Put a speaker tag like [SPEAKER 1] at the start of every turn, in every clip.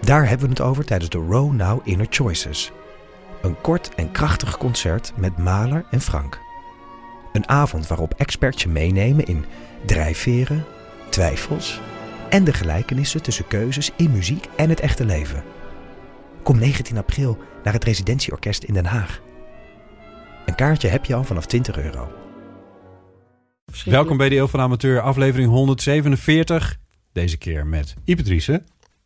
[SPEAKER 1] Daar hebben we het over tijdens de Row Now Inner Choices. Een kort en krachtig concert met Maler en Frank. Een avond waarop experts je meenemen in drijfveren, twijfels en de gelijkenissen tussen keuzes in muziek en het echte leven. Kom 19 april naar het Residentieorkest in Den Haag. Een kaartje heb je al vanaf 20 euro.
[SPEAKER 2] Welkom bij de Eeuw van de Amateur, aflevering 147. Deze keer met Ipatrice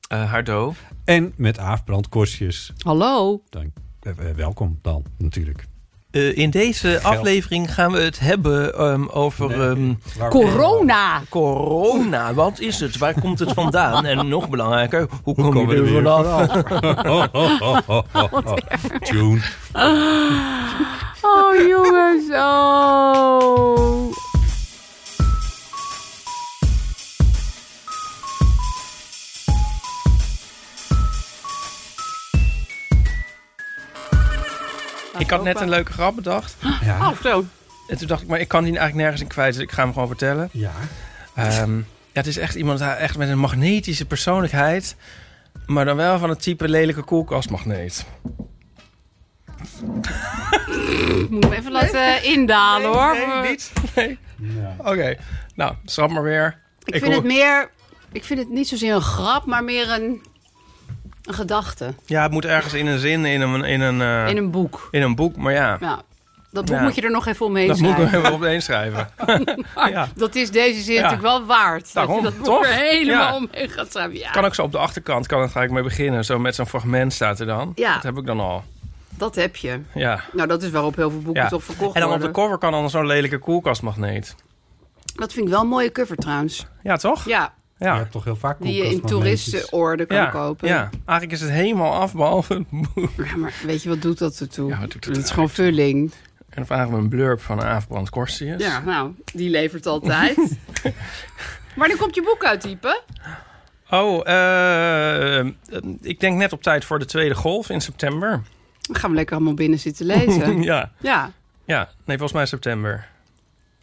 [SPEAKER 3] Eh, Hardo.
[SPEAKER 2] en met Aaf Brandkorstjes.
[SPEAKER 4] Hallo.
[SPEAKER 2] Dank. eh, eh, welkom dan, natuurlijk.
[SPEAKER 3] Eh, in deze aflevering gaan we het hebben ehm, over
[SPEAKER 2] Nee.
[SPEAKER 3] ehm,
[SPEAKER 2] Waarom-
[SPEAKER 4] Corona.
[SPEAKER 3] corona. Wat is het? Waar komt het vandaan? En nog belangrijker, hoe, kom
[SPEAKER 2] komen
[SPEAKER 3] je
[SPEAKER 2] we
[SPEAKER 3] er
[SPEAKER 2] er weer
[SPEAKER 3] vanaf?
[SPEAKER 2] Oh, oh, oh, oh, oh, oh. Tune.
[SPEAKER 4] Oh jongens, oh.
[SPEAKER 5] Ik had net een leuke grap bedacht.
[SPEAKER 2] Ja.
[SPEAKER 5] Oh,
[SPEAKER 4] zo.
[SPEAKER 5] En toen dacht ik, maar ik kan die eigenlijk nergens in kwijt. Dus ik ga hem gewoon vertellen.
[SPEAKER 2] ja.
[SPEAKER 5] Ehm, ja, het is echt iemand hij- echt met een magnetische persoonlijkheid. Maar dan wel van het type lelijke koelkastmagneet.
[SPEAKER 4] Moet ik hem even laten eh, indalen hoor.
[SPEAKER 5] Nee, niet. Nee.
[SPEAKER 2] Ja.
[SPEAKER 5] Oké. Nou, schrap maar weer.
[SPEAKER 4] Ik,
[SPEAKER 5] Ik
[SPEAKER 4] vind
[SPEAKER 5] hoor-
[SPEAKER 4] het meer, ik vind het niet zozeer een grap, maar meer een, een gedachte
[SPEAKER 5] Ja, het moet ergens in een zin, in een, in een, eh,
[SPEAKER 4] in een boek.
[SPEAKER 5] in een boek. Maar ja,
[SPEAKER 4] Ja. Dat boek
[SPEAKER 5] Ja.
[SPEAKER 4] moet je er nog even omheen
[SPEAKER 5] dat moet ik
[SPEAKER 4] schrijven.
[SPEAKER 5] hem opeen schrijven. ja.
[SPEAKER 4] Dat is deze zin
[SPEAKER 5] Ja.
[SPEAKER 4] natuurlijk wel waard.
[SPEAKER 5] Daarom,
[SPEAKER 4] dat je dat boek
[SPEAKER 5] toch?
[SPEAKER 4] er helemaal
[SPEAKER 5] Ja.
[SPEAKER 4] omheen gaat schrijven. Ja,
[SPEAKER 5] Kan ook zo op de achterkant, kan het gelijk mee beginnen. Zo met zo'n fragment staat er dan.
[SPEAKER 4] Ja.
[SPEAKER 5] Dat heb ik dan al.
[SPEAKER 4] dat heb je.
[SPEAKER 5] Ja.
[SPEAKER 4] Nou, dat is waarop heel veel boeken
[SPEAKER 5] Ja.
[SPEAKER 4] toch verkocht
[SPEAKER 5] En dan op
[SPEAKER 4] worden.
[SPEAKER 5] de cover kan dan zo'n lelijke koelkastmagneet.
[SPEAKER 4] dat vind ik wel een mooie cover trouwens.
[SPEAKER 5] Ja, toch?
[SPEAKER 4] Ja,
[SPEAKER 2] Je
[SPEAKER 5] Ja.
[SPEAKER 2] hebt toch heel vaak
[SPEAKER 4] die eh, je in
[SPEAKER 2] koelkastmagneetjes.
[SPEAKER 4] toeristenorde kan
[SPEAKER 5] Ja,
[SPEAKER 4] kopen.
[SPEAKER 5] ja, eigenlijk is het helemaal af, behalve het boek.
[SPEAKER 4] Ja, maar weet je, wat doet dat ertoe?
[SPEAKER 5] Ja, wat doet dat
[SPEAKER 4] is gewoon vulling.
[SPEAKER 5] En dan vragen we een blurb van Aafbrand Korstius.
[SPEAKER 4] Ja, nou, die levert altijd. maar nu komt je boek uit, type.
[SPEAKER 5] Oh, eh, eh, ik denk net op tijd voor de tweede golf in september.
[SPEAKER 4] Dan gaan we lekker allemaal binnen zitten lezen.
[SPEAKER 5] Ja,
[SPEAKER 4] ja,
[SPEAKER 5] ja. Nee, volgens mij september.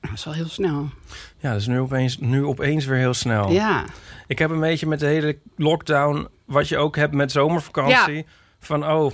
[SPEAKER 4] dat is wel heel snel.
[SPEAKER 5] Ja, dus nu opeens, nu opeens weer heel snel.
[SPEAKER 4] Ja.
[SPEAKER 5] Ik heb een beetje met de hele lockdown, wat je ook hebt met zomervakantie. Van, oh,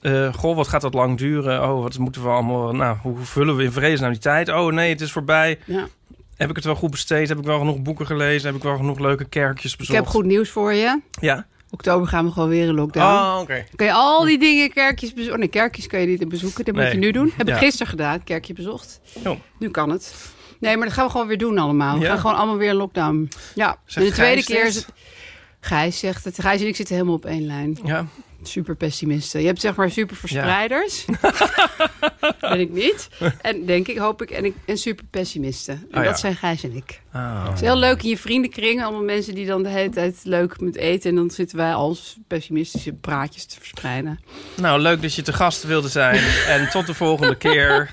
[SPEAKER 5] eh, goh, wat gaat dat lang duren? Oh, wat moeten we allemaal... Nou, hoe vullen we in vrees nou die tijd? Oh nee, het is voorbij.
[SPEAKER 4] ja.
[SPEAKER 5] Heb ik het wel goed besteed? Heb ik wel genoeg boeken gelezen? Heb ik wel genoeg leuke kerkjes
[SPEAKER 4] Ik
[SPEAKER 5] bezocht?
[SPEAKER 4] heb goed nieuws voor je.
[SPEAKER 5] Ja.
[SPEAKER 4] Oktober gaan we gewoon weer in lockdown.
[SPEAKER 5] Ah, oké.
[SPEAKER 4] Dan Kun je al die dingen, kerkjes bezoeken. Nee, kerkjes kan je niet bezoeken. Dat moet
[SPEAKER 5] Nee.
[SPEAKER 4] je nu doen. Heb
[SPEAKER 5] Ja.
[SPEAKER 4] ik gisteren gedaan, kerkje bezocht.
[SPEAKER 5] Oh.
[SPEAKER 4] Nu kan het. Nee, maar dat gaan we gewoon weer doen allemaal. We
[SPEAKER 5] Ja.
[SPEAKER 4] gaan gewoon allemaal weer in lockdown. Ja, en de tweede
[SPEAKER 5] Gijs
[SPEAKER 4] keer is
[SPEAKER 5] dit?
[SPEAKER 4] het... Gijs zegt het. Gijs en ik zitten helemaal op één lijn.
[SPEAKER 5] Ja.
[SPEAKER 4] super pessimisten. Je hebt zeg maar super verspreiders. ben ik niet. En denk ik, hoop ik. En, ik, en super pessimisten. En
[SPEAKER 5] Ah, ja.
[SPEAKER 4] dat zijn Gijs en ik.
[SPEAKER 5] Ah.
[SPEAKER 4] Het is heel leuk in je vriendenkring. Allemaal mensen die dan de hele tijd leuk met eten. En dan zitten wij als pessimistische praatjes te verspreiden.
[SPEAKER 5] Nou, leuk dat je te gast wilde zijn. en tot de volgende keer.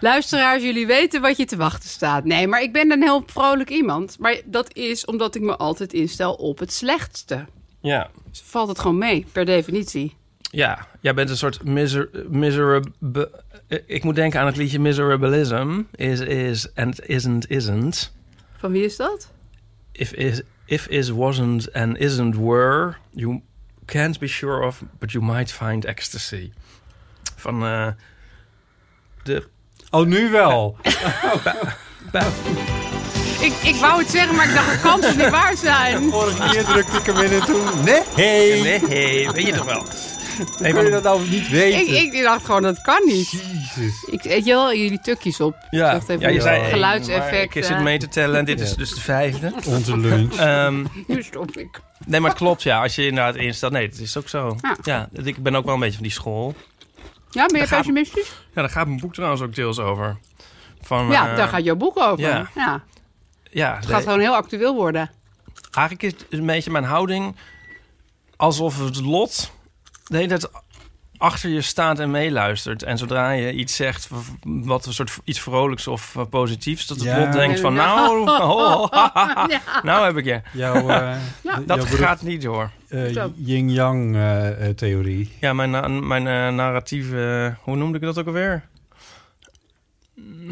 [SPEAKER 4] Luisteraars, jullie weten wat je te wachten staat. Nee, maar ik ben een heel vrolijk iemand. Maar dat is omdat ik me altijd instel op het slechtste.
[SPEAKER 5] Ja.
[SPEAKER 4] Dus valt het gewoon mee, per definitie.
[SPEAKER 5] Ja, jij bent een soort miser miserable... eh, Ik moet denken aan het liedje Miserabilism. Is, is, and isn't, isn't.
[SPEAKER 4] Van wie is dat?
[SPEAKER 5] If is, if is, wasn't and isn't were... You can't be sure of, but you might find ecstasy. Van eh, de...
[SPEAKER 2] Oh, nu wel.
[SPEAKER 4] Ik, ik wou het zeggen, maar ik dacht, het kan toch niet waar zijn?
[SPEAKER 2] Vorige keer drukte ik hem in en toen... Nee.
[SPEAKER 5] Nee, weet je toch wel. Een
[SPEAKER 2] Kun
[SPEAKER 5] van
[SPEAKER 2] je
[SPEAKER 5] de-
[SPEAKER 2] dat nou niet weten?
[SPEAKER 4] Ik, ik dacht gewoon, dat kan niet.
[SPEAKER 2] Jezus.
[SPEAKER 4] Ik weet je wel, jullie tukjes op. Ik
[SPEAKER 5] Ja,
[SPEAKER 4] dacht even
[SPEAKER 5] ja, je zei één, maar
[SPEAKER 4] geluidseffect.
[SPEAKER 5] Ik zit mee te tellen en dit is dus de vijfde.
[SPEAKER 2] Onze lunch.
[SPEAKER 5] Ehm,
[SPEAKER 4] Nu stop ik.
[SPEAKER 5] nee, maar het klopt, ja. Als je inderdaad instelt. Nee, dat is ook zo.
[SPEAKER 4] Ja.
[SPEAKER 5] Ja, ik ben ook wel een beetje van die school.
[SPEAKER 4] Ja, ben je
[SPEAKER 5] Daar gaat-
[SPEAKER 4] pessimistisch?
[SPEAKER 5] Ja, daar gaat mijn boek trouwens ook deels over. Van,
[SPEAKER 4] Ja,
[SPEAKER 5] eh,
[SPEAKER 4] daar gaat jouw boek over. Ja.
[SPEAKER 5] ja. ja
[SPEAKER 4] Het
[SPEAKER 5] nee,
[SPEAKER 4] gaat gewoon heel actueel worden.
[SPEAKER 5] Eigenlijk is het een beetje mijn houding. alsof het lot de hele tijd achter je staat en meeluistert. En zodra je iets zegt, w- wat een soort v- iets vrolijks of eh, positiefs, dat het
[SPEAKER 2] Ja.
[SPEAKER 5] lot denkt van nou, oh,
[SPEAKER 4] Ja.
[SPEAKER 5] nou heb ik je.
[SPEAKER 2] Jouw, eh,
[SPEAKER 4] Ja,
[SPEAKER 2] de-
[SPEAKER 5] Dat
[SPEAKER 2] jouw
[SPEAKER 5] gaat niet door.
[SPEAKER 4] Zo.
[SPEAKER 2] beroep- eh, yin-yang eh, eh, theorie.
[SPEAKER 5] Ja, mijn, na- mijn eh, narratieve, eh, hoe noemde ik dat ook alweer? Mm,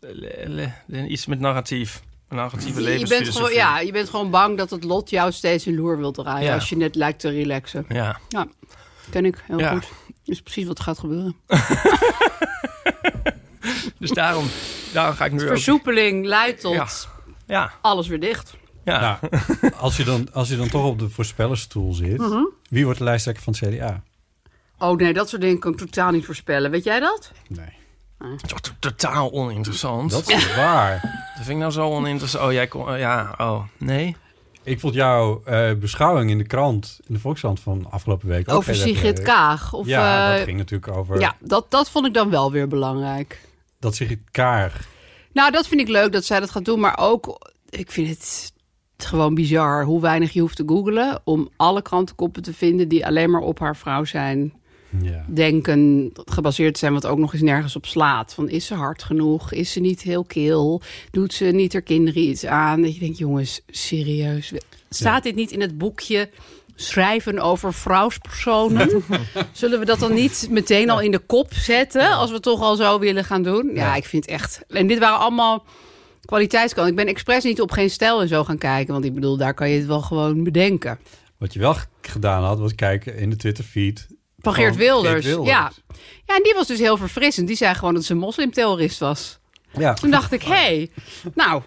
[SPEAKER 5] le- le- le- iets met narratief. Een Narratieve
[SPEAKER 4] Je bent, gewoon,
[SPEAKER 5] levensfilosofie.
[SPEAKER 4] ja, je bent gewoon bang dat het lot jou steeds een loer wil draaien
[SPEAKER 5] Ja.
[SPEAKER 4] als je net lijkt te relaxen.
[SPEAKER 5] Ja.
[SPEAKER 4] Ken ik heel
[SPEAKER 5] Ja.
[SPEAKER 4] goed. Dat is precies wat gaat gebeuren.
[SPEAKER 5] Dus daarom, daarom ga ik nu ook...
[SPEAKER 4] Versoepeling leidt tot
[SPEAKER 5] Ja. Ja,
[SPEAKER 4] alles weer dicht.
[SPEAKER 5] ja.
[SPEAKER 2] Nou, als, je dan, als je dan toch op de voorspellersstoel zit,
[SPEAKER 4] Mhm.
[SPEAKER 2] wie wordt de lijsttrekker van het CDA?
[SPEAKER 4] Oh nee, dat soort dingen kan ik totaal niet voorspellen. Weet jij dat?
[SPEAKER 2] Nee.
[SPEAKER 5] Het is toch totaal oninteressant.
[SPEAKER 2] Dat is waar.
[SPEAKER 5] Dat vind ik nou zo oninteressant. Oh, jij kon... eh, ja, oh, nee.
[SPEAKER 2] Ik vond jouw eh, beschouwing in de krant, in de Volkskrant van afgelopen week... ook
[SPEAKER 4] Over
[SPEAKER 2] heel erg
[SPEAKER 4] Sigrid
[SPEAKER 2] leuk.
[SPEAKER 4] Kaag. Of,
[SPEAKER 2] ja,
[SPEAKER 4] eh,
[SPEAKER 2] dat ging natuurlijk over
[SPEAKER 4] ja dat, dat vond ik dan wel weer belangrijk.
[SPEAKER 2] dat Sigrid Kaag...
[SPEAKER 4] Nou, dat vind ik leuk dat zij dat gaat doen. Maar ook, ik vind het gewoon bizar hoe weinig je hoeft te googlen... om alle krantenkoppen te vinden die alleen maar op haar vrouw zijn
[SPEAKER 2] Ja.
[SPEAKER 4] denken gebaseerd zijn, wat ook nog eens nergens op slaat. Van is ze hard genoeg? Is ze niet heel kil? Doet ze niet haar kinderen iets aan? Dat je denkt, jongens, serieus. Staat dit niet in het boekje schrijven over vrouwspersonen? Zullen we dat dan niet meteen al in de kop zetten? Als we toch al zo willen gaan doen? Ja, ik vind echt. En dit waren allemaal. Kwaliteitskant. Ik ben expres niet op geen stijl en zo gaan kijken. Want ik bedoel, daar kan je het wel gewoon bedenken.
[SPEAKER 2] Wat je wel g- gedaan had, was kijken in de Twitterfeed...
[SPEAKER 4] Van Geert Wilders. Ja. Ja, en die was dus heel verfrissend. Die zei gewoon dat ze een moslimterrorist was.
[SPEAKER 2] Ja.
[SPEAKER 4] Toen dacht ik, hé, hey, nou,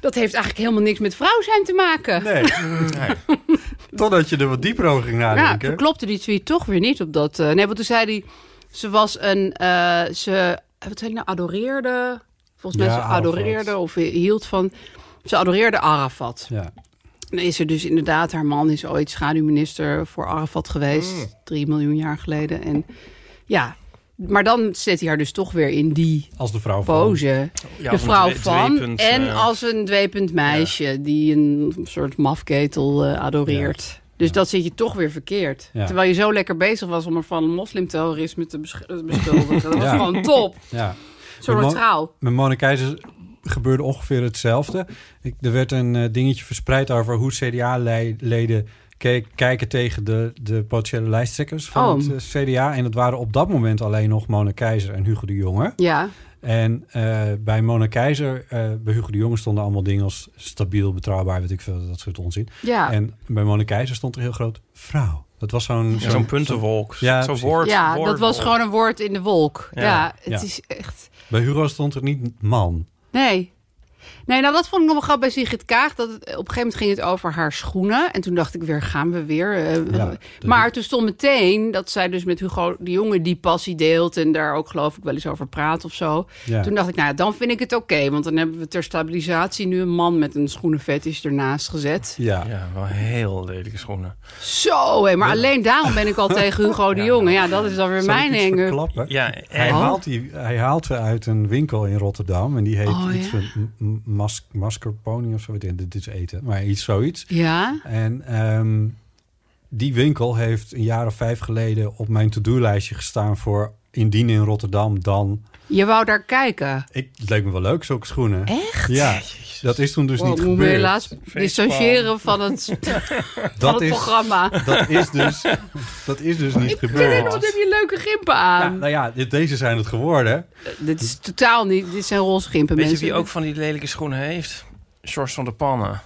[SPEAKER 4] dat heeft eigenlijk helemaal niks met vrouw zijn te maken.
[SPEAKER 2] Nee. Totdat je er wat dieper over ging
[SPEAKER 4] ja,
[SPEAKER 2] nadenken.
[SPEAKER 4] toen klopte die tweet toch weer niet op dat... eh, nee, want toen zei hij, ze was een, eh, ze, wat zei hij nou, adoreerde... Volgens mij
[SPEAKER 2] Ja,
[SPEAKER 4] ze
[SPEAKER 2] Arafat.
[SPEAKER 4] adoreerde of hield van... Ze adoreerde Arafat.
[SPEAKER 2] Ja.
[SPEAKER 4] Dan is er dus inderdaad, haar man is ooit schaduwminister voor Arafat geweest. Drie miljoen jaar geleden. En ja, maar dan zet hij haar dus toch weer in die
[SPEAKER 2] Als de vrouw van...
[SPEAKER 4] pose.
[SPEAKER 5] Ja,
[SPEAKER 4] de
[SPEAKER 5] of een
[SPEAKER 4] vrouw
[SPEAKER 5] dwe-
[SPEAKER 4] van.
[SPEAKER 5] dweepend,
[SPEAKER 4] en
[SPEAKER 5] eh,
[SPEAKER 4] als een dwepend meisje die een soort mafketel eh, adoreert. Dus dat zit je toch weer verkeerd.
[SPEAKER 2] Ja.
[SPEAKER 4] Terwijl je zo lekker bezig was om er van een moslimterrorisme te besch- eh, beschuldigen. Dat was
[SPEAKER 2] Ja.
[SPEAKER 4] gewoon top.
[SPEAKER 2] Ja.
[SPEAKER 4] Zo
[SPEAKER 2] Maar-
[SPEAKER 4] neutraal.
[SPEAKER 2] Met Mona Keijzer gebeurde ongeveer hetzelfde. Ik, er werd een eh, dingetje verspreid over hoe CDA-leden kijken tegen de, de potentiële lijsttrekkers van
[SPEAKER 4] Oh.
[SPEAKER 2] het eh, CDA. En dat waren op dat moment alleen nog Mona Keizer en Hugo de Jonge.
[SPEAKER 4] Ja.
[SPEAKER 2] En eh, bij Mona Keizer, eh, bij Hugo de Jonge stonden allemaal dingen als stabiel, betrouwbaar, weet ik veel, dat soort onzin.
[SPEAKER 4] Ja.
[SPEAKER 2] En bij Mona Keizer stond er heel groot vrouw. Dat was zo'n...
[SPEAKER 5] Ja, Zo'n puntenwolk.
[SPEAKER 2] Ja,
[SPEAKER 5] Zo'n
[SPEAKER 2] precies.
[SPEAKER 5] woord.
[SPEAKER 4] ja, dat
[SPEAKER 5] woordwolk.
[SPEAKER 4] was gewoon een woord in de wolk. Ja,
[SPEAKER 5] Ja.
[SPEAKER 4] het
[SPEAKER 2] Ja.
[SPEAKER 4] is echt...
[SPEAKER 2] Bij Hugo stond er niet man.
[SPEAKER 4] Nee. Nee, nou dat vond ik nog wel grappig bij Sigrid Kaag. Dat het, op een gegeven moment ging het over haar schoenen. En toen dacht ik weer, gaan we weer. eh,
[SPEAKER 2] Ja,
[SPEAKER 4] eh,
[SPEAKER 2] dat-
[SPEAKER 4] maar toen stond meteen dat zij dus met Hugo de Jonge die passie deelt. En daar ook geloof ik wel eens over praat of zo.
[SPEAKER 2] Ja.
[SPEAKER 4] Toen dacht ik, nou ja, dan vind ik het oké. want dan hebben we ter stabilisatie nu een man met een schoenenfetish ernaast gezet.
[SPEAKER 2] Ja.
[SPEAKER 5] Ja, wel heel lelijke schoenen.
[SPEAKER 4] Zo hé, maar alleen daarom ben ik al tegen Hugo de Jonge. Ja, dat is dan weer
[SPEAKER 2] Zal nou, ik
[SPEAKER 4] mijn
[SPEAKER 2] iets
[SPEAKER 4] hanger.
[SPEAKER 2] verklappen?
[SPEAKER 5] Ja,
[SPEAKER 2] Hij,
[SPEAKER 5] en
[SPEAKER 4] Oh.
[SPEAKER 2] haalt die, hij haalt ze uit een winkel in Rotterdam. En die heet
[SPEAKER 4] Oh,
[SPEAKER 2] iets
[SPEAKER 4] ja.
[SPEAKER 2] van m- m- mas, mascarpone of zo. Ik denk, Dit is eten, maar iets zoiets.
[SPEAKER 4] Ja,
[SPEAKER 2] En ehm, die winkel heeft een jaar of vijf geleden op mijn to-do-lijstje gestaan voor indien in Rotterdam dan...
[SPEAKER 4] je wou daar kijken.
[SPEAKER 2] Ik, het leek me wel leuk, zulke schoenen.
[SPEAKER 4] Echt?
[SPEAKER 2] Ja, dat is toen dus
[SPEAKER 4] Wow,
[SPEAKER 2] niet
[SPEAKER 4] Oh, moet me
[SPEAKER 2] gebeurd.
[SPEAKER 4] helaas dissociëren van het, van
[SPEAKER 2] dat,
[SPEAKER 4] het
[SPEAKER 2] is,
[SPEAKER 4] programma.
[SPEAKER 2] dat, is dus, dat is dus niet
[SPEAKER 4] Kunnen wat
[SPEAKER 2] gebeurd.
[SPEAKER 4] heb je leuke gimpen
[SPEAKER 2] Ja,
[SPEAKER 4] aan?
[SPEAKER 2] nou ja, dit- deze zijn het geworden.
[SPEAKER 4] Dit is totaal niet. Dit zijn roze gimpen.
[SPEAKER 5] weet je
[SPEAKER 4] mensen.
[SPEAKER 5] wie ook van die lelijke schoenen heeft? George van der Pannen.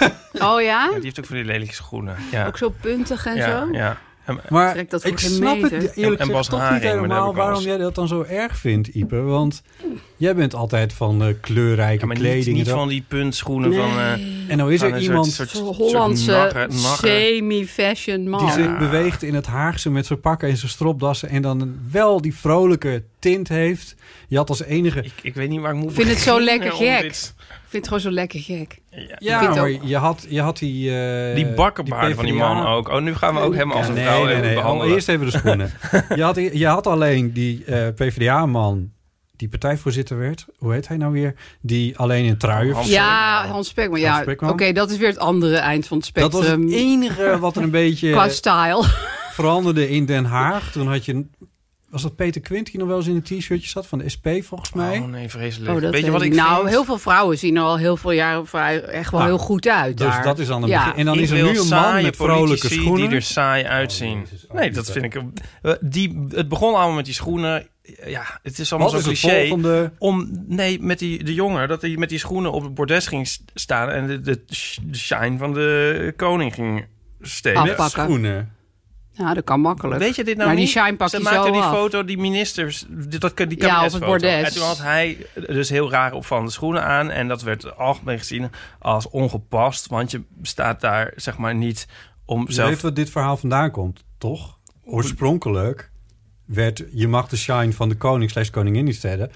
[SPEAKER 5] Ja,
[SPEAKER 4] Oh ja?
[SPEAKER 5] die heeft ook van die lelijke schoenen. Ja.
[SPEAKER 4] Ook zo puntig en
[SPEAKER 5] ja,
[SPEAKER 4] zo.
[SPEAKER 5] ja. En,
[SPEAKER 2] Maar
[SPEAKER 4] Trek dat voor
[SPEAKER 2] ik
[SPEAKER 4] geen
[SPEAKER 2] snap
[SPEAKER 4] meter.
[SPEAKER 2] het
[SPEAKER 5] En- en
[SPEAKER 2] eerlijk gezegd
[SPEAKER 5] Bas
[SPEAKER 2] toch niet
[SPEAKER 5] Haring, maar daar heb
[SPEAKER 2] helemaal
[SPEAKER 5] ik wel
[SPEAKER 2] waarom
[SPEAKER 5] eens-
[SPEAKER 2] jij dat dan zo erg vindt, Ipe. Want jij bent altijd van eh, kleurrijke
[SPEAKER 5] ja, maar niet,
[SPEAKER 2] kleding. en
[SPEAKER 5] niet
[SPEAKER 2] zo.
[SPEAKER 5] van die puntschoenen van... eh,
[SPEAKER 2] En nou is
[SPEAKER 5] van
[SPEAKER 2] er
[SPEAKER 5] een
[SPEAKER 2] iemand
[SPEAKER 5] soort,
[SPEAKER 4] Zo'n
[SPEAKER 5] soort,
[SPEAKER 4] Hollandse
[SPEAKER 5] soort nagge- nagge-
[SPEAKER 4] semi-fashion man.
[SPEAKER 2] die zich beweegt in het Haagse met zijn pakken en zijn stropdassen... en dan wel die vrolijke tint heeft. Je had als enige...
[SPEAKER 5] Ik, ik weet niet waar ik moet
[SPEAKER 4] Ik vind het zo
[SPEAKER 5] beginnen
[SPEAKER 4] lekker
[SPEAKER 5] om
[SPEAKER 4] gek.
[SPEAKER 5] dit-
[SPEAKER 4] Ik vind het gewoon zo lekker gek.
[SPEAKER 5] Ja.
[SPEAKER 4] Ik
[SPEAKER 2] Ja,
[SPEAKER 4] vind
[SPEAKER 2] maar
[SPEAKER 4] ook-
[SPEAKER 2] je had, je had Eh, die... eh,
[SPEAKER 5] Die bakkenbaard van die
[SPEAKER 2] PvdA
[SPEAKER 5] man ook. Oh, nu gaan we ook hem als een
[SPEAKER 2] Ja,
[SPEAKER 5] vrouw even
[SPEAKER 2] nee.
[SPEAKER 5] behandelen.
[SPEAKER 2] Eerst even de schoenen. je, had, je had alleen die eh, PvdA-man die partijvoorzitter werd. Hoe heet hij nou weer? Die alleen in truien...
[SPEAKER 5] Hans
[SPEAKER 4] ja,
[SPEAKER 5] Spekman.
[SPEAKER 4] Hans Spekman.
[SPEAKER 2] Hans
[SPEAKER 4] Ja, oké,
[SPEAKER 2] Spekman.
[SPEAKER 4] dat is weer het andere eind van het
[SPEAKER 2] dat was
[SPEAKER 4] spectrum.
[SPEAKER 2] het enige wat er een
[SPEAKER 4] Qua
[SPEAKER 2] beetje
[SPEAKER 4] style.
[SPEAKER 2] veranderde in Den Haag. Toen had je... Was dat Peter Quint die nog wel eens in een t-shirtje zat? Van de SP volgens mij.
[SPEAKER 5] Oh nee, vreselijk.
[SPEAKER 4] Oh, dat
[SPEAKER 5] Weet je wat ik
[SPEAKER 4] Nou,
[SPEAKER 5] vind?
[SPEAKER 4] heel veel vrouwen zien er al heel veel jaren vrij- echt wel
[SPEAKER 2] Nou,
[SPEAKER 4] heel goed uit
[SPEAKER 2] dus
[SPEAKER 4] daar.
[SPEAKER 2] dat is dan een
[SPEAKER 4] Ja.
[SPEAKER 2] begin. En dan
[SPEAKER 5] Ik
[SPEAKER 2] is er
[SPEAKER 5] wil
[SPEAKER 2] nu een man
[SPEAKER 5] saaie
[SPEAKER 2] met vrolijke
[SPEAKER 5] politici
[SPEAKER 2] schoenen.
[SPEAKER 5] die er saai uitzien.
[SPEAKER 2] Jezus, oh,
[SPEAKER 5] nee,
[SPEAKER 2] die
[SPEAKER 5] dat
[SPEAKER 2] be-
[SPEAKER 5] vind ik... eh, Die, het begon allemaal met die schoenen. Ja, het is allemaal
[SPEAKER 2] Wat is
[SPEAKER 5] zo
[SPEAKER 2] het
[SPEAKER 5] cliché.
[SPEAKER 2] volgende?
[SPEAKER 5] Om, nee, met die, de jongen, dat hij met die schoenen op het bordes ging s- staan en de, de, sh- de shine van de koning ging stelen.
[SPEAKER 4] Afpakken.
[SPEAKER 2] Schoenen.
[SPEAKER 4] Ja, dat kan makkelijk.
[SPEAKER 5] Weet je dit nou
[SPEAKER 4] maar
[SPEAKER 5] niet?
[SPEAKER 4] die shine pak
[SPEAKER 5] Ze
[SPEAKER 4] je
[SPEAKER 5] maakte
[SPEAKER 4] zo
[SPEAKER 5] die
[SPEAKER 4] af.
[SPEAKER 5] foto, die ministers, die, dat, die
[SPEAKER 4] Ja, op het
[SPEAKER 5] kabinetsfoto.
[SPEAKER 4] bordes.
[SPEAKER 5] En toen had hij dus heel raar op van de schoenen aan. En dat werd algemeen gezien als ongepast. Want je staat daar zeg maar niet om
[SPEAKER 2] Je
[SPEAKER 5] zelf...
[SPEAKER 2] weet wat dit verhaal vandaan komt, toch? Oorspronkelijk werd je mag de shine van de koning slash koningin niet stellen.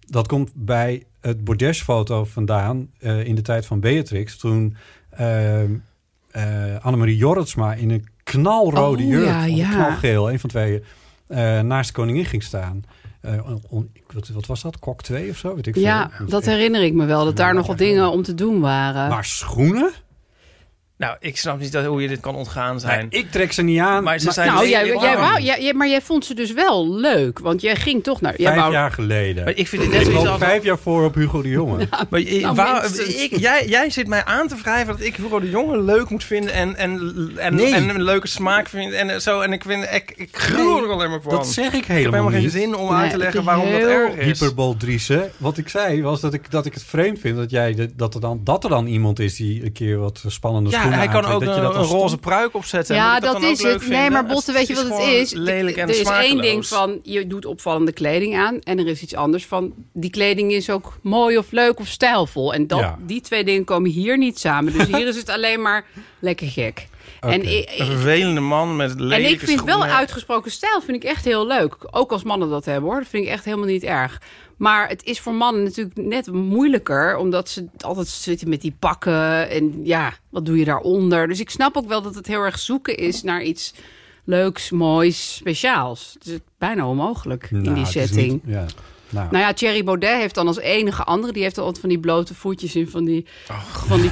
[SPEAKER 2] Dat komt bij het bordesfoto vandaan eh, in de tijd van Beatrix. Toen eh, eh, Annemarie Jorritsma in een knalrode
[SPEAKER 4] Oh,
[SPEAKER 2] jurk,
[SPEAKER 4] ja,
[SPEAKER 2] of
[SPEAKER 4] ja.
[SPEAKER 2] knalgeel, een van twee, eh, naast de koningin ging staan. Eh, on- on- wat, wat was dat? Kok 2 of zo? Weet ik
[SPEAKER 4] Ja,
[SPEAKER 2] veel.
[SPEAKER 4] dat herinner ik me wel. Dat daar
[SPEAKER 2] Ja,
[SPEAKER 4] nogal
[SPEAKER 2] ja.
[SPEAKER 4] dingen om te doen waren.
[SPEAKER 2] Maar schoenen?
[SPEAKER 5] Nou, ik snap niet dat, hoe je dit kan ontgaan zijn.
[SPEAKER 2] Ik trek ze niet aan.
[SPEAKER 5] Maar ze zijn
[SPEAKER 4] nou, jij,
[SPEAKER 5] lelijk
[SPEAKER 4] jij
[SPEAKER 5] lang.
[SPEAKER 4] wou, jij, jij- maar jij vond ze dus wel leuk. Want jij ging toch naar... Jij
[SPEAKER 2] vijf
[SPEAKER 4] wou,
[SPEAKER 2] jaar geleden.
[SPEAKER 5] Maar ik vind het net
[SPEAKER 2] Ik
[SPEAKER 5] zoiets
[SPEAKER 2] loop
[SPEAKER 5] als...
[SPEAKER 2] vijf jaar voor op Hugo de Jonge.
[SPEAKER 5] Maar je-
[SPEAKER 4] Nou,
[SPEAKER 5] waar-
[SPEAKER 4] minstens.
[SPEAKER 5] ik, jij, jij zit mij aan te wrijven dat ik Hugo de Jonge leuk moet vinden en, en, en,
[SPEAKER 2] Nee.
[SPEAKER 5] en een leuke smaak vind. En, eh, zo, en ik, vind, ik, ik gruw er alleen maar van.
[SPEAKER 2] Dat zeg ik helemaal,
[SPEAKER 5] ik heb helemaal geen
[SPEAKER 2] niet.
[SPEAKER 5] zin om
[SPEAKER 4] Nee,
[SPEAKER 5] uit te
[SPEAKER 4] het
[SPEAKER 5] leggen
[SPEAKER 4] is
[SPEAKER 5] waarom dat
[SPEAKER 4] heel
[SPEAKER 5] erg is.
[SPEAKER 2] Hyperbol Driessen. Wat ik zei was dat ik, dat ik het vreemd vind dat, jij, de- dat, er dan, dat er dan iemand is die een keer wat spannende
[SPEAKER 5] ja,
[SPEAKER 2] schoenen
[SPEAKER 5] hij kan
[SPEAKER 2] aantrekt,
[SPEAKER 5] ook eh,
[SPEAKER 2] dat je
[SPEAKER 5] een,
[SPEAKER 2] dat
[SPEAKER 5] een
[SPEAKER 2] als-
[SPEAKER 5] roze pruik opzetten. en
[SPEAKER 4] ja,
[SPEAKER 5] moet ik
[SPEAKER 4] dat,
[SPEAKER 5] dan ook
[SPEAKER 4] is
[SPEAKER 5] leuk
[SPEAKER 4] het. Nee,
[SPEAKER 5] vinden?
[SPEAKER 4] maar Botte, weet je wat het is?
[SPEAKER 5] gewoon Lelijk en
[SPEAKER 4] er is één
[SPEAKER 5] smakeloos.
[SPEAKER 4] ding van, je doet opvallende kleding aan. En er is iets anders van, die kleding is ook mooi of leuk of stijlvol. En dat,
[SPEAKER 2] Ja.
[SPEAKER 4] die twee dingen komen hier niet samen. Dus hier is het alleen maar lekker gek. En, ik-
[SPEAKER 5] Een vervelende man met
[SPEAKER 4] en
[SPEAKER 5] lelijke
[SPEAKER 4] ik vind wel
[SPEAKER 5] schoenen.
[SPEAKER 4] uitgesproken stijl vind ik echt heel leuk. Ook als mannen dat hebben hoor. Dat vind ik echt helemaal niet erg. Maar het is voor mannen natuurlijk net moeilijker. Omdat ze altijd zitten met die pakken. En ja, wat doe je daaronder? Dus ik snap ook wel dat het heel erg zoeken is naar iets leuks, moois, speciaals. Het is bijna onmogelijk in
[SPEAKER 2] Nou,
[SPEAKER 4] die
[SPEAKER 2] het is
[SPEAKER 4] setting.
[SPEAKER 2] niet- ja. Nou,
[SPEAKER 4] Nou ja, Thierry Baudet heeft dan als enige andere... die heeft dan altijd van die blote voetjes in van die, van die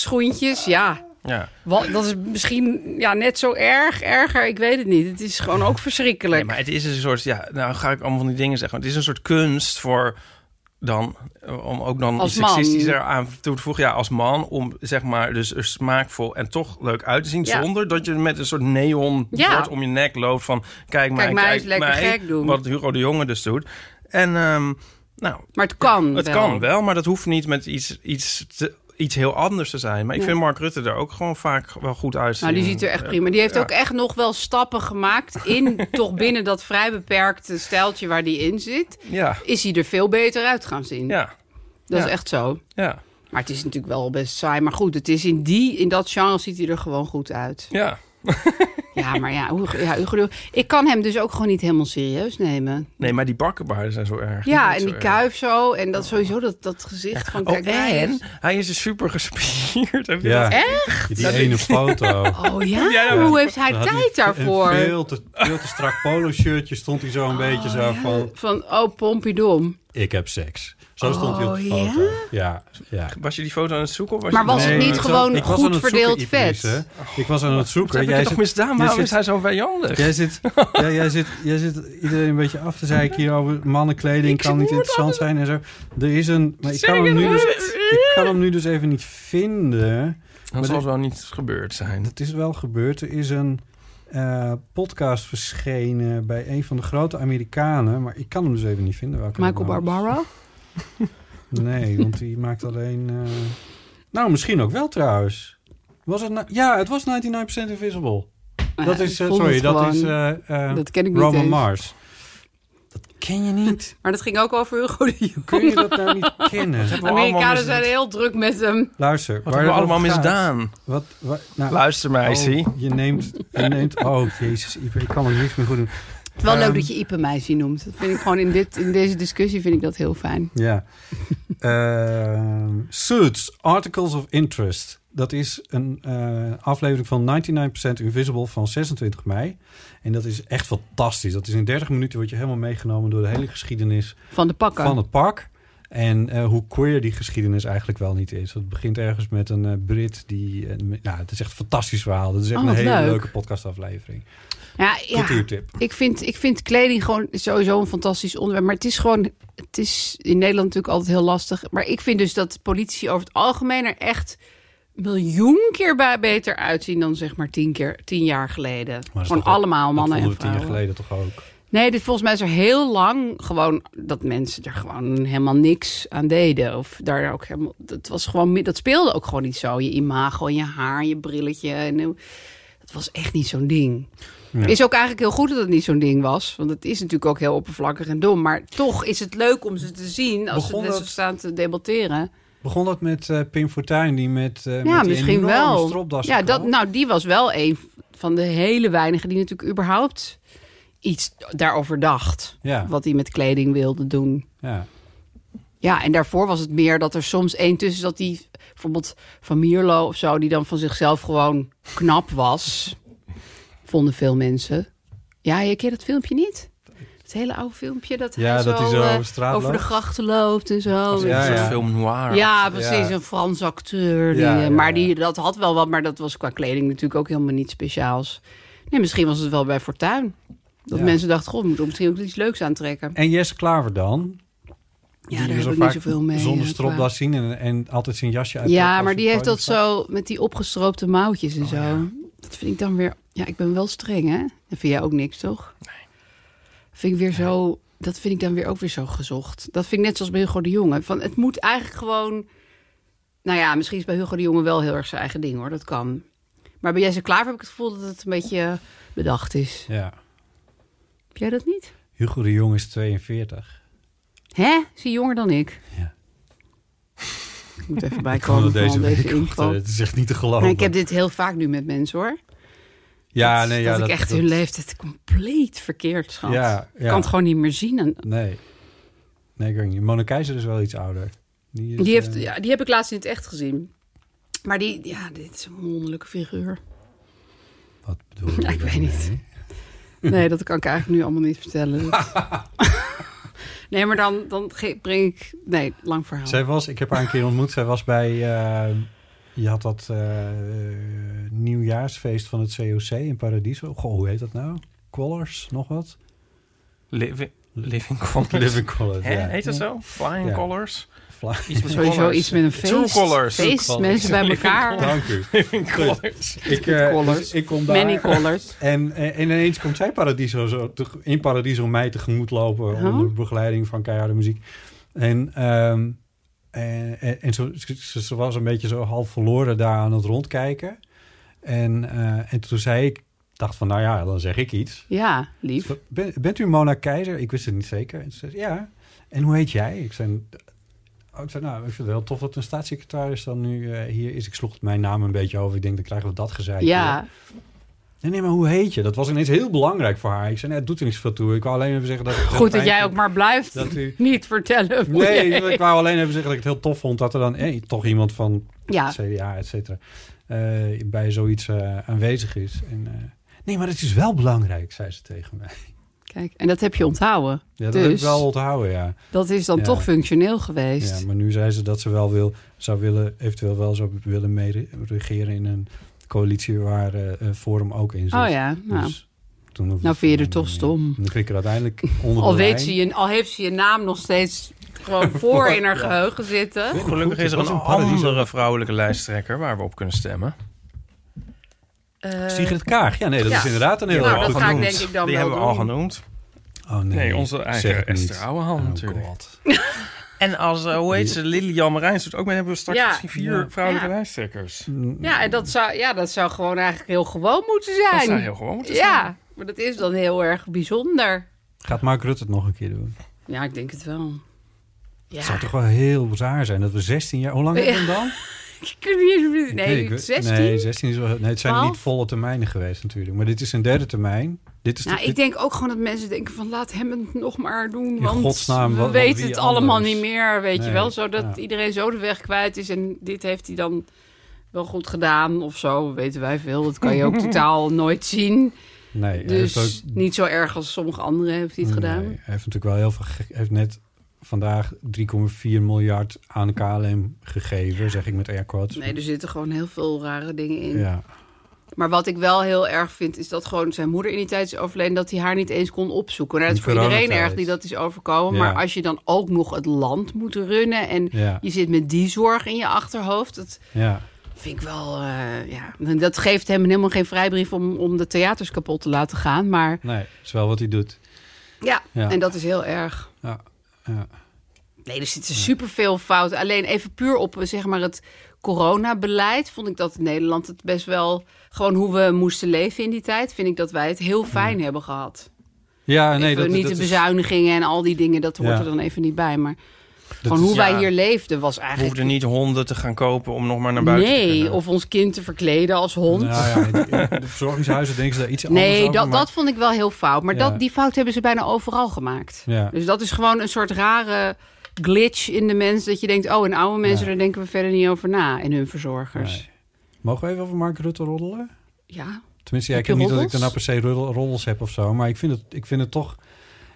[SPEAKER 4] kwastenschoentjes. Ja,
[SPEAKER 5] Ja.
[SPEAKER 4] wat, dat is misschien ja, net zo erg, erger, ik weet het niet. Het is gewoon ook verschrikkelijk.
[SPEAKER 5] Nee, maar het is een soort, ja, nou ga ik allemaal van die dingen zeggen. Het is een soort kunst voor dan, eh, om ook dan
[SPEAKER 4] Als
[SPEAKER 5] iets seksistisch
[SPEAKER 4] man.
[SPEAKER 5] eraan toe te voegen. Ja, als man, om zeg maar dus er smaakvol en toch leuk uit te zien.
[SPEAKER 4] Ja.
[SPEAKER 5] Zonder dat je met een soort neon
[SPEAKER 4] Ja.
[SPEAKER 5] bord om je nek loopt van... Kijk, mij,
[SPEAKER 4] Kijk mij eens lekker gek doen.
[SPEAKER 5] Wat Hugo de Jonge dus doet. En ehm, nou,
[SPEAKER 4] Maar het kan
[SPEAKER 5] het
[SPEAKER 4] wel.
[SPEAKER 5] kan wel, maar dat hoeft niet met iets, iets, te- iets heel anders te zijn. Maar ik
[SPEAKER 4] Ja.
[SPEAKER 5] vind Mark Rutte er ook gewoon vaak wel goed uitzien.
[SPEAKER 4] Nou, die ziet er
[SPEAKER 5] Eh,
[SPEAKER 4] echt prima. Die heeft ook echt nog wel stappen gemaakt in, toch binnen dat vrij beperkte stijltje waar die in zit.
[SPEAKER 5] Ja,
[SPEAKER 4] Is hij er veel beter uit gaan zien.
[SPEAKER 5] ja,
[SPEAKER 4] dat
[SPEAKER 5] ja.
[SPEAKER 4] is echt zo.
[SPEAKER 5] ja,
[SPEAKER 4] Maar het is natuurlijk wel best saai. Maar goed, het is in, die, in dat genre ziet hij er gewoon goed uit.
[SPEAKER 5] ja.
[SPEAKER 4] Ja, maar ja, hoe, ja Hugo de- ik kan hem dus ook gewoon niet helemaal serieus nemen.
[SPEAKER 5] Nee, maar die bakkenbaarden zijn zo erg.
[SPEAKER 4] Ja,
[SPEAKER 5] vind ik
[SPEAKER 4] en
[SPEAKER 5] zo
[SPEAKER 4] die
[SPEAKER 5] erg.
[SPEAKER 4] kuif zo. En dat sowieso, dat, dat gezicht van
[SPEAKER 5] Oh,
[SPEAKER 4] kijk mij
[SPEAKER 5] en
[SPEAKER 4] eens.
[SPEAKER 5] hij is dus super gespierd. Heb je
[SPEAKER 2] ja.
[SPEAKER 5] dat-
[SPEAKER 2] Die ene foto.
[SPEAKER 4] Oh ja?
[SPEAKER 5] Ja, ja, ja.
[SPEAKER 4] Hoe heeft hij
[SPEAKER 2] Had
[SPEAKER 4] tijd
[SPEAKER 2] hij een
[SPEAKER 4] daarvoor?
[SPEAKER 2] Veel te, veel te strak polo shirtje stond hij zo een beetje zo van...
[SPEAKER 4] Van, oh, Pompidom.
[SPEAKER 2] Ik heb seks. Zo stond hij op de
[SPEAKER 4] Oh, ja?
[SPEAKER 2] foto. Ja, ja.
[SPEAKER 5] Was je die foto aan het zoeken? Of was
[SPEAKER 4] Maar
[SPEAKER 5] je...
[SPEAKER 4] was het niet
[SPEAKER 2] ik zat-
[SPEAKER 4] gewoon
[SPEAKER 2] ik was
[SPEAKER 4] goed
[SPEAKER 2] aan het zoeken,
[SPEAKER 4] verdeeld
[SPEAKER 2] Ibris,
[SPEAKER 4] vet?
[SPEAKER 2] hè. Ik was aan het
[SPEAKER 5] Wat
[SPEAKER 2] zoeken.
[SPEAKER 5] heb ik het
[SPEAKER 2] Jij
[SPEAKER 5] toch
[SPEAKER 2] zit-
[SPEAKER 5] misdaan? Waarom
[SPEAKER 2] zit-
[SPEAKER 5] is hij zo vijandig?
[SPEAKER 2] Jij zit, ja, jij, zit, jij zit iedereen een beetje af te zeiken hier over mannenkleding.
[SPEAKER 5] Ik
[SPEAKER 2] kan niet
[SPEAKER 5] moet
[SPEAKER 2] interessant zijn en zo. Er is een... Maar ik
[SPEAKER 5] Zeg
[SPEAKER 2] kan, hem nu
[SPEAKER 5] het
[SPEAKER 2] dus,
[SPEAKER 5] maar.
[SPEAKER 2] ik kan hem nu dus even niet vinden.
[SPEAKER 5] Dat zal wel niet gebeurd zijn.
[SPEAKER 2] Het is wel gebeurd. Er is een eh, podcast verschenen bij een van de grote Amerikanen. Maar ik kan hem dus even niet vinden. Welke
[SPEAKER 4] Michael
[SPEAKER 2] het nou was.
[SPEAKER 4] Barbaro?
[SPEAKER 2] Nee, want die maakt alleen... eh, Nou, misschien ook wel trouwens. Was het nou- ja, het was 99% Invisible. dat
[SPEAKER 4] Nou Ja,
[SPEAKER 2] is,
[SPEAKER 4] ik
[SPEAKER 2] eh,
[SPEAKER 4] voel
[SPEAKER 2] sorry,
[SPEAKER 4] het
[SPEAKER 2] dat
[SPEAKER 4] gewoon.
[SPEAKER 2] is eh, eh,
[SPEAKER 4] Dat ken ik niet
[SPEAKER 2] Roman
[SPEAKER 4] eens.
[SPEAKER 2] Mars. Dat ken je niet.
[SPEAKER 4] Maar dat ging ook over Hugo de Jonge.
[SPEAKER 2] Kun je dat nou niet kennen?
[SPEAKER 5] we allemaal
[SPEAKER 4] Amerikanen
[SPEAKER 5] misdaan?
[SPEAKER 4] zijn heel druk met hem.
[SPEAKER 2] Luister,
[SPEAKER 5] Wat
[SPEAKER 2] waar
[SPEAKER 5] hebben we
[SPEAKER 2] het
[SPEAKER 5] allemaal
[SPEAKER 2] over gaat.
[SPEAKER 5] misdaan?
[SPEAKER 2] Wat, waar- nou,
[SPEAKER 5] Luister mij,
[SPEAKER 2] oh,
[SPEAKER 5] zie.
[SPEAKER 2] Je neemt, je neemt, oh jezus, Ieper, ik kan er niks meer goed doen.
[SPEAKER 4] Het is wel
[SPEAKER 2] Ehm.
[SPEAKER 4] leuk dat je Ipe meisje noemt. Dat vind ik gewoon in, dit, in deze discussie vind ik dat heel fijn.
[SPEAKER 2] Ja. Ehm, suits, articles of interest. dat is een eh, aflevering van 99% Invisible van 26 mei. En dat is echt fantastisch. Dat is in 30 minuten word je helemaal meegenomen door de hele geschiedenis
[SPEAKER 4] Van de pakken.
[SPEAKER 2] van het park. En eh, hoe queer die geschiedenis eigenlijk wel niet is. Het begint ergens met een eh, Brit die... eh, met- nou, het is echt een fantastisch verhaal. Dat is echt
[SPEAKER 4] Oh,
[SPEAKER 2] een
[SPEAKER 4] wat
[SPEAKER 2] hele
[SPEAKER 4] leuk.
[SPEAKER 2] leuke podcastaflevering.
[SPEAKER 4] ja, ja.
[SPEAKER 2] Cultuurtip.
[SPEAKER 4] Ik, vind, ik vind kleding gewoon sowieso een fantastisch onderwerp. Maar het is gewoon, het is in Nederland natuurlijk altijd heel lastig. Maar ik vind dus dat politici over het algemeen er echt miljoen keer bij beter uitzien dan zeg maar tien, keer, tien jaar geleden.
[SPEAKER 2] dat is
[SPEAKER 4] Gewoon
[SPEAKER 2] toch wel-
[SPEAKER 4] allemaal mannen
[SPEAKER 2] dat vonden
[SPEAKER 4] en
[SPEAKER 2] we tien jaar
[SPEAKER 4] vrouwen.
[SPEAKER 2] geleden toch ook.
[SPEAKER 4] Nee, dit volgens mij is er heel lang gewoon dat mensen er gewoon helemaal niks aan deden. Of daar ook helemaal. Dat, was gewoon, mi- dat speelde ook gewoon niet zo. Je imago en je haar en je brilletje. En, hoe- dat was echt niet zo'n ding.
[SPEAKER 2] Nee.
[SPEAKER 4] Is ook eigenlijk heel goed dat het niet zo'n ding was. Want het is natuurlijk ook heel oppervlakkig en dom. Maar toch is het leuk om ze te zien als
[SPEAKER 2] Begon
[SPEAKER 4] ze net zo
[SPEAKER 2] dat-
[SPEAKER 4] staan te debatteren.
[SPEAKER 2] Begon dat met eh, Pim Fortuyn die met, eh met
[SPEAKER 4] ja,
[SPEAKER 2] die
[SPEAKER 4] misschien
[SPEAKER 2] enorme
[SPEAKER 4] wel.
[SPEAKER 2] stropdas
[SPEAKER 4] Ja, dat,
[SPEAKER 2] kwam?
[SPEAKER 4] nou, die was wel een van de hele weinigen die natuurlijk überhaupt iets daarover dacht
[SPEAKER 2] ja,
[SPEAKER 4] wat hij met kleding wilde doen.
[SPEAKER 2] ja.
[SPEAKER 4] Ja, en daarvoor was het meer dat er soms één tussen zat die bijvoorbeeld van Mierlo of zo, die dan van zichzelf gewoon knap was. Vonden veel mensen. Ja, je kent dat filmpje niet? Het hele oude filmpje dat
[SPEAKER 2] Ja,
[SPEAKER 4] hij
[SPEAKER 2] dat
[SPEAKER 4] zo,
[SPEAKER 2] hij zo
[SPEAKER 4] eh,
[SPEAKER 2] over straat
[SPEAKER 4] over de
[SPEAKER 2] loopt.
[SPEAKER 4] grachten loopt en zo.
[SPEAKER 2] Ja,
[SPEAKER 5] Ja,
[SPEAKER 2] ja.
[SPEAKER 5] film noir.
[SPEAKER 4] Ja, precies.
[SPEAKER 2] Ja.
[SPEAKER 4] Een Frans acteur. Die,
[SPEAKER 2] Ja,
[SPEAKER 4] eh,
[SPEAKER 2] ja,
[SPEAKER 4] maar
[SPEAKER 2] ja.
[SPEAKER 4] die, dat had wel wat, maar dat was qua kleding natuurlijk ook helemaal niet speciaals. Nee, misschien was het wel bij Fortuin. Dat
[SPEAKER 2] Ja.
[SPEAKER 4] mensen dachten, god, moet er misschien ook iets leuks aantrekken.
[SPEAKER 2] En Jesse Klaver dan?
[SPEAKER 4] Ja,
[SPEAKER 2] die
[SPEAKER 4] daar
[SPEAKER 2] we
[SPEAKER 4] heb
[SPEAKER 2] zo
[SPEAKER 4] ik niet
[SPEAKER 2] vaak
[SPEAKER 4] zoveel mee. eh,
[SPEAKER 2] Zonder
[SPEAKER 4] qua-
[SPEAKER 2] stropdas zien en, en altijd zijn jasje uit.
[SPEAKER 4] Ja,
[SPEAKER 2] als
[SPEAKER 4] maar
[SPEAKER 2] hij
[SPEAKER 4] die heeft
[SPEAKER 2] podium
[SPEAKER 4] dat
[SPEAKER 2] staat.
[SPEAKER 4] zo met die opgestroopte mouwtjes en zo. Dat vind ik dan weer. Ja, ik ben wel streng, hè? Dat vind jij ook niks, toch? Nee. Vind ik weer zo. Dat vind ik dan weer ook weer zo gezocht. Dat vind ik net zoals bij Hugo de Jonge. Van, het moet eigenlijk gewoon. Nou ja, misschien is bij Hugo de Jonge wel heel erg zijn eigen ding, hoor. Dat kan. Maar bij Jesse Klaver heb ik het gevoel dat het een beetje bedacht is.
[SPEAKER 2] Ja.
[SPEAKER 4] Heb jij dat niet?
[SPEAKER 2] Hugo de Jong is 42.
[SPEAKER 4] Hè? Is hij jonger dan ik?
[SPEAKER 2] Ja.
[SPEAKER 4] Ik moet even
[SPEAKER 2] Komen
[SPEAKER 4] bijkomen van deze, info.
[SPEAKER 2] Het is echt niet te geloven.
[SPEAKER 4] Maar ik heb dit heel vaak nu met mensen, hoor.
[SPEAKER 2] ja,
[SPEAKER 4] dat,
[SPEAKER 2] nee,
[SPEAKER 4] dat
[SPEAKER 2] ja,
[SPEAKER 4] ik echt hun leeftijd compleet verkeerd schat.
[SPEAKER 2] Ja,
[SPEAKER 4] Ik
[SPEAKER 2] ja.
[SPEAKER 4] kan het gewoon niet meer zien. En
[SPEAKER 2] Nee. Nee, ik weet niet. Mona Keizer is wel iets ouder. Die, is,
[SPEAKER 4] die, heeft,
[SPEAKER 2] eh,
[SPEAKER 4] ja, die heb ik laatst in het echt gezien. Maar die, ja, dit is een wonderlijke figuur.
[SPEAKER 2] Wat bedoel je?
[SPEAKER 4] Ja, Nou, ik weet
[SPEAKER 2] daarmee?
[SPEAKER 4] niet. Nee, dat kan ik eigenlijk nu allemaal niet vertellen. Dat- nee, maar dan, dan ge- breng ik... Nee, lang verhaal.
[SPEAKER 2] Zij was, ik heb haar een keer ontmoet. Zij was bij, eh, je had dat eh, nieuwjaarsfeest van het COC in Paradiso. Goh, hoe heet dat nou? Collars, nog wat?
[SPEAKER 5] Living, living Colors.
[SPEAKER 2] Living Collars,
[SPEAKER 5] Hè?
[SPEAKER 2] ja.
[SPEAKER 5] Heet dat zo? Flying
[SPEAKER 2] Ja.
[SPEAKER 5] Colors?
[SPEAKER 2] Fly-
[SPEAKER 5] Iets met
[SPEAKER 4] Sowieso
[SPEAKER 5] colors.
[SPEAKER 4] iets met een
[SPEAKER 5] True
[SPEAKER 4] feest.
[SPEAKER 5] colors.
[SPEAKER 4] Feest,
[SPEAKER 2] True
[SPEAKER 4] mensen bij elkaar.
[SPEAKER 2] Dank u.
[SPEAKER 5] Living Colors.
[SPEAKER 2] Ik, eh,
[SPEAKER 4] collars.
[SPEAKER 2] dus ik kom daar.
[SPEAKER 4] Many colors.
[SPEAKER 2] En, eh, en, en ineens komt zij Paradiso zo te- in Paradiso mij tegemoet lopen
[SPEAKER 4] Oh.
[SPEAKER 2] onder begeleiding van keiharde muziek. En, ehm, en, en, en zo, ze, ze was een beetje zo half verloren daar aan het rondkijken. En, eh, en toen zei ik, dacht van nou ja, dan zeg ik iets.
[SPEAKER 4] Ja, lief.
[SPEAKER 2] Ben- bent u Mona Keizer? Ik wist het niet zeker. En ze zei, ja. En hoe heet jij? Ik zei, oh, ik zei, nou, ik vind het wel tof dat een staatssecretaris dan nu eh, hier is. Ik sloeg mijn naam een beetje over. Ik denk, dan krijgen we dat gezeik. weer.
[SPEAKER 4] Ja,
[SPEAKER 2] Nee, nee, maar hoe heet je? Dat was ineens heel belangrijk voor haar. Ik zei, nee, het doet er niks veel toe. Ik wou alleen even zeggen dat... ik het heel
[SPEAKER 4] goed dat
[SPEAKER 2] fijn
[SPEAKER 4] jij ook
[SPEAKER 2] vond
[SPEAKER 4] maar blijft
[SPEAKER 2] Dat u...
[SPEAKER 4] niet vertellen. hoe
[SPEAKER 2] Nee,
[SPEAKER 4] je-
[SPEAKER 2] ik wou alleen even zeggen dat ik het heel tof vond... dat er dan eh, toch iemand van
[SPEAKER 4] Ja,
[SPEAKER 2] CDA, et cetera... eh, bij zoiets eh, aanwezig is. En, eh, nee, maar het is wel belangrijk, zei ze tegen mij.
[SPEAKER 4] kijk. En dat heb je onthouden.
[SPEAKER 2] Ja, dat heb ik
[SPEAKER 4] Dus-
[SPEAKER 2] wel onthouden, ja.
[SPEAKER 4] Dat is dan
[SPEAKER 2] Ja.
[SPEAKER 4] toch functioneel geweest.
[SPEAKER 2] ja. Maar nu zei ze dat ze wel wil, zou willen... eventueel wel zou willen meeregeren in een coalitie... waar eh, eh, Forum ook in zit.
[SPEAKER 4] oh ja, nou.
[SPEAKER 2] Dus toen hoef ik
[SPEAKER 4] Nou
[SPEAKER 2] het
[SPEAKER 4] vind je er
[SPEAKER 2] helemaal
[SPEAKER 4] toch
[SPEAKER 2] niet.
[SPEAKER 4] stom.
[SPEAKER 2] Dan vind ik er uiteindelijk onder
[SPEAKER 4] al,
[SPEAKER 2] de
[SPEAKER 4] weet
[SPEAKER 2] lijn.
[SPEAKER 4] ze je, al heeft ze je naam nog steeds gewoon voor in haar geheugen zitten.
[SPEAKER 5] Gelukkig is er
[SPEAKER 2] Dat
[SPEAKER 5] een
[SPEAKER 2] was een paradies,
[SPEAKER 5] andere vrouwelijke lijsttrekker waar we op kunnen stemmen.
[SPEAKER 4] Eh,
[SPEAKER 2] Sigrid Kaag. Ja, nee, dat
[SPEAKER 4] Ja.
[SPEAKER 2] is inderdaad een heel
[SPEAKER 4] Nou, dat
[SPEAKER 2] hoog.
[SPEAKER 4] ga ik
[SPEAKER 5] genoemd.
[SPEAKER 4] denk ik dan
[SPEAKER 5] Die
[SPEAKER 4] wel
[SPEAKER 5] hebben we al
[SPEAKER 4] doen.
[SPEAKER 5] genoemd.
[SPEAKER 2] Oh nee,
[SPEAKER 5] Nee, onze eigen Esther Ouwehand
[SPEAKER 2] Oh,
[SPEAKER 5] natuurlijk. En als, eh, hoe heet ze, Lilian Marijns doet ook mee. Hebben we straks
[SPEAKER 4] Ja.
[SPEAKER 5] misschien vier
[SPEAKER 2] Ja.
[SPEAKER 5] vrouwelijke
[SPEAKER 4] Ja.
[SPEAKER 5] lijsttrekkers.
[SPEAKER 4] Eh, Ja, en dat zou, ja, dat zou gewoon eigenlijk heel gewoon moeten zijn.
[SPEAKER 5] Dat zou heel gewoon moeten zijn.
[SPEAKER 4] Ja, maar dat is dan heel erg bijzonder.
[SPEAKER 2] Gaat Mark Rutte het nog een keer doen?
[SPEAKER 4] Ja, ik denk het wel.
[SPEAKER 2] Het
[SPEAKER 4] Ja,
[SPEAKER 2] zou toch wel heel raar zijn dat we 16 jaar... Hoe lang hebben we hem dan?
[SPEAKER 4] ik kan niet eens... Nee,
[SPEAKER 2] ik weet-
[SPEAKER 4] 16?
[SPEAKER 2] Nee, 16 is wel... Nee, het zijn
[SPEAKER 4] 12?
[SPEAKER 2] niet volle termijnen geweest natuurlijk. Maar dit is een derde termijn. Dit is de-
[SPEAKER 4] Nou, ik
[SPEAKER 2] dit-
[SPEAKER 4] denk ook gewoon dat mensen denken van laat hem het nog maar doen.
[SPEAKER 2] In
[SPEAKER 4] Want
[SPEAKER 2] godsnaam, wa-
[SPEAKER 4] we
[SPEAKER 2] wa-
[SPEAKER 4] weten
[SPEAKER 2] wie
[SPEAKER 4] het allemaal
[SPEAKER 2] anders?
[SPEAKER 4] niet meer, weet
[SPEAKER 2] Nee,
[SPEAKER 4] je wel. Zodat
[SPEAKER 2] ja.
[SPEAKER 4] iedereen zo de weg kwijt is en dit heeft hij dan wel goed gedaan of zo, weten wij veel. Dat kan je ook totaal nooit zien.
[SPEAKER 2] Nee, hij
[SPEAKER 4] Dus
[SPEAKER 2] heeft ook-
[SPEAKER 4] niet zo erg als sommige anderen heeft hij het gedaan.
[SPEAKER 2] Nee, hij heeft natuurlijk wel heel veel... ge- Hij heeft net vandaag 3,4 miljard aan KLM gegeven, zeg ik met air quotes.
[SPEAKER 4] Nee, dus- er zitten gewoon heel veel rare dingen in.
[SPEAKER 2] Ja,
[SPEAKER 4] Maar wat ik wel heel erg vind, is dat gewoon zijn moeder in die tijd is overleden... dat hij haar niet eens kon opzoeken. Nou, dat is
[SPEAKER 2] In
[SPEAKER 4] voor iedereen
[SPEAKER 2] coronatijd.
[SPEAKER 4] erg die dat is overkomen.
[SPEAKER 2] Ja.
[SPEAKER 4] Maar als je dan ook nog het land moet runnen... en
[SPEAKER 2] ja,
[SPEAKER 4] je zit met die zorg in je achterhoofd... dat
[SPEAKER 2] ja.
[SPEAKER 4] vind ik wel... eh, ja. En Dat geeft hem helemaal geen vrijbrief om, om de theaters kapot te laten gaan. Maar
[SPEAKER 2] Nee, dat is wel wat hij doet.
[SPEAKER 4] ja,
[SPEAKER 2] Ja.
[SPEAKER 4] en dat is heel erg.
[SPEAKER 2] Ja, ja.
[SPEAKER 4] Nee, er zitten superveel fouten. Alleen even puur op eh, zeg maar, het coronabeleid vond ik dat in Nederland het best wel... gewoon hoe we moesten leven in die tijd... vind ik dat wij het heel fijn hebben gehad.
[SPEAKER 2] ja nee,
[SPEAKER 4] Even
[SPEAKER 2] dat,
[SPEAKER 4] niet
[SPEAKER 2] dat
[SPEAKER 4] de
[SPEAKER 2] is-
[SPEAKER 4] bezuinigingen en al die dingen, dat hoort
[SPEAKER 2] Ja.
[SPEAKER 4] er dan even niet bij. Maar
[SPEAKER 2] dat
[SPEAKER 4] gewoon hoe
[SPEAKER 2] is-
[SPEAKER 4] wij
[SPEAKER 5] ja.
[SPEAKER 4] hier leefden was
[SPEAKER 5] We
[SPEAKER 4] eigenlijk...
[SPEAKER 5] hoefden niet honden te gaan kopen om nog maar naar buiten te
[SPEAKER 4] Nee,
[SPEAKER 5] kunnen.
[SPEAKER 4] of ons kind te verkleden als hond.
[SPEAKER 2] Nou ja, in de- in de verzorgingshuizen denken ze daar iets anders
[SPEAKER 4] nee,
[SPEAKER 2] over,
[SPEAKER 4] dat,
[SPEAKER 2] maar-
[SPEAKER 4] dat vond ik wel heel fout. Maar
[SPEAKER 2] Ja.
[SPEAKER 4] dat, die fout hebben ze bijna overal gemaakt.
[SPEAKER 2] Ja.
[SPEAKER 4] Dus dat is gewoon een soort rare glitch in de mens. Dat je denkt, oh, en oude mensen,
[SPEAKER 2] Ja.
[SPEAKER 4] daar denken we verder niet over na. En hun verzorgers.
[SPEAKER 2] Nee. Mogen we even over Mark Rutte roddelen?
[SPEAKER 4] Ja,
[SPEAKER 2] Tenminste, ja,
[SPEAKER 4] Heb
[SPEAKER 2] ik heb
[SPEAKER 4] je
[SPEAKER 2] niet dat ik
[SPEAKER 4] roddels?
[SPEAKER 2] daarna per se roddel- roddels heb of zo. Maar ik vind het, ik vind het, toch,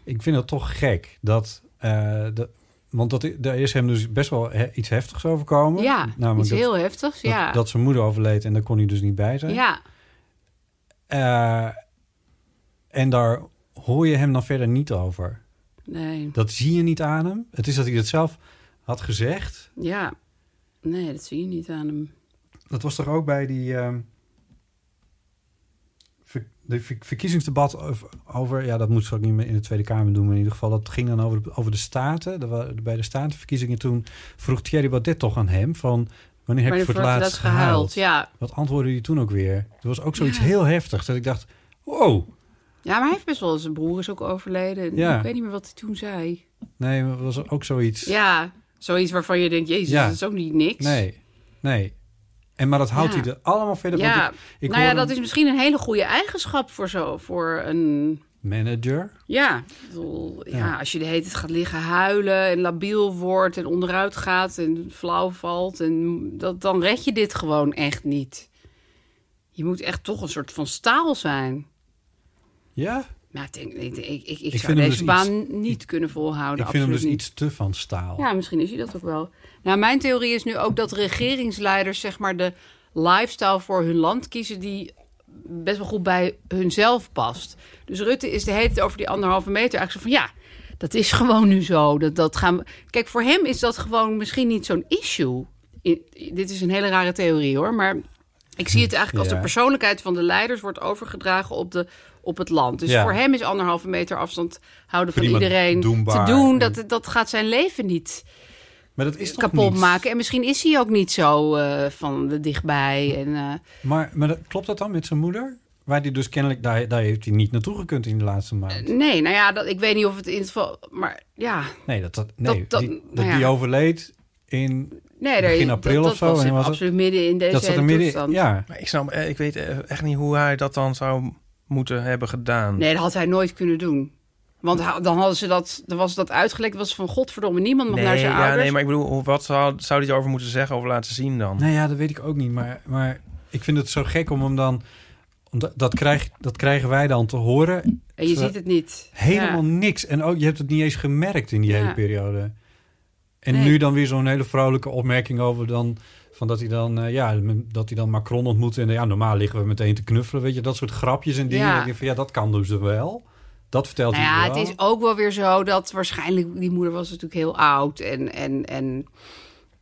[SPEAKER 2] ik vind het toch gek dat... eh, de, want dat, daar is hem dus best wel he- iets heftigs overkomen.
[SPEAKER 4] ja
[SPEAKER 2] Namelijk
[SPEAKER 4] iets
[SPEAKER 2] Nou, dat-
[SPEAKER 4] heel heftigs.
[SPEAKER 2] dat,
[SPEAKER 4] ja.
[SPEAKER 2] dat zijn moeder overleed en daar kon hij dus niet bij zijn.
[SPEAKER 4] ja,
[SPEAKER 2] Eh, en daar hoor je hem dan verder niet over.
[SPEAKER 4] nee.
[SPEAKER 2] Dat zie je niet aan hem. Het is dat hij het zelf had gezegd.
[SPEAKER 4] Ja, nee, dat zie je niet aan hem.
[SPEAKER 2] Dat was toch ook bij die... ehm, ver- de ver- verkiezingsdebat over- over... Ja, dat moest ze ook niet meer in de Tweede Kamer doen. Maar in ieder geval, dat ging dan over de, over de Staten. Er wa- bij de Statenverkiezingen toen vroeg Thierry Baudet toch aan hem... van wanneer heb
[SPEAKER 4] Maar
[SPEAKER 2] je
[SPEAKER 4] de
[SPEAKER 2] voor het
[SPEAKER 4] vorige
[SPEAKER 2] laatst
[SPEAKER 4] dat
[SPEAKER 2] gehuild?
[SPEAKER 4] Ja.
[SPEAKER 2] Wat antwoordde hij toen ook weer? Er was ook zoiets
[SPEAKER 4] Ja.
[SPEAKER 2] heel heftigs dat ik dacht... Wow,
[SPEAKER 4] ja, maar hij heeft best wel... Zijn broer is ook overleden. En
[SPEAKER 2] Ja.
[SPEAKER 4] Ik weet niet meer wat hij toen zei.
[SPEAKER 2] nee, maar was er ook zoiets...
[SPEAKER 4] Ja, zoiets waarvan je denkt... Jezus,
[SPEAKER 2] Ja.
[SPEAKER 4] dat is ook niet niks.
[SPEAKER 2] Nee, nee. En maar dat houdt
[SPEAKER 4] Ja.
[SPEAKER 2] hij er allemaal verder van.
[SPEAKER 4] Ja,
[SPEAKER 2] Ik, ik
[SPEAKER 4] nou ja,
[SPEAKER 2] hoor
[SPEAKER 4] dat
[SPEAKER 2] een
[SPEAKER 4] is misschien een hele goede eigenschap voor, zo, voor een...
[SPEAKER 2] manager.
[SPEAKER 4] Ja, ik bedoel, ja.
[SPEAKER 2] Ja.
[SPEAKER 4] als je de hele tijd gaat liggen huilen... en labiel wordt en onderuit gaat en flauw valt... En dat, dan red je dit gewoon echt niet. Je moet echt toch een soort van staal zijn.
[SPEAKER 2] Ja,
[SPEAKER 4] Maar ik, denk, ik, ik, ik, ik
[SPEAKER 2] vind
[SPEAKER 4] zou
[SPEAKER 2] hem
[SPEAKER 4] deze
[SPEAKER 2] dus
[SPEAKER 4] baan niet kunnen
[SPEAKER 2] ik
[SPEAKER 4] volhouden.
[SPEAKER 2] vind hem
[SPEAKER 4] absoluut
[SPEAKER 2] dus
[SPEAKER 4] niet.
[SPEAKER 2] iets te van staal.
[SPEAKER 4] Ja, misschien is hij dat ook wel. Nou, mijn theorie is nu ook dat regeringsleiders, zeg maar, de lifestyle voor hun land kiezen die best wel goed bij hunzelf past. Dus Rutte is de hele tijd over die anderhalve meter eigenlijk zo van ja, dat is gewoon nu zo. Dat, dat gaan we... Kijk, voor hem is dat gewoon misschien niet zo'n issue. I- i- dit is een hele rare theorie hoor, maar ik zie het eigenlijk als
[SPEAKER 2] Ja.
[SPEAKER 4] de persoonlijkheid van de leiders wordt overgedragen op, de, op het land. Dus
[SPEAKER 2] Ja.
[SPEAKER 4] voor hem is anderhalve meter afstand houden van
[SPEAKER 2] Prima
[SPEAKER 4] iedereen
[SPEAKER 2] doenbaar.
[SPEAKER 4] te doen. Dat, dat gaat zijn leven niet
[SPEAKER 2] Maar dat is toch
[SPEAKER 4] kapot
[SPEAKER 2] niet?
[SPEAKER 4] maken. En misschien is hij ook niet zo eh, van de dichtbij. En, eh,
[SPEAKER 2] Maar, maar dat, klopt dat dan met zijn moeder? Waar die dus kennelijk, daar, daar heeft hij niet naartoe gekund in de laatste maand.
[SPEAKER 4] nee, nou ja, dat, ik weet niet of het in het geval... Maar ja,
[SPEAKER 2] Nee, dat, dat, nee,
[SPEAKER 4] dat- dat-
[SPEAKER 2] die,
[SPEAKER 4] nou
[SPEAKER 2] dat
[SPEAKER 4] ja.
[SPEAKER 2] die overleed in...
[SPEAKER 4] nee, daar-
[SPEAKER 2] Begin april
[SPEAKER 4] dat, dat
[SPEAKER 2] of zo,
[SPEAKER 4] was
[SPEAKER 2] en was het-
[SPEAKER 4] absoluut midden in deze
[SPEAKER 2] dat zat
[SPEAKER 4] hele
[SPEAKER 2] er midden
[SPEAKER 4] toestand.
[SPEAKER 2] Ja,
[SPEAKER 5] Maar ik, snap, eh, ik weet eh, echt niet hoe hij dat dan zou moeten hebben gedaan.
[SPEAKER 4] Nee, dat had hij nooit kunnen doen. Want ha- dan hadden ze dat, dan was dat uitgelekt. was van godverdomme, niemand mag naar zijn
[SPEAKER 5] ja,
[SPEAKER 4] ouders.
[SPEAKER 5] nee, maar ik bedoel, hoe- wat zou, zou hij erover moeten zeggen of laten zien dan?
[SPEAKER 2] Nou ja, dat weet ik ook niet. Maar, maar ik vind het zo gek om hem dan... om dat- Dat, krijg, dat krijgen wij dan te horen.
[SPEAKER 4] En je ziet het niet.
[SPEAKER 2] Helemaal
[SPEAKER 4] Ja.
[SPEAKER 2] niks. En ook, je hebt het niet eens gemerkt in die
[SPEAKER 4] Ja.
[SPEAKER 2] hele periode. En
[SPEAKER 4] Nee.
[SPEAKER 2] nu dan weer zo'n hele vrolijke opmerking over dan... Van dat hij dan, eh, ja, dat hij dan Macron ontmoet. En ja, normaal liggen we meteen te knuffelen. Weet je, dat soort grapjes en dingen.
[SPEAKER 4] Ja.
[SPEAKER 2] Dat ik denk van, ja, dat kan dus wel. Dat vertelt
[SPEAKER 4] Nou
[SPEAKER 2] hij
[SPEAKER 4] ja,
[SPEAKER 2] wel.
[SPEAKER 4] het is ook wel weer zo dat waarschijnlijk die moeder was natuurlijk heel oud en en en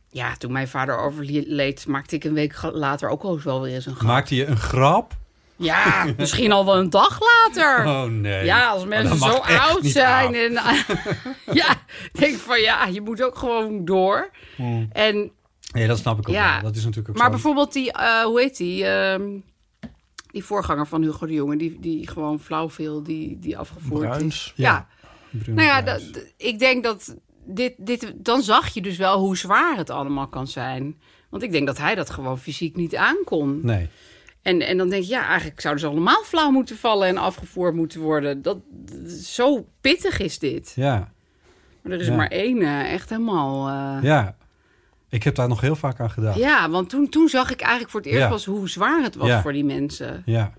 [SPEAKER 4] ja, toen mijn vader overleed, maakte ik een week ge- later ook al wel weer eens een grap.
[SPEAKER 2] Maakt hij een grap?
[SPEAKER 4] Ja, misschien al wel een dag later.
[SPEAKER 2] Oh nee.
[SPEAKER 4] Ja, als mensen
[SPEAKER 2] dat
[SPEAKER 4] zo
[SPEAKER 2] mag echt
[SPEAKER 4] oud
[SPEAKER 2] niet
[SPEAKER 4] zijn.
[SPEAKER 2] aan.
[SPEAKER 4] En, ja, ik denk van ja, je moet ook gewoon door. En
[SPEAKER 2] Nee, dat snap ik ook
[SPEAKER 4] Ja.
[SPEAKER 2] wel. Dat is natuurlijk Hmm. ook
[SPEAKER 4] maar
[SPEAKER 2] zo.
[SPEAKER 4] bijvoorbeeld die, eh, hoe heet die? ehm, die voorganger van Hugo de Jonge, die, die gewoon flauw veel, die, die afgevoerd
[SPEAKER 5] Bruins?
[SPEAKER 4] is. Ja.
[SPEAKER 2] Bruno
[SPEAKER 4] Nou ja,
[SPEAKER 2] Kruijs.
[SPEAKER 4] dat- d- ik denk dat dit, dit, dan zag je dus wel hoe zwaar het allemaal kan zijn. Want ik denk dat hij dat gewoon fysiek niet aankon.
[SPEAKER 2] Nee.
[SPEAKER 4] En, en dan denk je, ja, eigenlijk zouden ze allemaal flauw moeten vallen en afgevoerd moeten worden. Dat, d- zo pittig is dit.
[SPEAKER 2] Ja.
[SPEAKER 4] Maar er is
[SPEAKER 2] Ja.
[SPEAKER 4] er maar één eh, echt helemaal. eh,
[SPEAKER 2] Ja. Ik Ik heb daar nog heel vaak aan gedaan.
[SPEAKER 4] Ja, want toen, toen zag ik eigenlijk voor het eerst
[SPEAKER 2] Ja.
[SPEAKER 4] pas hoe zwaar het was
[SPEAKER 2] Ja.
[SPEAKER 4] voor die mensen.
[SPEAKER 2] Ja,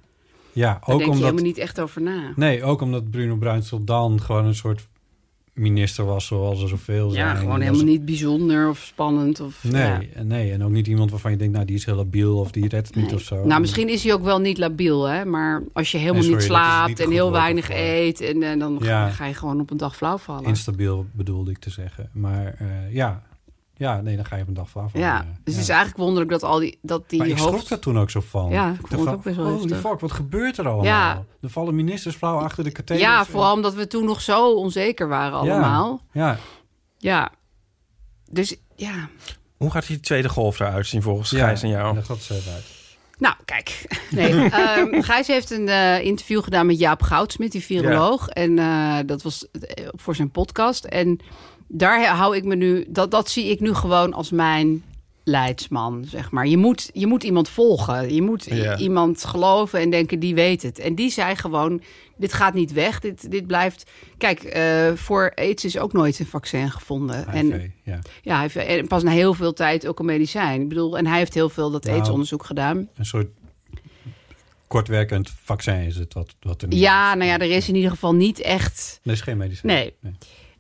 [SPEAKER 2] ja
[SPEAKER 4] Daar
[SPEAKER 2] ook
[SPEAKER 4] denk je
[SPEAKER 2] omdat...
[SPEAKER 4] helemaal niet echt over na.
[SPEAKER 2] Nee, ook omdat Bruno Bruinsel dan gewoon een soort minister was, zoals er zoveel zijn.
[SPEAKER 4] Ja, gewoon
[SPEAKER 2] En
[SPEAKER 4] helemaal
[SPEAKER 2] dat is-
[SPEAKER 4] niet bijzonder of spannend. Of, ja.
[SPEAKER 2] Nee, en nee, en ook niet iemand waarvan je denkt, nou, die is heel labiel of die redt het niet
[SPEAKER 4] Nee.
[SPEAKER 2] of zo.
[SPEAKER 4] Nou, misschien is hij ook wel niet labiel, hè? maar als je helemaal
[SPEAKER 2] Nee,
[SPEAKER 4] niet
[SPEAKER 2] sorry, dat is
[SPEAKER 4] slaapt
[SPEAKER 2] niet
[SPEAKER 4] en
[SPEAKER 2] goed
[SPEAKER 4] heel
[SPEAKER 2] woord ervoor.
[SPEAKER 4] weinig eet, en, eh, dan ga-
[SPEAKER 2] Ja.
[SPEAKER 4] ga je gewoon op een dag flauw vallen.
[SPEAKER 2] Instabiel bedoelde ik te zeggen. Maar eh, ja. ja, nee, dan ga je op een dag vanaf. Eh,
[SPEAKER 4] ja, dus het is eigenlijk wonderlijk dat al die, dat die
[SPEAKER 2] maar ik
[SPEAKER 4] hoofd...
[SPEAKER 2] schrok daar toen ook zo van.
[SPEAKER 4] Ja, ik
[SPEAKER 2] dacht
[SPEAKER 4] vond het
[SPEAKER 2] van,
[SPEAKER 4] ook best wel
[SPEAKER 2] holy
[SPEAKER 4] heftig.
[SPEAKER 2] fuck, wat gebeurt er allemaal?
[SPEAKER 4] Ja.
[SPEAKER 2] Er vallen ministers flauw achter de katheders.
[SPEAKER 4] ja,
[SPEAKER 2] En-
[SPEAKER 4] vooral omdat we toen nog zo onzeker waren
[SPEAKER 2] Ja,
[SPEAKER 4] allemaal.
[SPEAKER 2] Ja,
[SPEAKER 4] Ja. Dus ja.
[SPEAKER 5] Hoe gaat die tweede golf eruit zien volgens Gijs en jou?
[SPEAKER 2] dat gaat ze uit.
[SPEAKER 4] Nou, kijk. Nee, ehm, Gijs heeft een eh, interview gedaan met Jaap Goudsmit, die viroloog. En eh, dat was eh, voor zijn podcast. En daar hou ik me nu... Dat, dat zie ik nu gewoon als mijn leidsman, zeg maar. Je moet, je moet iemand volgen. Je moet i-
[SPEAKER 5] Ja.
[SPEAKER 4] iemand geloven en denken, die weet het. En die zei gewoon, dit gaat niet weg. Dit, dit blijft... Kijk, eh, voor aids is ook nooit een vaccin gevonden. En
[SPEAKER 2] HIV, ja.
[SPEAKER 4] ja, hij heeft en pas na heel veel tijd ook een medicijn. Ik bedoel, en hij heeft heel veel dat
[SPEAKER 2] Nou,
[SPEAKER 4] aidsonderzoek gedaan.
[SPEAKER 2] Een soort kortwerkend vaccin is het wat, wat er nu
[SPEAKER 4] Ja,
[SPEAKER 2] is.
[SPEAKER 4] nou ja, er is in ieder geval niet echt.
[SPEAKER 2] Nee, is geen medicijn.
[SPEAKER 4] Nee.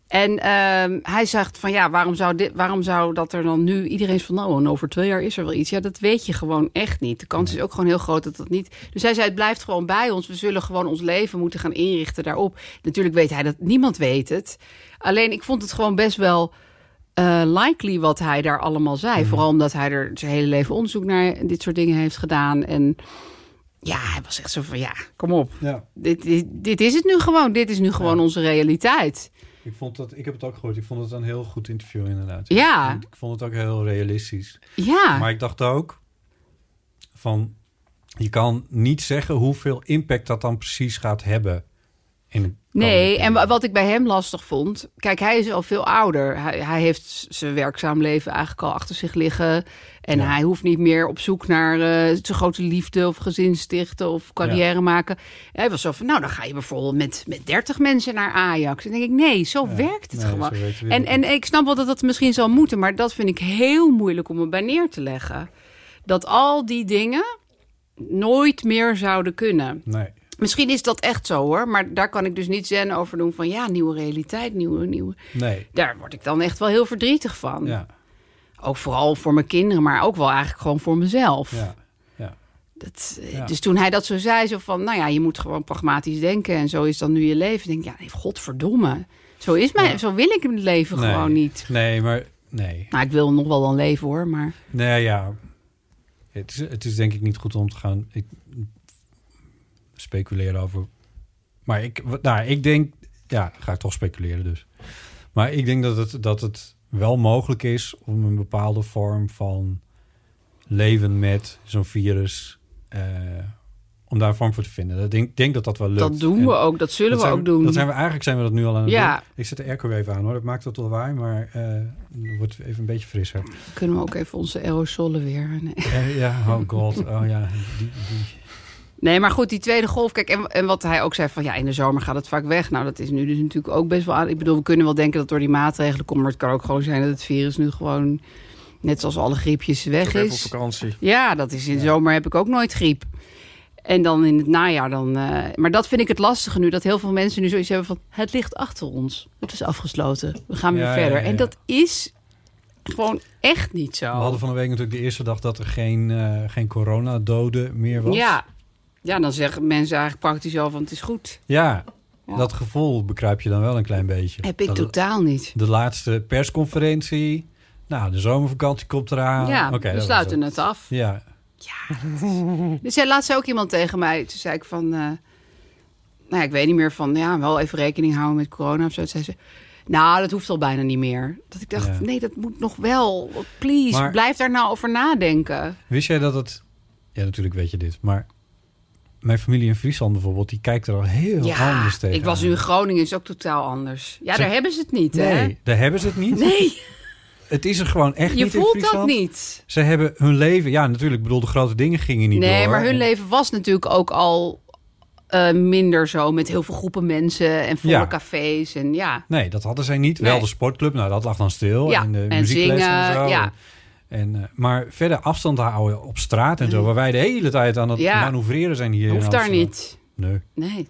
[SPEAKER 4] En ehm, hij zegt van ja, waarom zou, dit, waarom zou dat er dan nu iedereen is van nou, en over twee jaar is er wel iets. Ja, dat weet je gewoon echt niet. De kans is ook gewoon heel groot dat dat niet. Dus hij zei, het blijft gewoon bij ons. We zullen gewoon ons leven moeten gaan inrichten daarop. Natuurlijk weet hij dat niemand weet het. Alleen ik vond het gewoon best wel eh, likely wat hij daar allemaal zei. Vooral omdat hij er zijn hele leven onderzoek naar dit soort dingen heeft gedaan. En ja, hij was echt zo van ja, kom op
[SPEAKER 2] Ja,
[SPEAKER 4] dit, dit, dit is het nu gewoon. Dit is nu gewoon onze realiteit.
[SPEAKER 2] ik, vond dat, ik heb het ook gehoord. Ik vond het een heel goed interview inderdaad.
[SPEAKER 4] Ja. Ah.
[SPEAKER 2] Ik, ik vond het ook heel realistisch.
[SPEAKER 4] Ja,
[SPEAKER 2] Maar ik dacht ook van... Je kan niet zeggen hoeveel impact dat dan precies gaat hebben. In de
[SPEAKER 4] nee.
[SPEAKER 2] komende
[SPEAKER 4] En wa-
[SPEAKER 2] periode.
[SPEAKER 4] wat ik bij hem lastig vond... Kijk, hij is al veel ouder. Hij, hij heeft z- zijn werkzaam leven eigenlijk al achter zich liggen. En
[SPEAKER 2] Ja.
[SPEAKER 4] hij hoeft niet meer op zoek naar eh, zijn grote liefde... of gezin stichten of carrière maken. Hij was zo van, nou, dan ga je bijvoorbeeld met, met 30 mensen naar Ajax. En dan denk ik, nee, zo werkt het
[SPEAKER 2] Nee,
[SPEAKER 4] gewoon.
[SPEAKER 2] zo werkt het weer
[SPEAKER 4] En,
[SPEAKER 2] niet.
[SPEAKER 4] en ik snap wel dat dat misschien zou moeten, maar dat vind ik heel moeilijk om me bij neer te leggen. Dat al die dingen nooit meer zouden kunnen.
[SPEAKER 2] Nee.
[SPEAKER 4] Misschien is dat echt zo hoor, maar daar kan ik dus niet zen over doen van ja, nieuwe realiteit, nieuwe, nieuwe.
[SPEAKER 2] Nee.
[SPEAKER 4] Daar word ik dan echt wel heel verdrietig van.
[SPEAKER 2] Ja.
[SPEAKER 4] Ook vooral voor mijn kinderen, maar ook wel eigenlijk gewoon voor mezelf.
[SPEAKER 2] Ja.
[SPEAKER 4] Dat,
[SPEAKER 2] Ja.
[SPEAKER 4] Dus toen hij dat zo zei, zo van, nou ja, je moet gewoon pragmatisch denken en zo is dan nu je leven. Ik denk, ja, nee, godverdomme. Zo is mijn, zo wil ik het leven
[SPEAKER 2] Nee.
[SPEAKER 4] gewoon niet.
[SPEAKER 2] Nee, maar... Nee.
[SPEAKER 4] Nou, ik wil nog wel dan leven hoor, maar
[SPEAKER 2] Nee, Nou ja. Het is, het is denk ik niet goed om te gaan ik, speculeren over. Maar ik, wat- nou, ik denk. Ja, ga ik toch speculeren dus. Maar ik denk dat het, dat het wel mogelijk is om een bepaalde vorm van leven met zo'n virus. eh, om daar een vorm voor te vinden. Ik denk, denk dat dat wel lukt.
[SPEAKER 4] dat doen we
[SPEAKER 2] En
[SPEAKER 4] ook. Dat zullen
[SPEAKER 2] dat
[SPEAKER 4] we
[SPEAKER 2] zijn
[SPEAKER 4] ook doen.
[SPEAKER 2] Dat zijn we, eigenlijk zijn we dat nu al aan het
[SPEAKER 4] Ja.
[SPEAKER 2] doen. Ik zet de airco even aan hoor. Dat maakt het wel waar, maar eh, het wordt even een beetje frisser.
[SPEAKER 4] Kunnen we ook even onze aerosolen weer... Nee.
[SPEAKER 2] Eh, ja, oh god. Oh ja, die, die.
[SPEAKER 4] Nee, maar goed, die tweede golf. Kijk, en, en wat hij ook zei van ja, in de zomer gaat het vaak weg. Nou, dat is nu dus natuurlijk ook best wel aan. Ik bedoel, we kunnen wel denken dat door die maatregelen komt. Maar het kan ook gewoon zijn dat het virus nu gewoon, net zoals alle griepjes, weg
[SPEAKER 5] Ik ben even op
[SPEAKER 4] is.
[SPEAKER 5] vakantie.
[SPEAKER 4] Ja, dat is in de zomer heb ik ook nooit griep. En dan in het najaar dan. eh, maar dat vind ik het lastige nu. Dat heel veel mensen nu zoiets hebben van het ligt achter ons. Het is afgesloten. We gaan weer
[SPEAKER 2] Ja, ja,
[SPEAKER 4] verder.
[SPEAKER 2] ja,
[SPEAKER 4] En
[SPEAKER 2] ja.
[SPEAKER 4] dat is gewoon echt niet zo.
[SPEAKER 2] We hadden van de week natuurlijk de eerste dag dat er geen, eh geen coronadoden meer was.
[SPEAKER 4] Ja. ja, dan zeggen mensen eigenlijk praktisch al van het is goed.
[SPEAKER 2] Ja,
[SPEAKER 4] Ja.
[SPEAKER 2] dat gevoel bekruip je dan wel een klein beetje.
[SPEAKER 4] Heb ik
[SPEAKER 2] Dat-
[SPEAKER 4] totaal niet.
[SPEAKER 2] De laatste persconferentie. Nou, de zomervakantie komt eraan.
[SPEAKER 4] ja,
[SPEAKER 2] Ah, Oké,
[SPEAKER 4] we
[SPEAKER 2] dat was
[SPEAKER 4] sluiten
[SPEAKER 2] het.
[SPEAKER 4] het af.
[SPEAKER 2] Ja,
[SPEAKER 4] Dus zei laatst zei ook iemand tegen mij. Toen zei ik van, eh, nou ja, ik weet niet meer van, ja, wel even rekening houden met corona of zo. Toen zei ze, nou, dat hoeft al bijna niet meer. Dat ik dacht,
[SPEAKER 2] Ja.
[SPEAKER 4] nee, dat moet nog wel. Please,
[SPEAKER 2] Maar-
[SPEAKER 4] blijf daar nou over nadenken.
[SPEAKER 2] wist jij dat het... Ja, natuurlijk weet je dit, maar... Mijn familie in Friesland bijvoorbeeld, die kijkt er al heel
[SPEAKER 4] ja,
[SPEAKER 2] anders tegen.
[SPEAKER 4] ik was nu in Groningen, is ook totaal anders. Ja,
[SPEAKER 2] Ze-
[SPEAKER 4] daar hebben ze het niet, hè?
[SPEAKER 2] Nee, daar hebben ze het niet.
[SPEAKER 4] Nee,
[SPEAKER 2] Het is er gewoon echt
[SPEAKER 4] je
[SPEAKER 2] niet in
[SPEAKER 4] voelt dat
[SPEAKER 2] Friesland.
[SPEAKER 4] niet.
[SPEAKER 2] Ze hebben hun leven... Ja, natuurlijk, ik bedoel, de grote dingen gingen niet door.
[SPEAKER 4] nee, maar hun
[SPEAKER 2] En-
[SPEAKER 4] leven was natuurlijk ook al eh, minder zo. Met heel veel groepen mensen en volle
[SPEAKER 2] Ja.
[SPEAKER 4] cafés. En ja,
[SPEAKER 2] Nee, dat hadden zij niet.
[SPEAKER 4] Nee.
[SPEAKER 2] Wel de sportclub, nou dat lag dan stil.
[SPEAKER 4] Ja,
[SPEAKER 2] En de
[SPEAKER 4] en
[SPEAKER 2] muziekles en
[SPEAKER 4] zingen,
[SPEAKER 2] zo.
[SPEAKER 4] ja.
[SPEAKER 2] En, eh, maar verder afstand houden op straat en zo, waar wij de hele tijd aan het
[SPEAKER 4] Mm. Ja.
[SPEAKER 2] manoeuvreren zijn hier. in
[SPEAKER 4] Hoeft daar
[SPEAKER 2] Amsterdam.
[SPEAKER 4] niet.
[SPEAKER 2] Nee,
[SPEAKER 4] Nee.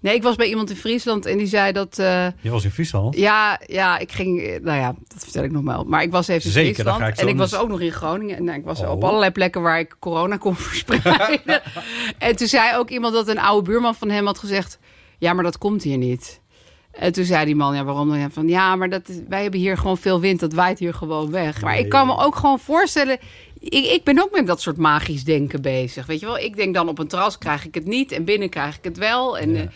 [SPEAKER 4] Nee, ik was bij iemand in Friesland en die zei dat... eh,
[SPEAKER 2] je was in Friesland.
[SPEAKER 4] Ja, ja, ik ging, eh, nou ja, dat vertel ik nog wel. Maar ik was even in
[SPEAKER 2] Zeker, dan
[SPEAKER 4] Friesland
[SPEAKER 2] ga ik zo
[SPEAKER 4] en ik was
[SPEAKER 2] eens-
[SPEAKER 4] ook nog in Groningen. En nou, ik was
[SPEAKER 2] Oh.
[SPEAKER 4] op allerlei plekken waar ik corona kon verspreiden. en toen zei ook iemand dat een oude buurman van hem had gezegd... ja, maar dat komt hier niet. En toen zei die man, ja, waarom dan? Ja, Van, ja, maar dat, is- wij hebben hier gewoon veel wind. Dat waait hier gewoon weg. Maar ik kan me ook gewoon voorstellen... Ik, ik ben ook met dat soort magisch denken bezig. Weet je wel, ik denk dan op een terras krijg ik het niet... en binnen krijg ik het wel. En...
[SPEAKER 2] Ja.
[SPEAKER 4] eh,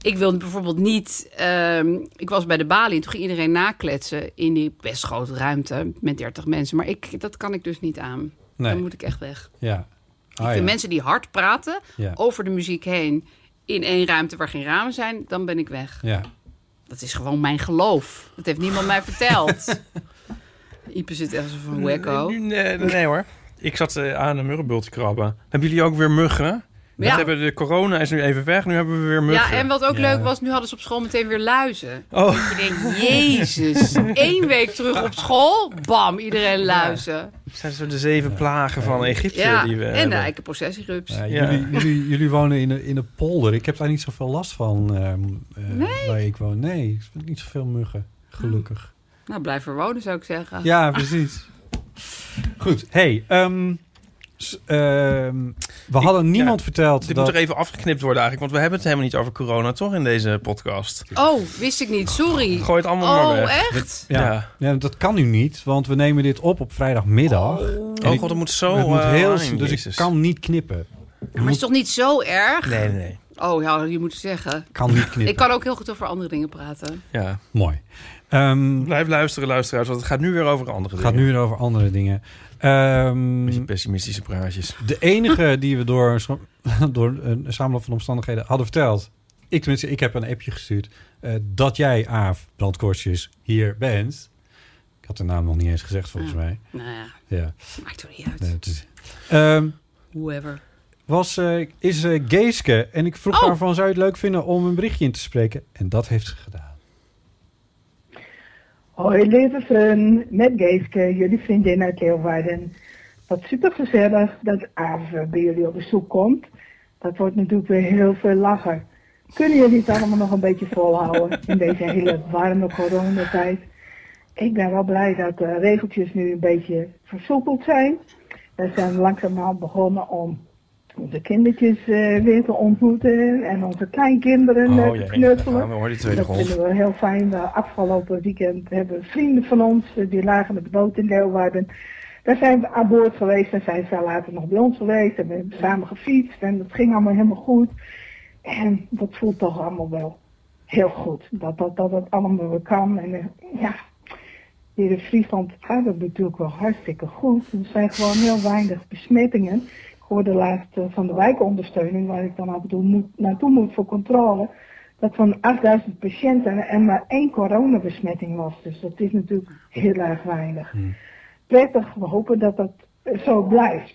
[SPEAKER 4] ik wilde bijvoorbeeld niet. ehm, ik was bij de balie en toen ging iedereen nakletsen in die best grote ruimte met 30 mensen. Maar ik, dat kan ik dus niet aan. Dan
[SPEAKER 2] Nee,
[SPEAKER 4] moet ik echt weg.
[SPEAKER 2] ja.
[SPEAKER 4] ik
[SPEAKER 2] Ah,
[SPEAKER 4] vind
[SPEAKER 2] ja.
[SPEAKER 4] mensen die hard praten
[SPEAKER 2] Ja.
[SPEAKER 4] over de muziek heen in één ruimte waar geen ramen zijn, dan ben ik weg.
[SPEAKER 2] Ja.
[SPEAKER 4] Dat is gewoon mijn geloof. Dat heeft niemand mij verteld. Ipe zit echt zo van wacko.
[SPEAKER 5] Nee, nee, nee, nee hoor. Ik zat eh, aan een muggenbult te krabben. Hebben jullie ook weer muggen? Dat
[SPEAKER 4] Ja.
[SPEAKER 5] hebben de corona is nu even weg. Nu hebben we weer
[SPEAKER 4] Ja,
[SPEAKER 5] muggen.
[SPEAKER 4] en wat ook
[SPEAKER 2] Ja.
[SPEAKER 4] leuk was, nu hadden ze op school meteen weer luizen.
[SPEAKER 5] Oh,
[SPEAKER 4] Ik denk, jezus, één week terug op school, bam, iedereen luizen.
[SPEAKER 5] zijn zo de zeven plagen van Egypte
[SPEAKER 4] Ja,
[SPEAKER 5] die we
[SPEAKER 4] en eh, de
[SPEAKER 5] hebben.
[SPEAKER 2] Ja,
[SPEAKER 4] eikenprocessierups. processierups.
[SPEAKER 5] Ja.
[SPEAKER 2] Jullie, jullie, jullie wonen in een, in een polder. Ik heb daar niet zoveel last van ehm, eh, waar ik woon. Nee, ik vind niet zoveel muggen, gelukkig.
[SPEAKER 4] Nou, blijf er wonen, zou ik zeggen.
[SPEAKER 2] Ja, precies. Ah. Goed, hey, ehm, s- ehm, we hadden niemand verteld
[SPEAKER 5] Dus Dit
[SPEAKER 2] dat...
[SPEAKER 5] moet er even afgeknipt worden eigenlijk, want we hebben het helemaal niet over corona toch in deze podcast.
[SPEAKER 4] Oh, wist ik niet, sorry.
[SPEAKER 5] Gooi het allemaal maar
[SPEAKER 4] Oh,
[SPEAKER 5] weg.
[SPEAKER 4] echt?
[SPEAKER 2] Ja.
[SPEAKER 5] Ja. Oh,
[SPEAKER 2] Ja, dat kan nu niet, want we nemen dit op op vrijdagmiddag. En
[SPEAKER 5] Oh
[SPEAKER 2] ik-
[SPEAKER 5] god, het moet zo...
[SPEAKER 2] het moet
[SPEAKER 5] eh,
[SPEAKER 2] heel,
[SPEAKER 5] online,
[SPEAKER 2] dus
[SPEAKER 5] Jezus.
[SPEAKER 2] ik kan niet knippen.
[SPEAKER 4] Maar het is toch niet zo erg?
[SPEAKER 5] Nee, nee, nee.
[SPEAKER 4] Oh, ja, je moet zeggen.
[SPEAKER 2] Ik kan niet knippen.
[SPEAKER 4] Ik kan ook heel goed over andere dingen praten.
[SPEAKER 5] Ja.
[SPEAKER 2] Mooi. Ehm,
[SPEAKER 5] Blijf luisteren, luisteraars, want het gaat nu Nou, weer over andere
[SPEAKER 2] het gaat nu
[SPEAKER 5] dingen.
[SPEAKER 2] weer over andere dingen. Ehm,
[SPEAKER 5] Beetje pessimistische praatjes.
[SPEAKER 2] de enige die we door, een scho- door een samenloop van omstandigheden hadden verteld... Ik tenminste, ik heb een appje gestuurd... eh, dat jij, Aaf Brandkorstjes, hier bent. Ik had de naam nog niet eens gezegd, volgens
[SPEAKER 4] Ja.
[SPEAKER 2] mij.
[SPEAKER 4] Nou ja,
[SPEAKER 2] Ja,
[SPEAKER 4] maakt er niet uit.
[SPEAKER 2] nee, het is- Ehm,
[SPEAKER 4] Whoever.
[SPEAKER 2] was, eh, is eh, Geeske. En ik vroeg
[SPEAKER 4] Oh.
[SPEAKER 2] haar van, zou je het leuk vinden om een berichtje in te spreken? En dat heeft ze gedaan.
[SPEAKER 6] Hoi lieve vriend, met Geeske, jullie vriendin uit Leeuwarden. Wat super gezellig dat Aave bij jullie op bezoek komt. Dat wordt natuurlijk weer heel veel lachen. Kunnen jullie het allemaal nog een beetje volhouden in deze hele warme coronatijd? Ik ben wel blij dat de regeltjes nu een beetje versoepeld zijn. We zijn langzamerhand begonnen om onze kindertjes eh, weer te ontmoeten en onze kleinkinderen
[SPEAKER 5] Oh,
[SPEAKER 6] eh, te
[SPEAKER 5] daar
[SPEAKER 6] knuffelen.
[SPEAKER 5] gaan Ah, we hoor, die tweede
[SPEAKER 6] Dat
[SPEAKER 5] golf.
[SPEAKER 6] vinden we heel fijn. De afgelopen weekend hebben vrienden van ons, eh, die lagen met de boot in Leeuwarden. Daar zijn we aan boord geweest en zijn ze later nog bij ons geweest. En we hebben samen gefietst en dat ging allemaal helemaal goed. En dat voelt toch allemaal wel heel goed. Dat dat, dat, het allemaal weer kan. En eh, ja, hier in Friesland gaat het natuurlijk wel hartstikke goed. Er zijn gewoon heel weinig besmettingen. Ik hoorde laatst eh, van de wijkondersteuning, waar ik dan af en toe moet, naartoe moet voor controle, dat van 8000 patiënten en maar één coronabesmetting was. Dus dat is natuurlijk heel erg weinig. Prettig, we hopen dat dat eh, zo blijft.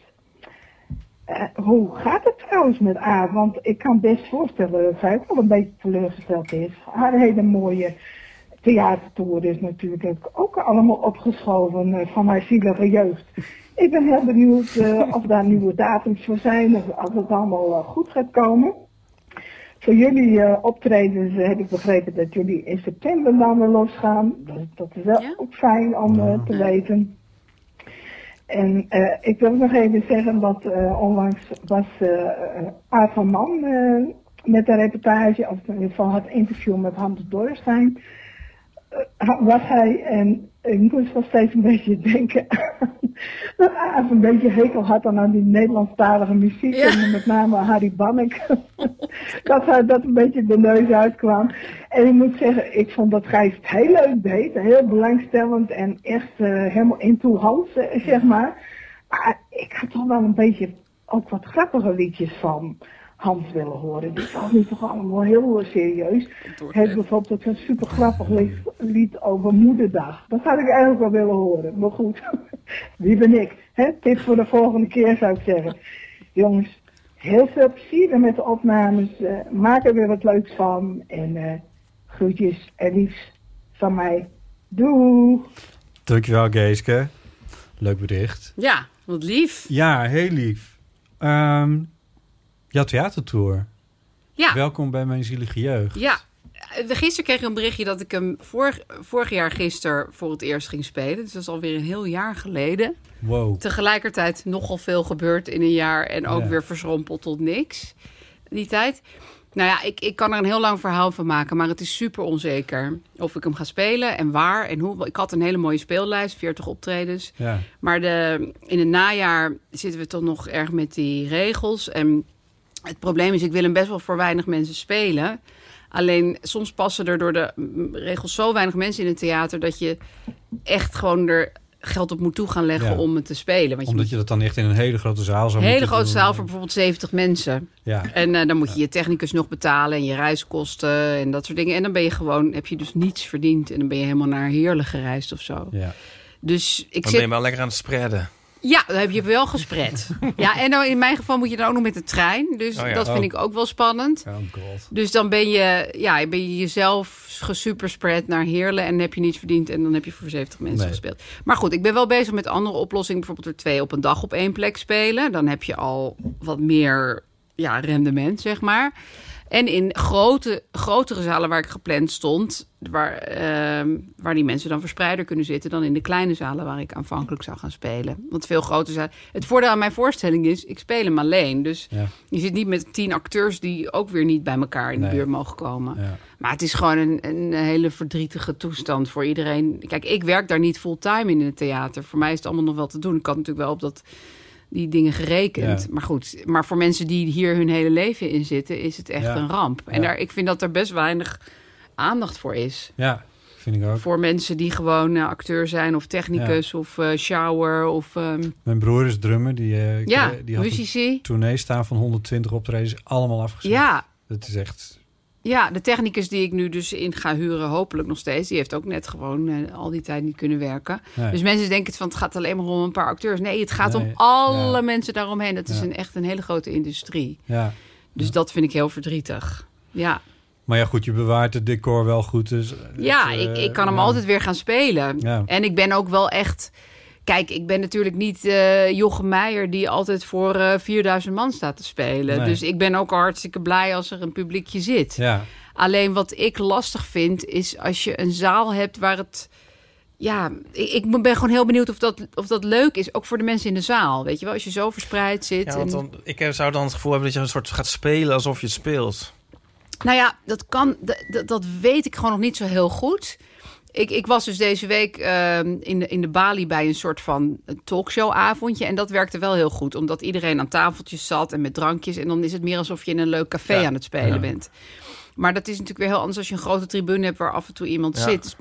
[SPEAKER 6] Eh, hoe gaat het trouwens met A? Want ik kan best voorstellen dat zij ook wel een beetje teleurgesteld is. Haar hele mooie theatertour is natuurlijk ook allemaal opgeschoven eh, van haar zielige jeugd. Ik ben heel benieuwd eh, of daar nieuwe datums voor zijn, of, of het allemaal eh, goed gaat komen. Voor jullie eh, optredens eh, heb ik begrepen dat jullie in september dan weer losgaan. Dus dat is wel
[SPEAKER 4] Ja.
[SPEAKER 6] ook fijn om eh, te
[SPEAKER 4] Ja.
[SPEAKER 6] weten. En eh, ik wil nog even zeggen dat eh, onlangs was eh Aad van Man eh, met een reportage, of in ieder geval het interview met Hans Dorrestein ha- was hij, en ik moest wel steeds een beetje denken aan, dat Aaf een beetje hekel had dan aan die Nederlandstalige muziek,
[SPEAKER 4] Ja.
[SPEAKER 6] en met name Harry Bannek, dat hij dat een beetje de neus uitkwam. En ik moet zeggen, ik vond dat Gijs het heel leuk deed, heel belangstellend en echt eh, helemaal in toe Hans, eh, zeg maar. Maar ik had toch wel een beetje ook wat grappige liedjes van Hans willen horen. Die was nu toch allemaal heel eh, serieus. Hij heeft bijvoorbeeld een super grappig lied, lied over Moederdag. Dat had ik eigenlijk wel willen horen. Maar goed, wie ben ik? Hè? Tip voor de volgende keer zou ik zeggen. Jongens, heel veel plezier met de opnames. Eh, maak er weer wat leuks van. En eh, groetjes en liefs van mij. Doei!
[SPEAKER 2] Dankjewel, Geeske. Leuk bericht.
[SPEAKER 4] Ja, wat lief.
[SPEAKER 2] Ja, heel lief. Ehm ja, theatertour.
[SPEAKER 4] Ja.
[SPEAKER 2] Welkom bij mijn zielige jeugd.
[SPEAKER 4] Ah! Ja. Eh, Gisteren kreeg ik een berichtje dat ik hem vorig, vorig jaar gisteren voor het eerst ging spelen. Dus dat is alweer een heel jaar geleden.
[SPEAKER 2] Wow.
[SPEAKER 4] Tegelijkertijd nogal veel gebeurd in een jaar en ook
[SPEAKER 2] Ja.
[SPEAKER 4] weer verschrompeld tot niks. Die tijd. Nou ja, ik, ik kan er een heel lang verhaal van maken, maar het is super onzeker of ik hem ga spelen en waar en hoe. Ik had een hele mooie speellijst, 40 optredens.
[SPEAKER 2] Ja.
[SPEAKER 4] Maar de, in het najaar zitten we toch nog erg met die regels. En het probleem is, ik wil hem best wel voor weinig mensen spelen. Alleen soms passen er door de mm, regels zo weinig mensen in het theater dat je echt gewoon er geld op moet toe gaan leggen
[SPEAKER 2] Ja.
[SPEAKER 4] om het te spelen. Want je
[SPEAKER 2] Omdat je dat dan echt in een hele grote zaal
[SPEAKER 4] moet
[SPEAKER 2] zou
[SPEAKER 4] een hele
[SPEAKER 2] moeten
[SPEAKER 4] grote
[SPEAKER 2] doen.
[SPEAKER 4] zaal voor bijvoorbeeld 70 mensen.
[SPEAKER 2] Ja.
[SPEAKER 4] En eh, dan moet je je technicus nog betalen en je reiskosten en dat soort dingen. En dan ben je gewoon, heb je dus niets verdiend. En dan ben je helemaal naar Heerlen gereisd of zo.
[SPEAKER 2] ja.
[SPEAKER 4] Dus ik
[SPEAKER 3] Dan
[SPEAKER 4] zit
[SPEAKER 3] ben je wel lekker aan het spreiden.
[SPEAKER 4] ja, dan heb je wel gespret. ja, en nou, in mijn geval moet je dan ook nog met de trein. Dus
[SPEAKER 3] Oh ja,
[SPEAKER 4] dat vind
[SPEAKER 2] oh.
[SPEAKER 4] ik ook wel spannend.
[SPEAKER 2] Oh god.
[SPEAKER 4] Dus dan ben je, ja, ben je jezelf gesuperspread naar Heerlen... en heb je niets verdiend en dan heb je voor 70 mensen
[SPEAKER 2] Nee.
[SPEAKER 4] gespeeld. Maar goed, ik ben wel bezig met andere oplossingen. Bijvoorbeeld er twee op een dag op één plek spelen. Dan heb je al wat meer ja, rendement, zeg maar. En in grote, grotere zalen waar ik gepland stond... Waar, ehm, waar die mensen dan verspreider kunnen zitten... dan in de kleine zalen waar ik aanvankelijk zou gaan spelen. Want veel grote zalen... Het voordeel aan mijn voorstelling is, ik speel hem alleen. Dus
[SPEAKER 2] Ja.
[SPEAKER 4] je zit niet met tien acteurs die ook weer niet bij elkaar in de
[SPEAKER 2] Nee.
[SPEAKER 4] buurt mogen komen.
[SPEAKER 2] Ja.
[SPEAKER 4] Maar het is gewoon een, een hele verdrietige toestand voor iedereen. Kijk, ik werk daar niet fulltime in het theater. Voor mij is het allemaal nog wel te doen. Ik had natuurlijk wel op dat, die dingen gerekend.
[SPEAKER 2] Ja.
[SPEAKER 4] Maar goed, maar voor mensen die hier hun hele leven in zitten, is het echt
[SPEAKER 2] Ja.
[SPEAKER 4] een ramp. En
[SPEAKER 2] Ja.
[SPEAKER 4] daar, ik vind dat er best weinig aandacht voor is.
[SPEAKER 2] ja, vind ik ook.
[SPEAKER 4] Voor mensen die gewoon eh, acteur zijn of technicus of eh, shower of ehm,
[SPEAKER 2] Mijn broer is drummer. Die, eh,
[SPEAKER 4] ja,
[SPEAKER 2] die had een
[SPEAKER 4] muzici.
[SPEAKER 2] tournee staan van 120 optredens. Allemaal afgezet.
[SPEAKER 4] Ja,
[SPEAKER 2] Dat is echt...
[SPEAKER 4] Ja, de technicus die ik nu dus in ga huren, hopelijk nog steeds, die heeft ook net gewoon eh, al die tijd niet kunnen werken.
[SPEAKER 2] Nee.
[SPEAKER 4] Dus mensen denken het van het gaat alleen maar om een paar acteurs. Nee, het gaat om
[SPEAKER 2] Nee,
[SPEAKER 4] alle
[SPEAKER 2] ja.
[SPEAKER 4] mensen daaromheen. Dat is
[SPEAKER 2] Ja.
[SPEAKER 4] een, echt een hele grote industrie.
[SPEAKER 2] ja.
[SPEAKER 4] Dus dat vind ik heel verdrietig. Ja,
[SPEAKER 2] Maar ja, goed, je bewaart het decor wel goed. Dus
[SPEAKER 4] ja
[SPEAKER 2] het,
[SPEAKER 4] ik,
[SPEAKER 2] eh,
[SPEAKER 4] ik kan hem
[SPEAKER 2] ja.
[SPEAKER 4] altijd weer gaan spelen.
[SPEAKER 2] Ja.
[SPEAKER 4] En ik ben ook wel echt... Kijk, ik ben natuurlijk niet eh Jochem Meijer... die altijd voor eh 4000 man staat te spelen.
[SPEAKER 2] Nee.
[SPEAKER 4] Dus ik ben ook hartstikke blij als er een publiekje zit.
[SPEAKER 2] Ja,
[SPEAKER 4] Alleen wat ik lastig vind is als je een zaal hebt waar het. Ja, ik, ik ben gewoon heel benieuwd of dat, of dat leuk is. Ook voor de mensen in de zaal. Weet je wel, als je zo verspreid zit.
[SPEAKER 3] Ja,
[SPEAKER 4] en-
[SPEAKER 3] want dan, ik heb- zou dan het gevoel hebben dat je een soort gaat spelen alsof je het speelt.
[SPEAKER 4] Nou ja, dat kan. d- d- Dat weet ik gewoon nog niet zo heel goed. Ik, ik was dus deze week ehm, in, de, in de Bali bij een soort van talkshowavondje. En dat werkte wel heel goed. Omdat iedereen aan tafeltjes zat en met drankjes. En dan is het meer alsof je in een leuk café
[SPEAKER 3] Ja.
[SPEAKER 4] aan het spelen bent. Maar dat is natuurlijk weer heel anders als je een grote tribune hebt waar af en toe iemand
[SPEAKER 3] Ja.
[SPEAKER 4] zit.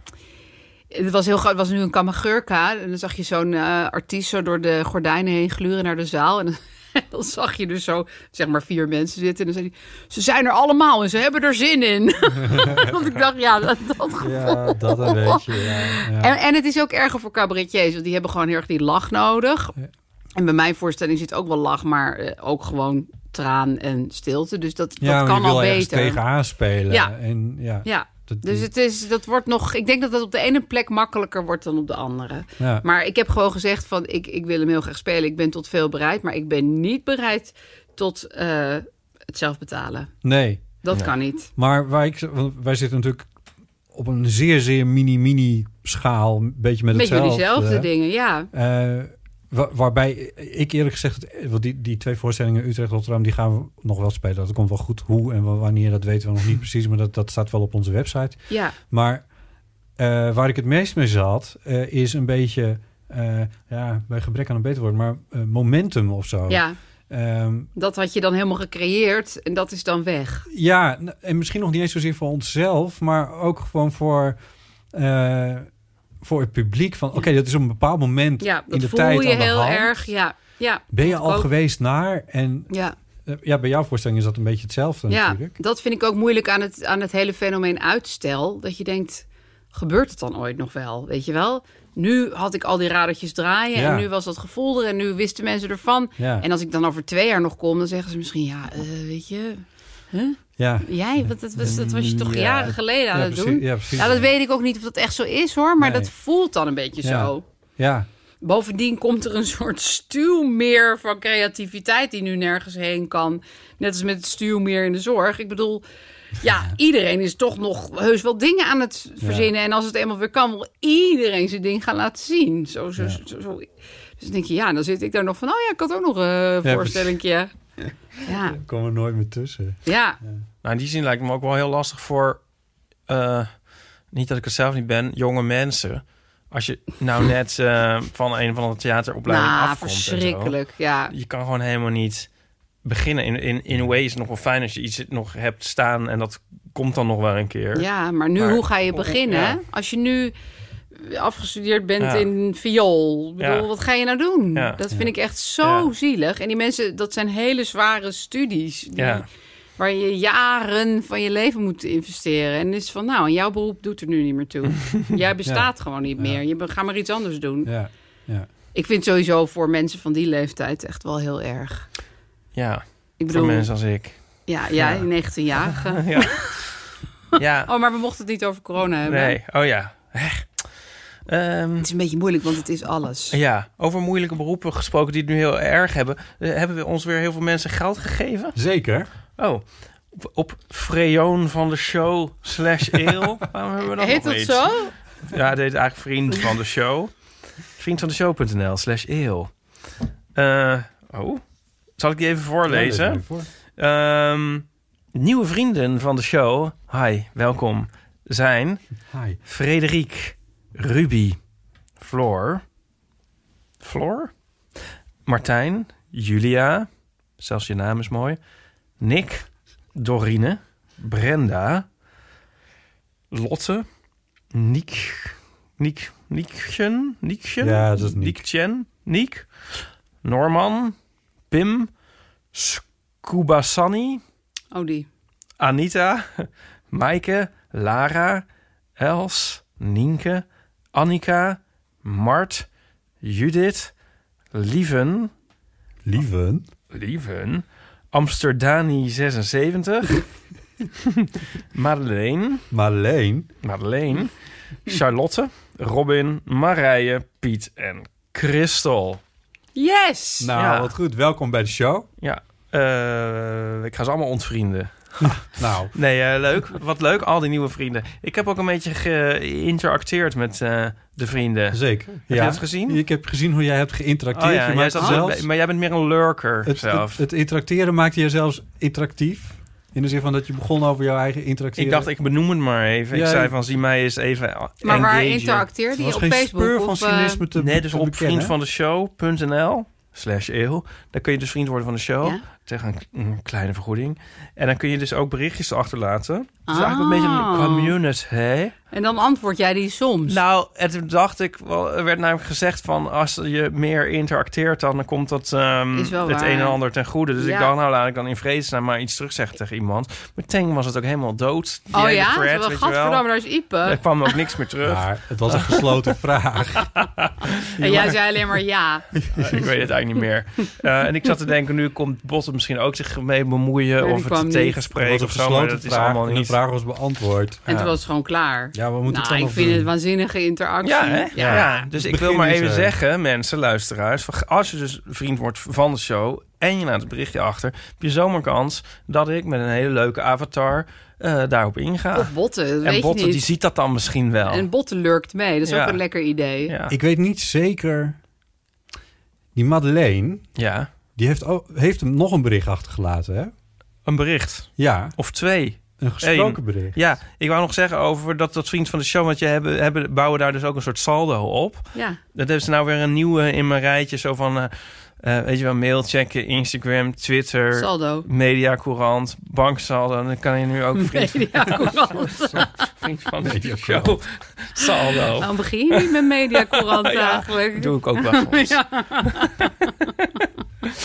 [SPEAKER 4] Het was heel groot. Het was nu een Kamagurka. En dan zag je zo'n eh, artiest zo door de gordijnen heen gluren naar de zaal. En dan, dan zag je dus zo, zeg maar, vier mensen zitten. En dan zei hij, ze zijn er allemaal en ze hebben er zin in. Want ik dacht, ja, dat, dat gevoel.
[SPEAKER 2] ja dat een beetje. Ja, ja.
[SPEAKER 4] En, en het is ook erger voor cabaretiers, want die hebben gewoon heel erg die lach nodig.
[SPEAKER 2] Ja.
[SPEAKER 4] En bij mijn voorstelling zit ook wel lach, maar eh, ook gewoon traan en stilte. Dus dat,
[SPEAKER 2] Ja,
[SPEAKER 4] dat
[SPEAKER 2] maar je
[SPEAKER 4] kan
[SPEAKER 2] wil
[SPEAKER 4] al
[SPEAKER 2] ergens
[SPEAKER 4] beter.
[SPEAKER 2] tegenaan spelen.
[SPEAKER 4] Ja.
[SPEAKER 2] En, ja,
[SPEAKER 4] Ja,
[SPEAKER 2] dat-
[SPEAKER 4] dus het is, dat wordt nog. Ik denk dat dat op de ene plek makkelijker wordt dan op de andere.
[SPEAKER 2] ja.
[SPEAKER 4] Maar ik heb gewoon gezegd van ik, ik wil hem heel graag spelen. Ik ben tot veel bereid, maar ik ben niet bereid tot eh, het zelf betalen.
[SPEAKER 2] Nee,
[SPEAKER 4] Dat kan niet.
[SPEAKER 2] maar waar ik, want wij zitten natuurlijk op een zeer, zeer mini-mini schaal. Een beetje met
[SPEAKER 4] Een beetje
[SPEAKER 2] hetzelfde.
[SPEAKER 4] diezelfde dingen, ja.
[SPEAKER 2] Eh, wa- waarbij ik eerlijk gezegd, het- eh, want die, die twee voorstellingen Utrecht-Rotterdam, die gaan we nog wel spelen. Dat komt wel goed. Hoe en wa- wanneer, dat weten we nog niet precies. Maar dat, dat staat wel op onze website.
[SPEAKER 4] Ja,
[SPEAKER 2] Maar eh, waar ik het meest mee zat, eh, is een beetje, eh, ja, bij gebrek aan een beter woord, maar eh, momentum of zo.
[SPEAKER 4] ja,
[SPEAKER 2] Ehm,
[SPEAKER 4] dat had je dan helemaal gecreëerd en dat is dan weg.
[SPEAKER 2] ja, n- en misschien nog niet eens zozeer voor onszelf, maar ook gewoon voor, eh, voor het publiek. Van oké, dat is op een bepaald moment
[SPEAKER 4] Ja,
[SPEAKER 2] in
[SPEAKER 4] dat
[SPEAKER 2] de
[SPEAKER 4] voel
[SPEAKER 2] tijd.
[SPEAKER 4] je
[SPEAKER 2] aan de
[SPEAKER 4] heel
[SPEAKER 2] hand.
[SPEAKER 4] erg. Ja, ja,
[SPEAKER 2] Ben je al
[SPEAKER 4] Ook-
[SPEAKER 2] geweest naar? En
[SPEAKER 4] ja.
[SPEAKER 2] eh, ja, bij jouw voorstelling is dat een beetje hetzelfde
[SPEAKER 4] ja.
[SPEAKER 2] Oh, natuurlijk.
[SPEAKER 4] Dat vind ik ook moeilijk aan het, aan het hele fenomeen uitstel. Dat je denkt, gebeurt het dan ooit nog wel? Weet je wel? Nu had ik al die radertjes draaien
[SPEAKER 2] Ja.
[SPEAKER 4] en nu was dat gevoel er en nu wisten mensen ervan.
[SPEAKER 2] Ja,
[SPEAKER 4] En als ik dan over twee jaar nog kom, dan zeggen ze misschien... ja, eh, weet je,
[SPEAKER 2] ja.
[SPEAKER 4] jij, wat, dat, was, dat was je toch
[SPEAKER 3] Ja.
[SPEAKER 4] jaren geleden aan
[SPEAKER 2] ja,
[SPEAKER 4] het
[SPEAKER 2] precies,
[SPEAKER 4] doen? Nou,
[SPEAKER 2] ja, precies.
[SPEAKER 4] Ja, dat weet ik ook niet of dat echt zo is, hoor. Maar
[SPEAKER 2] Nee.
[SPEAKER 4] dat voelt dan een beetje
[SPEAKER 2] Ja.
[SPEAKER 4] zo.
[SPEAKER 2] Ja,
[SPEAKER 4] Bovendien komt er een soort stuwmeer van creativiteit die nu nergens heen kan. Net als met het stuwmeer in de zorg. Ik bedoel, ja, iedereen is toch nog heus wel dingen aan het verzinnen. En als het eenmaal weer kan, wil iedereen zijn ding gaan laten zien. Zo, zo, zo, zo. Dus dan denk je, ja, dan zit ik daar nog van, oh ja, ik had ook nog een
[SPEAKER 2] Ja,
[SPEAKER 4] voorstellingje. Ja,
[SPEAKER 2] Ik kom er nooit meer tussen.
[SPEAKER 4] ja.
[SPEAKER 5] Nou, in die zin lijkt het me ook wel heel lastig voor... eh, niet dat ik het zelf niet ben, jonge mensen. Als je nou net eh, van een van de theateropleiding
[SPEAKER 4] Nou,
[SPEAKER 5] afkomt en zo.
[SPEAKER 4] verschrikkelijk. Ja.
[SPEAKER 5] je kan gewoon helemaal niet beginnen. In, in, in ways is het nog wel fijn als je iets nog hebt staan en dat komt dan nog wel een keer.
[SPEAKER 4] ja, maar nu,
[SPEAKER 5] Maar-
[SPEAKER 4] hoe ga je beginnen?
[SPEAKER 5] Ja.
[SPEAKER 4] Als je nu afgestudeerd bent
[SPEAKER 5] Ja.
[SPEAKER 4] in viool, Ik bedoel,
[SPEAKER 5] Ja.
[SPEAKER 4] wat ga je nou doen?
[SPEAKER 5] Ja.
[SPEAKER 4] Dat vind ik echt zo
[SPEAKER 5] Ja.
[SPEAKER 4] zielig. En die mensen, dat zijn hele zware studies. Die,
[SPEAKER 5] Ja.
[SPEAKER 4] Waar je jaren van je leven moet investeren. En is van, nou, en jouw beroep doet er nu niet meer toe. Jij bestaat gewoon niet meer. Je be- ga maar iets anders doen.
[SPEAKER 2] Ja, ja.
[SPEAKER 4] Ik vind sowieso voor mensen van die leeftijd echt wel heel erg.
[SPEAKER 5] Ja,
[SPEAKER 4] Ik
[SPEAKER 5] voor
[SPEAKER 4] bedoel,
[SPEAKER 5] mensen als ik.
[SPEAKER 4] ja, ja, 19-jarigen.
[SPEAKER 5] Ja,
[SPEAKER 4] Oh, maar we mochten het niet over corona hebben.
[SPEAKER 5] nee. Oh ja. Echt. Ehm,
[SPEAKER 4] Het is een beetje moeilijk, want het is alles.
[SPEAKER 5] ja, over moeilijke beroepen gesproken die het nu heel erg hebben. eh, hebben we ons weer heel veel mensen geld gegeven?
[SPEAKER 2] Zeker.
[SPEAKER 5] Oh, op, op Freon van de show slash eeuw. Waarom hebben we dat
[SPEAKER 4] Heet
[SPEAKER 5] nog
[SPEAKER 4] dat
[SPEAKER 5] iets?
[SPEAKER 4] zo?
[SPEAKER 5] Ja, dat heet eigenlijk vriend van de show. Vriend van de show.nl slash eeuw. Eh, oh, zal ik die even voorlezen? Ehm, nieuwe vrienden van de show. Hi, welkom. Zijn
[SPEAKER 2] Hi.
[SPEAKER 5] Frederik, Ruby, Floor, Floor, Martijn, Julia, zelfs je naam is mooi, Nick, Dorine, Brenda, Lotte, Niek, Niek, Niekchen, Niekchen,
[SPEAKER 2] Ja, dat is Niek.
[SPEAKER 5] Niekchen, Niek, Norman, Pim, Scuba Sunny,
[SPEAKER 4] Oh, die.
[SPEAKER 5] Anita, Maaike, Lara, Els, Nienke, Annika, Mart, Judith, Lieven,
[SPEAKER 2] Lieven.
[SPEAKER 5] Lieven, Amsterdani76, Madeleine,
[SPEAKER 2] Marleen.
[SPEAKER 5] Madeleine, Charlotte, Robin, Marije, Piet en Christel.
[SPEAKER 4] Yes!
[SPEAKER 2] Nou,
[SPEAKER 5] Ja.
[SPEAKER 2] wat goed. Welkom bij de show.
[SPEAKER 5] Ja, eh, ik ga ze allemaal ontvrienden.
[SPEAKER 2] Nou,
[SPEAKER 5] Nee, eh, leuk. Wat leuk, al die nieuwe vrienden. Ik heb ook een beetje geïnteracteerd met eh, de vrienden.
[SPEAKER 2] zeker.
[SPEAKER 5] Heb je dat gezien?
[SPEAKER 2] Ik heb gezien hoe jij hebt geïnteracteerd.
[SPEAKER 5] Oh ja,
[SPEAKER 2] je
[SPEAKER 5] jij
[SPEAKER 2] maakt
[SPEAKER 5] zat
[SPEAKER 2] zelfs,
[SPEAKER 5] wel- maar jij bent meer een lurker
[SPEAKER 2] het,
[SPEAKER 5] zelf.
[SPEAKER 2] het, het interacteren maakte je zelfs interactief. In de zin van dat je begon over jouw eigen interacteren.
[SPEAKER 5] ik dacht, ik benoem het maar even.
[SPEAKER 2] Ja,
[SPEAKER 5] ik zei
[SPEAKER 2] ja.
[SPEAKER 5] van, zie mij eens even
[SPEAKER 4] maar waar
[SPEAKER 5] engagen.
[SPEAKER 4] interacteerde
[SPEAKER 2] Er
[SPEAKER 4] je
[SPEAKER 2] was
[SPEAKER 4] op
[SPEAKER 2] geen
[SPEAKER 4] Facebook?
[SPEAKER 2] speur van
[SPEAKER 4] of, eh,
[SPEAKER 2] cynisme te
[SPEAKER 5] Nee, dus
[SPEAKER 2] te
[SPEAKER 5] op
[SPEAKER 2] bekennen.
[SPEAKER 5] vriendvandeshow.nl slash eeuw. Daar kun je dus vriend worden van de show.
[SPEAKER 4] Ja?
[SPEAKER 5] Tegen een, een kleine vergoeding. En dan kun je dus ook berichtjes achterlaten. Het is
[SPEAKER 4] Ah.
[SPEAKER 5] eigenlijk een beetje een community.
[SPEAKER 4] En dan antwoord jij die soms.
[SPEAKER 5] Nou, en toen dacht ik, wel, er werd namelijk gezegd van als je meer interacteert, dan komt dat ehm,
[SPEAKER 4] Is wel
[SPEAKER 5] het
[SPEAKER 4] waar.
[SPEAKER 5] een en ander ten goede. Dus ik
[SPEAKER 4] Ja.
[SPEAKER 5] dacht, nou laat ik dan in vredesnaam maar iets terugzeggen tegen iemand. Meteen was het ook helemaal dood. Die
[SPEAKER 4] oh
[SPEAKER 5] hele
[SPEAKER 4] ja?
[SPEAKER 5] thread,
[SPEAKER 4] Terwijl,
[SPEAKER 5] weet je
[SPEAKER 4] Gadverdamme,
[SPEAKER 5] wel.
[SPEAKER 4] daar is Ipe.
[SPEAKER 5] Er kwam ook niks meer terug.
[SPEAKER 2] Maar het was een gesloten vraag.
[SPEAKER 4] en jij zei alleen maar ja.
[SPEAKER 5] Eh, ik weet het eigenlijk niet meer. Eh, en ik zat te denken, nu komt Botten misschien ook zich mee bemoeien
[SPEAKER 4] die
[SPEAKER 5] of
[SPEAKER 4] kwam
[SPEAKER 5] het
[SPEAKER 2] Het
[SPEAKER 4] niet.
[SPEAKER 2] was
[SPEAKER 5] tegenspreken
[SPEAKER 2] een
[SPEAKER 5] of zo. Maar
[SPEAKER 2] gesloten
[SPEAKER 5] dat is
[SPEAKER 2] vraag.
[SPEAKER 5] allemaal
[SPEAKER 2] En de
[SPEAKER 5] niet.
[SPEAKER 2] vraag was beantwoord.
[SPEAKER 4] En toen was het gewoon klaar.
[SPEAKER 2] Ja, we moeten
[SPEAKER 4] nou,
[SPEAKER 2] het
[SPEAKER 4] ik
[SPEAKER 2] dan
[SPEAKER 4] vind
[SPEAKER 2] nog
[SPEAKER 4] het
[SPEAKER 2] doen.
[SPEAKER 4] waanzinnige interactie.
[SPEAKER 5] Ja, hè? Ja.
[SPEAKER 4] Ja.
[SPEAKER 5] dus ik
[SPEAKER 2] Begin
[SPEAKER 5] wil maar
[SPEAKER 2] eens,
[SPEAKER 5] even
[SPEAKER 2] eh.
[SPEAKER 5] zeggen, mensen, luisteraars... van, als je dus vriend wordt van de show en je laat het berichtje achter... heb je zomaar kans dat ik met een hele leuke avatar eh, daarop inga.
[SPEAKER 4] Of botten, dat
[SPEAKER 5] en
[SPEAKER 4] weet
[SPEAKER 5] Botte,
[SPEAKER 4] je
[SPEAKER 5] die
[SPEAKER 4] niet.
[SPEAKER 5] ziet dat dan misschien wel.
[SPEAKER 4] En botten lurkt mee, dat is
[SPEAKER 5] Ja.
[SPEAKER 4] ook een lekker idee.
[SPEAKER 5] ja.
[SPEAKER 2] Ik weet niet zeker... Die Madeleine,
[SPEAKER 5] ja,
[SPEAKER 2] die heeft, ook, heeft hem nog een bericht achtergelaten, hè?
[SPEAKER 5] een bericht.
[SPEAKER 2] Ja,
[SPEAKER 5] Of twee.
[SPEAKER 2] een gesproken
[SPEAKER 5] Eén.
[SPEAKER 2] bericht.
[SPEAKER 5] Ja, ik wou nog zeggen over dat, dat vriend van de show... want je hebben, hebben, bouwen daar dus ook een soort saldo op.
[SPEAKER 4] Ja.
[SPEAKER 5] Dat hebben ze nou weer een nieuwe in mijn rijtje. Zo van, eh, eh, weet je wel, mail checken, Instagram, Twitter...
[SPEAKER 4] Saldo.
[SPEAKER 5] Mediacourant, banksaldo. En dan kan je nu ook vriend,
[SPEAKER 4] Media Courant.
[SPEAKER 5] vriend van de show. Saldo.
[SPEAKER 4] Dan begin je niet met Media Courant
[SPEAKER 5] Ja,
[SPEAKER 4] eigenlijk.
[SPEAKER 5] Doe ik ook wel soms.
[SPEAKER 4] Ja.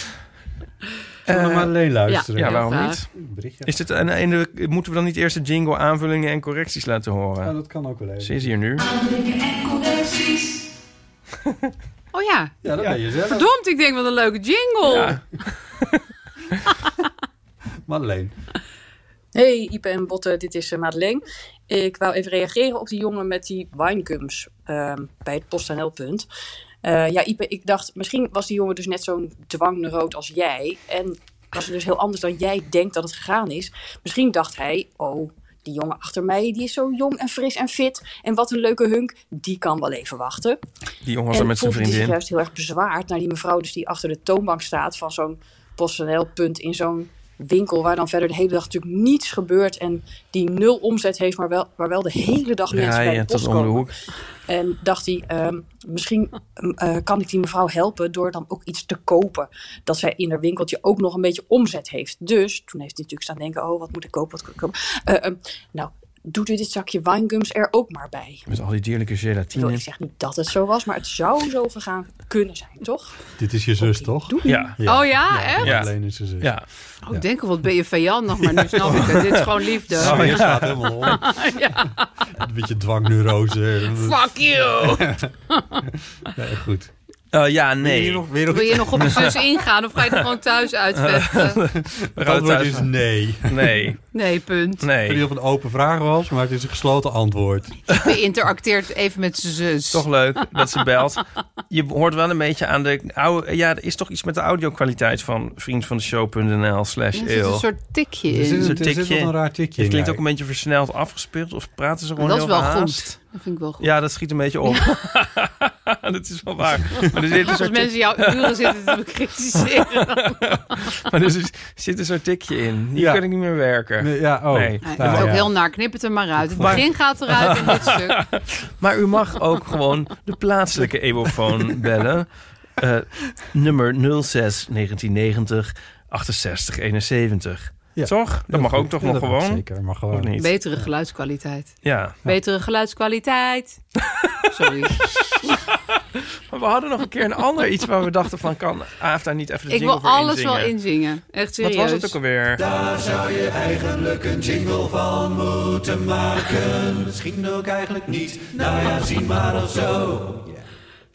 [SPEAKER 2] Zullen we
[SPEAKER 5] Eh,
[SPEAKER 2] Madeleine luisteren?
[SPEAKER 5] Ja,
[SPEAKER 4] Heel
[SPEAKER 5] waarom
[SPEAKER 4] graag.
[SPEAKER 5] niet?
[SPEAKER 2] Berichtje.
[SPEAKER 5] Is dit, en, en de- moeten we dan niet eerst de jingle aanvullingen en correcties laten
[SPEAKER 2] Ja,
[SPEAKER 5] horen?
[SPEAKER 2] dat kan ook wel even.
[SPEAKER 5] Ze is hier nu.
[SPEAKER 4] Oh ja,
[SPEAKER 2] Ja, dat ben je zelf.
[SPEAKER 4] verdomd, ik denk wat een leuke jingle.
[SPEAKER 5] Ja.
[SPEAKER 2] Madeleine.
[SPEAKER 7] Hey Ipe en Botte, dit is eh, Madeleine. Ik wou even reageren op die jongen met die winegums ehm, bij het PostNL-punt. Eh, ja, Ipe, ik dacht, misschien was die jongen dus net zo'n dwangneuroot als jij. En was het dus heel anders dan jij denkt dat het gegaan is. Misschien dacht hij, oh, die jongen achter mij, die is zo jong en fris en fit. En wat een leuke hunk, die kan wel even wachten.
[SPEAKER 5] Die jongen was er
[SPEAKER 7] En
[SPEAKER 5] met zijn
[SPEAKER 7] voelde zich
[SPEAKER 5] vriendin.
[SPEAKER 7] juist heel erg bezwaard naar die mevrouw dus die achter de toonbank staat van zo'n personeelpunt in zo'n winkel waar dan verder de hele dag natuurlijk niets gebeurt en die nul omzet heeft, maar wel, waar wel de hele dag mensen
[SPEAKER 5] Ja,
[SPEAKER 7] bij
[SPEAKER 5] ja,
[SPEAKER 7] de
[SPEAKER 5] tot
[SPEAKER 7] post
[SPEAKER 5] om de
[SPEAKER 7] komen.
[SPEAKER 5] hoek.
[SPEAKER 7] En dacht hij, ehm, misschien eh, kan ik die mevrouw helpen door dan ook iets te kopen. Dat zij in haar winkeltje ook nog een beetje omzet heeft. Dus toen heeft hij natuurlijk staan denken, oh wat moet ik kopen, wat kan ik kopen. Eh, ehm, nou, doet u dit zakje winegums er ook maar bij.
[SPEAKER 5] Met al die dierlijke
[SPEAKER 7] Ik bedoel,
[SPEAKER 5] gelatine.
[SPEAKER 7] ik zeg niet dat het zo was, maar het zou zo gegaan kunnen zijn, toch?
[SPEAKER 2] Dit is je zus, toch?
[SPEAKER 5] Ja,
[SPEAKER 4] Oh ja, echt?
[SPEAKER 5] Ja.
[SPEAKER 2] Marleen is zijn zus.
[SPEAKER 5] ja.
[SPEAKER 4] Oh, ik denk al, wat ben je vijandig, maar nu snap ik het. Dit is gewoon liefde.
[SPEAKER 2] Oh, ja. staat helemaal op. Een beetje dwangneurose.
[SPEAKER 4] Fuck you!
[SPEAKER 2] Nee, goed.
[SPEAKER 5] Eh, ja,
[SPEAKER 2] Hier
[SPEAKER 5] nee.
[SPEAKER 2] nog, weer nog
[SPEAKER 4] Wil je nog op je zus ingaan of ga je er gewoon thuis uitvechten?
[SPEAKER 5] We
[SPEAKER 2] het
[SPEAKER 5] gaan
[SPEAKER 2] antwoord
[SPEAKER 5] thuis.
[SPEAKER 2] is nee.
[SPEAKER 5] Nee,
[SPEAKER 4] Nee, punt.
[SPEAKER 2] Ik weet
[SPEAKER 5] nee.
[SPEAKER 2] niet of het een open vraag was, maar het is een gesloten antwoord.
[SPEAKER 4] Je interacteert even met zijn zus.
[SPEAKER 5] Toch leuk dat ze belt. Je hoort wel een beetje aan de oude... Ja, er is toch iets met de audio-kwaliteit van vriendvandeshow.nl slash
[SPEAKER 4] er zit een
[SPEAKER 5] eeuw.
[SPEAKER 4] soort tikje
[SPEAKER 2] Er
[SPEAKER 4] in.
[SPEAKER 2] zit,
[SPEAKER 5] Zo'n
[SPEAKER 2] er zit
[SPEAKER 5] tikje.
[SPEAKER 2] wel een raar tikje
[SPEAKER 5] Het
[SPEAKER 2] in.
[SPEAKER 5] klinkt
[SPEAKER 2] ja.
[SPEAKER 5] ook een beetje versneld afgespeeld. Of praten ze gewoon
[SPEAKER 4] Dat is
[SPEAKER 5] heel
[SPEAKER 4] wel
[SPEAKER 5] haast?
[SPEAKER 4] goed. Dat vind ik wel goed.
[SPEAKER 5] Ja, dat schiet een beetje op. dat is wel waar. Maar er zit een
[SPEAKER 4] Als
[SPEAKER 5] soort,
[SPEAKER 4] mensen jouw uren zitten te bekritiseren.
[SPEAKER 5] maar er zit- zit een soort tikje in. Hier
[SPEAKER 2] Ja.
[SPEAKER 5] kan ik niet meer werken.
[SPEAKER 2] Nee, ja, oh.
[SPEAKER 5] Nee.
[SPEAKER 4] Ja,
[SPEAKER 2] Nou,
[SPEAKER 4] dat is ook
[SPEAKER 2] ja.
[SPEAKER 4] heel naar. Knip het er maar uit. Het
[SPEAKER 5] Maar-
[SPEAKER 4] begin gaat eruit in dit stuk.
[SPEAKER 5] Maar u mag ook gewoon de plaatselijke Ebofoon bellen. Eh, nummer 06 1990 68 71.
[SPEAKER 2] Ja.
[SPEAKER 5] Toch? Dat
[SPEAKER 2] Heel
[SPEAKER 5] mag
[SPEAKER 2] goed.
[SPEAKER 5] ook toch
[SPEAKER 2] Ja,
[SPEAKER 5] nog
[SPEAKER 2] dat mag
[SPEAKER 5] gewoon?
[SPEAKER 2] Zeker, mag
[SPEAKER 5] Of
[SPEAKER 2] gewoon.
[SPEAKER 5] niet?
[SPEAKER 4] Betere geluidskwaliteit.
[SPEAKER 5] Ja.
[SPEAKER 4] Betere geluidskwaliteit. Sorry.
[SPEAKER 5] Maar we hadden nog een keer een ander iets waar we dachten van... kan Aaf daar niet even de
[SPEAKER 4] Ik
[SPEAKER 5] jingle
[SPEAKER 4] wil
[SPEAKER 5] voor
[SPEAKER 4] alles
[SPEAKER 5] inzingen?
[SPEAKER 4] wel inzingen. Echt
[SPEAKER 5] Wat
[SPEAKER 4] serieus.
[SPEAKER 5] was het ook alweer?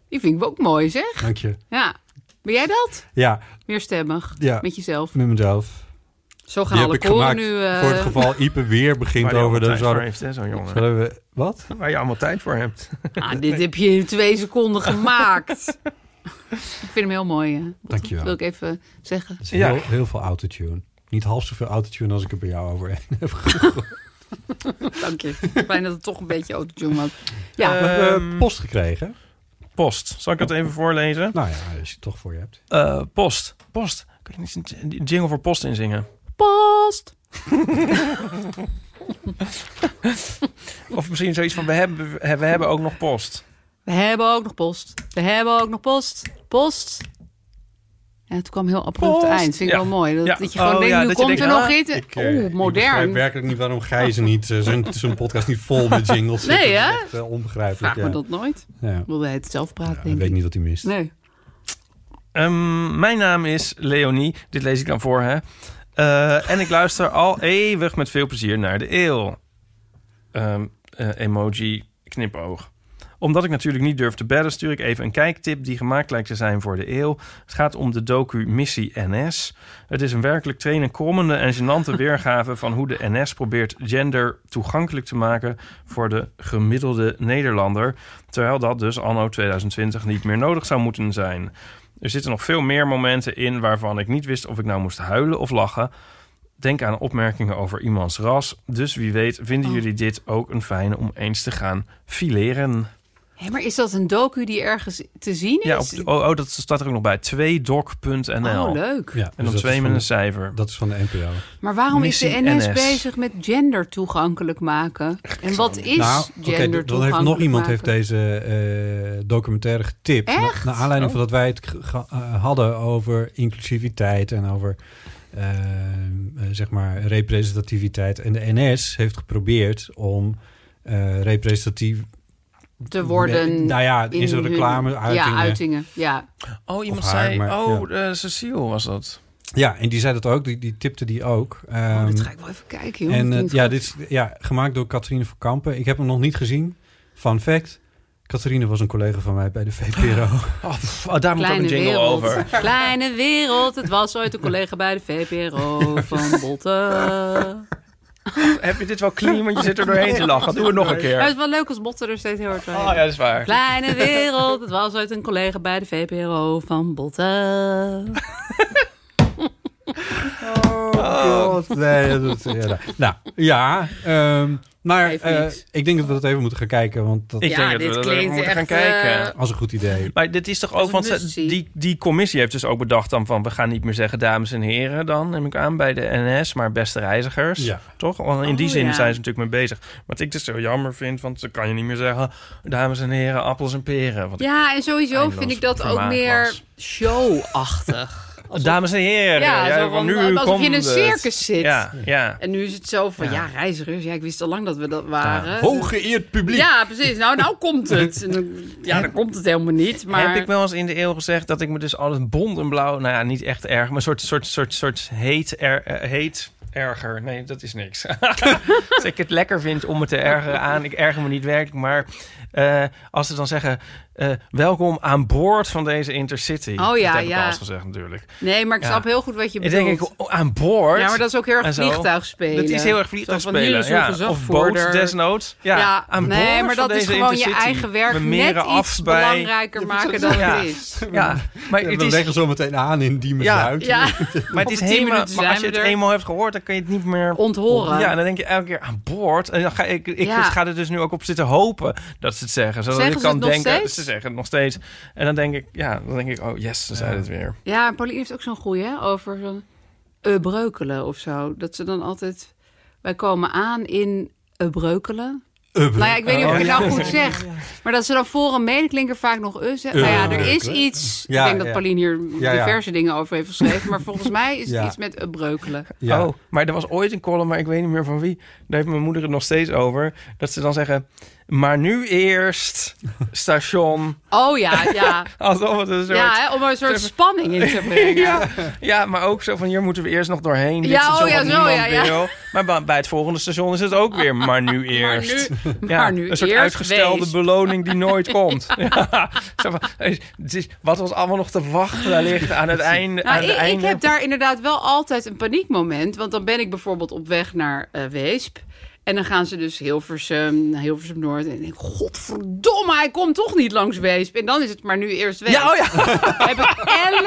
[SPEAKER 4] Die vind ik ook mooi, zeg.
[SPEAKER 2] Dank je.
[SPEAKER 4] Ja. Ben jij dat?
[SPEAKER 2] Ja,
[SPEAKER 4] Meer stemmig.
[SPEAKER 2] Ja.
[SPEAKER 4] Met jezelf.
[SPEAKER 2] met mezelf.
[SPEAKER 4] Zo gaan
[SPEAKER 2] Die heb
[SPEAKER 4] alle
[SPEAKER 2] ik
[SPEAKER 4] koren
[SPEAKER 2] gemaakt
[SPEAKER 4] nu... eh,
[SPEAKER 2] voor het geval Ipe weer begint
[SPEAKER 5] Waar je
[SPEAKER 2] over
[SPEAKER 5] allemaal
[SPEAKER 2] de...
[SPEAKER 5] tijd voor
[SPEAKER 2] Zullen
[SPEAKER 5] heeft, hè, zo'n jongen.
[SPEAKER 2] zullen we... Wat?
[SPEAKER 5] Waar je allemaal tijd voor hebt.
[SPEAKER 4] ah, dit heb je in twee seconden gemaakt. ik vind hem heel mooi. Hè. Dat
[SPEAKER 2] Dank je wel.
[SPEAKER 4] wil ik even zeggen.
[SPEAKER 2] Dat is
[SPEAKER 5] Ja.
[SPEAKER 2] heel, heel veel autotune. Niet half zoveel autotune als ik er bij jou over
[SPEAKER 5] Ehm.
[SPEAKER 2] heb.
[SPEAKER 4] Dank je. Fijn dat het toch een beetje autotune was. Ja.
[SPEAKER 5] Eh,
[SPEAKER 2] We hebben
[SPEAKER 5] Ehm.
[SPEAKER 2] post gekregen.
[SPEAKER 5] Post. Zal ik dat even voorlezen?
[SPEAKER 2] Nou ja, als je het toch voor je hebt.
[SPEAKER 5] Eh, post. Post. Kan je niet een j- een jingle voor post inzingen?
[SPEAKER 4] Post.
[SPEAKER 5] Of misschien zoiets van, we hebben, we hebben ook nog post.
[SPEAKER 4] We hebben ook nog post. We hebben ook nog post. Post. Ja, het kwam heel abrupt
[SPEAKER 5] Post.
[SPEAKER 4] eind. Vind ik
[SPEAKER 5] Ja.
[SPEAKER 4] wel mooi. Dat,
[SPEAKER 5] Ja.
[SPEAKER 4] dat je gewoon
[SPEAKER 5] Oh,
[SPEAKER 4] denkt,
[SPEAKER 5] ja,
[SPEAKER 4] nu
[SPEAKER 5] dat je
[SPEAKER 4] komt
[SPEAKER 5] denkt,
[SPEAKER 4] er nog
[SPEAKER 5] ah,
[SPEAKER 4] iets.
[SPEAKER 2] eh,
[SPEAKER 4] Oeh, modern.
[SPEAKER 2] begrijp werkelijk niet waarom Gijzen niet eh, zijn, zijn podcast niet vol met jingles zit.
[SPEAKER 4] Nee, hè?
[SPEAKER 2] Dat is echt, eh, onbegrijpelijk.
[SPEAKER 4] Vraag
[SPEAKER 2] Ja.
[SPEAKER 4] me dat nooit.
[SPEAKER 2] Ja.
[SPEAKER 4] Wilde hij het zelf praten,
[SPEAKER 2] Ja, ik
[SPEAKER 4] denk
[SPEAKER 2] weet
[SPEAKER 4] ik.
[SPEAKER 2] niet wat hij mist.
[SPEAKER 4] Nee.
[SPEAKER 5] Ehm, mijn naam is Leonie. Dit lees ik dan voor, hè. Eh, en ik luister al eeuwig met veel plezier naar de eeuw. Ehm, eh, emoji knipoog. Omdat ik natuurlijk niet durf te bellen, stuur ik even een kijktip die gemaakt lijkt te zijn voor de eeuw. Het gaat om de docu Missie NS. Het is een werkelijk trainenkommende en gênante weergave van hoe de NS probeert gender toegankelijk te maken voor de gemiddelde Nederlander. Terwijl dat dus anno 2020 niet meer nodig zou moeten zijn. Er zitten nog veel meer momenten in waarvan ik niet wist of ik nou moest huilen of lachen. Denk aan opmerkingen over iemands ras. Dus wie weet vinden
[SPEAKER 4] Oh.
[SPEAKER 5] jullie dit ook een fijne om eens te gaan fileren.
[SPEAKER 4] Hé, maar is dat een docu die ergens te zien is?
[SPEAKER 5] Ja, op, oh, oh, dat staat er ook nog bij. 2doc.nl.
[SPEAKER 4] Oh, leuk.
[SPEAKER 2] Ja,
[SPEAKER 5] en
[SPEAKER 2] dus
[SPEAKER 5] dan
[SPEAKER 2] dat
[SPEAKER 5] twee
[SPEAKER 2] is
[SPEAKER 5] met
[SPEAKER 2] van-
[SPEAKER 5] een cijfer.
[SPEAKER 2] Dat is van de NPO.
[SPEAKER 4] Maar waarom is de
[SPEAKER 5] Missie
[SPEAKER 4] NS,
[SPEAKER 5] NS.
[SPEAKER 4] bezig met gender toegankelijk maken? En wat is
[SPEAKER 2] nou,
[SPEAKER 4] gender
[SPEAKER 2] oké, dan-
[SPEAKER 4] toegankelijk
[SPEAKER 2] dan heeft nog iemand
[SPEAKER 4] maken?
[SPEAKER 2] heeft deze eh, documentaire getipt. Na-
[SPEAKER 4] Echt? Oh.
[SPEAKER 2] Naar aanleiding van dat wij het ge- ge- eh, hadden over inclusiviteit en over eh, eh, zeg maar representativiteit. En de NS heeft geprobeerd om eh, representatief
[SPEAKER 4] Te worden
[SPEAKER 2] met- nou ja,
[SPEAKER 4] in
[SPEAKER 2] in zijn
[SPEAKER 4] hun-
[SPEAKER 2] reclame uitingen.
[SPEAKER 4] Ja, uitingen. Ja.
[SPEAKER 5] Oh, iemand
[SPEAKER 2] Of haar,
[SPEAKER 5] zei...
[SPEAKER 2] maar-
[SPEAKER 5] oh, eh, Cecile was dat.
[SPEAKER 2] Ja, en die zei dat ook. Die, die tipte die ook.
[SPEAKER 4] Oh,
[SPEAKER 2] Ehm,
[SPEAKER 4] dat ga ik wel even kijken, joh.
[SPEAKER 2] En
[SPEAKER 4] Dat
[SPEAKER 2] eh,
[SPEAKER 4] klinkt
[SPEAKER 2] ja,
[SPEAKER 4] goed.
[SPEAKER 2] dit is ja, gemaakt door Catharine van Kampen. Ik heb hem nog niet gezien. Fun fact. Catharine was een collega van mij bij de VPRO.
[SPEAKER 5] Oh, pff, oh, daar moet ook een
[SPEAKER 4] Kleine
[SPEAKER 5] jingle
[SPEAKER 4] wereld.
[SPEAKER 5] over.
[SPEAKER 4] Kleine wereld. Het was ooit een collega bij de VPRO van Botte.
[SPEAKER 5] heb je dit wel clean? Want je zit er doorheen te lachen. Doe het nog een
[SPEAKER 4] Maar het
[SPEAKER 5] keer.
[SPEAKER 4] is wel leuk als Botten er steeds heel hard bij.
[SPEAKER 5] Oh ja, dat is waar.
[SPEAKER 4] Kleine wereld, het was ooit een collega bij de VPRO van Botten.
[SPEAKER 2] God, Oh. nee, dat is- ja, nou, nou, ja, ehm, maar
[SPEAKER 4] Even
[SPEAKER 2] eh,
[SPEAKER 4] niks.
[SPEAKER 2] ik denk dat we dat even moeten gaan kijken, want dat
[SPEAKER 5] Ik
[SPEAKER 4] Ja,
[SPEAKER 5] denk dat
[SPEAKER 4] dit
[SPEAKER 5] we dat
[SPEAKER 4] klinkt
[SPEAKER 5] moeten gaan
[SPEAKER 4] echt,
[SPEAKER 5] kijken.
[SPEAKER 4] eh,
[SPEAKER 2] was een goed idee.
[SPEAKER 5] Maar dit is toch ook,
[SPEAKER 4] is
[SPEAKER 5] want
[SPEAKER 4] een
[SPEAKER 5] ze-
[SPEAKER 4] must-see.
[SPEAKER 5] die, die commissie heeft dus ook bedacht dan van... we gaan niet meer zeggen dames en heren dan, neem ik aan, bij de NS... maar beste reizigers,
[SPEAKER 2] Ja.
[SPEAKER 5] toch? Want in die
[SPEAKER 4] Oh,
[SPEAKER 5] zin
[SPEAKER 4] ja.
[SPEAKER 5] zijn ze natuurlijk mee bezig. Wat ik dus zo jammer vind, want dan kan je niet meer zeggen... dames en heren, appels en peren. Want
[SPEAKER 4] Ja, en sowieso
[SPEAKER 5] Eindeloos
[SPEAKER 4] vind ik dat ook
[SPEAKER 5] vermaak
[SPEAKER 4] meer
[SPEAKER 5] was.
[SPEAKER 4] showachtig. Alsof-
[SPEAKER 5] dames en heren,
[SPEAKER 4] Ja,
[SPEAKER 5] jij-
[SPEAKER 4] zo
[SPEAKER 5] van
[SPEAKER 4] van,
[SPEAKER 5] nu
[SPEAKER 4] alsof je in
[SPEAKER 5] komt
[SPEAKER 4] een
[SPEAKER 5] het.
[SPEAKER 4] circus zit.
[SPEAKER 5] Ja, ja.
[SPEAKER 4] En nu is het zo van, ja, reizigers, ja, ik wist al lang dat we dat waren.
[SPEAKER 8] Hooggeëerd publiek.
[SPEAKER 4] Ja, precies. Nou, nou komt het. En dan- Ja, dan komt het helemaal niet. Maar
[SPEAKER 5] Heb ik wel eens in de eeuw gezegd dat ik me dus altijd bont en blauw... nou ja, niet echt erg, maar een soort, soort, soort, soort heet, er, eh, heet erger. Nee, dat is niks. dus ik het lekker vind om me te ergeren aan. Ik erger me niet werkelijk, maar eh, als ze dan zeggen... eh, welkom aan boord van deze Intercity.
[SPEAKER 4] Oh
[SPEAKER 5] dat
[SPEAKER 4] ja,
[SPEAKER 5] heb ik
[SPEAKER 4] ja.
[SPEAKER 5] al eens gezegd natuurlijk.
[SPEAKER 4] Nee, maar ik
[SPEAKER 5] Ja.
[SPEAKER 4] snap heel goed wat je
[SPEAKER 5] Ik
[SPEAKER 4] bedoelt.
[SPEAKER 5] denk ik, oh, aan boord?
[SPEAKER 4] ja, maar dat is ook heel
[SPEAKER 5] En
[SPEAKER 4] erg
[SPEAKER 5] zo.
[SPEAKER 4] vliegtuig spelen.
[SPEAKER 5] Dat is heel erg vliegtuig
[SPEAKER 4] Zo van, hier
[SPEAKER 5] spelen.
[SPEAKER 4] is uw
[SPEAKER 5] Ja. Of boot
[SPEAKER 4] gezagvoerder.
[SPEAKER 5] desnoods. Ja,
[SPEAKER 4] Ja,
[SPEAKER 5] aan
[SPEAKER 4] nee,
[SPEAKER 5] boord
[SPEAKER 4] maar
[SPEAKER 5] van
[SPEAKER 4] dat is
[SPEAKER 5] deze
[SPEAKER 4] gewoon je
[SPEAKER 5] Intercity.
[SPEAKER 4] eigen werk
[SPEAKER 5] We
[SPEAKER 4] net
[SPEAKER 5] meren af
[SPEAKER 4] iets
[SPEAKER 5] bij-
[SPEAKER 4] belangrijker maken dan
[SPEAKER 5] Ja.
[SPEAKER 4] het is.
[SPEAKER 5] Ja, maar
[SPEAKER 2] Ja,
[SPEAKER 5] het
[SPEAKER 2] we
[SPEAKER 5] is
[SPEAKER 2] leggen zo meteen aan in die
[SPEAKER 5] Ja.
[SPEAKER 2] uit.
[SPEAKER 4] Ja,
[SPEAKER 5] Maar het is
[SPEAKER 4] Over tien
[SPEAKER 5] helemaal.
[SPEAKER 4] minuten
[SPEAKER 5] Maar als je
[SPEAKER 4] zijn
[SPEAKER 5] het
[SPEAKER 4] we er.
[SPEAKER 5] eenmaal hebt gehoord, dan kun je het niet meer.
[SPEAKER 4] onthoren.
[SPEAKER 5] Ja, en dan denk je elke keer aan boord. En dan ga ik, ik
[SPEAKER 4] Ja.
[SPEAKER 5] ga er dus nu ook op zitten hopen dat ze het zeggen. Zodat
[SPEAKER 4] Zeggen
[SPEAKER 5] ik
[SPEAKER 4] ze
[SPEAKER 5] kan
[SPEAKER 4] het nog
[SPEAKER 5] denken.
[SPEAKER 4] steeds?
[SPEAKER 5] Ze zeggen het nog steeds. En dan denk ik, ja, dan denk ik, oh yes, ze zeiden het weer.
[SPEAKER 4] Ja, en Pauline heeft ook zo'n goeie hè, over zo'n eh, breukelen of zo. Dat ze dan altijd... Wij komen aan in eh, breukelen. Nou ja, ik weet niet
[SPEAKER 2] Oh.
[SPEAKER 4] of ik het nou goed zeg. Maar dat ze dan voor een medeklinker vaak nog eh zeggen. Nou ja, er is
[SPEAKER 2] Breukelen.
[SPEAKER 4] iets...
[SPEAKER 2] Ja,
[SPEAKER 4] ik denk
[SPEAKER 2] ja.
[SPEAKER 4] dat Pauline hier
[SPEAKER 2] Ja, ja.
[SPEAKER 4] diverse dingen over heeft geschreven. Maar volgens mij is het
[SPEAKER 2] Ja.
[SPEAKER 4] iets met eh, breukelen.
[SPEAKER 2] Ja.
[SPEAKER 5] Oh, maar er was ooit een column, maar ik weet niet meer van wie. Daar heeft mijn moeder het nog steeds over. Dat ze dan zeggen, maar nu eerst station.
[SPEAKER 4] Oh ja, ja.
[SPEAKER 5] Alsof het een soort...
[SPEAKER 4] Ja, hè, om er een soort spanning in te brengen.
[SPEAKER 5] Ja, ja, maar ook zo van hier moeten we eerst nog doorheen. Dit
[SPEAKER 4] Ja,
[SPEAKER 5] station
[SPEAKER 4] oh ja,
[SPEAKER 5] wat
[SPEAKER 4] zo,
[SPEAKER 5] niemand
[SPEAKER 4] ja, ja.
[SPEAKER 5] wil. Maar ba- bij het volgende station is het ook weer, maar nu
[SPEAKER 4] Maar
[SPEAKER 5] eerst.
[SPEAKER 4] nu,
[SPEAKER 5] ja,
[SPEAKER 4] maar nu
[SPEAKER 5] een soort
[SPEAKER 4] eerst
[SPEAKER 5] uitgestelde
[SPEAKER 4] wees.
[SPEAKER 5] beloning die nooit komt. Ja, zo van, eh, het is- wat ons allemaal nog te wachten wellicht aan het einde. aan
[SPEAKER 4] Nou,
[SPEAKER 5] het
[SPEAKER 4] ik, ik
[SPEAKER 5] einde.
[SPEAKER 4] heb daar inderdaad wel altijd een paniekmoment. Want dan ben ik bijvoorbeeld op weg naar eh, Weesp. En dan gaan ze dus Hilversum, naar Hilversum Noord. En ik denk, godverdomme, hij komt toch niet langs Weesp. En dan is het maar nu eerst Weesp.
[SPEAKER 5] Ja, oh ja.
[SPEAKER 4] heb ik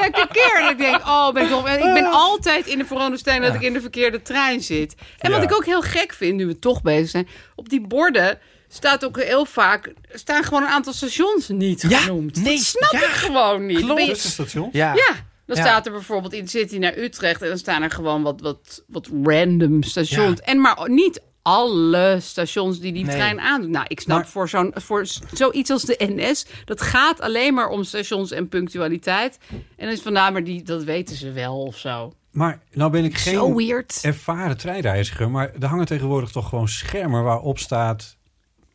[SPEAKER 4] elke keer. Dat ik denk, oh, ben ik toch... en Ik ben
[SPEAKER 5] Ah.
[SPEAKER 4] altijd in de veronderstelling dat ik in de verkeerde trein zit. En wat
[SPEAKER 2] Ja.
[SPEAKER 4] ik ook heel gek vind, nu we toch bezig zijn... op die borden staat ook heel vaak... staan gewoon een aantal stations niet
[SPEAKER 5] Ja,
[SPEAKER 4] genoemd.
[SPEAKER 5] nee,
[SPEAKER 4] dat snap
[SPEAKER 5] ja,
[SPEAKER 4] ik gewoon niet.
[SPEAKER 5] klopt.
[SPEAKER 4] Ben je-
[SPEAKER 2] Station?
[SPEAKER 5] Ja.
[SPEAKER 4] ja, dan
[SPEAKER 5] Ja.
[SPEAKER 4] staat er bijvoorbeeld in City naar Utrecht... en dan staan er gewoon wat, wat, wat random stations. En maar niet alle stations die die
[SPEAKER 5] Nee.
[SPEAKER 4] trein aandoen. Nou, ik snap voor, zo'n, voor s- zoiets als de NS... dat gaat alleen maar om stations en punctualiteit. En dan is vandaar, maar die, dat weten ze wel of zo.
[SPEAKER 2] Maar nou ben ik geen
[SPEAKER 4] Zo weird.
[SPEAKER 2] ervaren treinreiziger, maar er hangen tegenwoordig toch gewoon schermen waarop staat...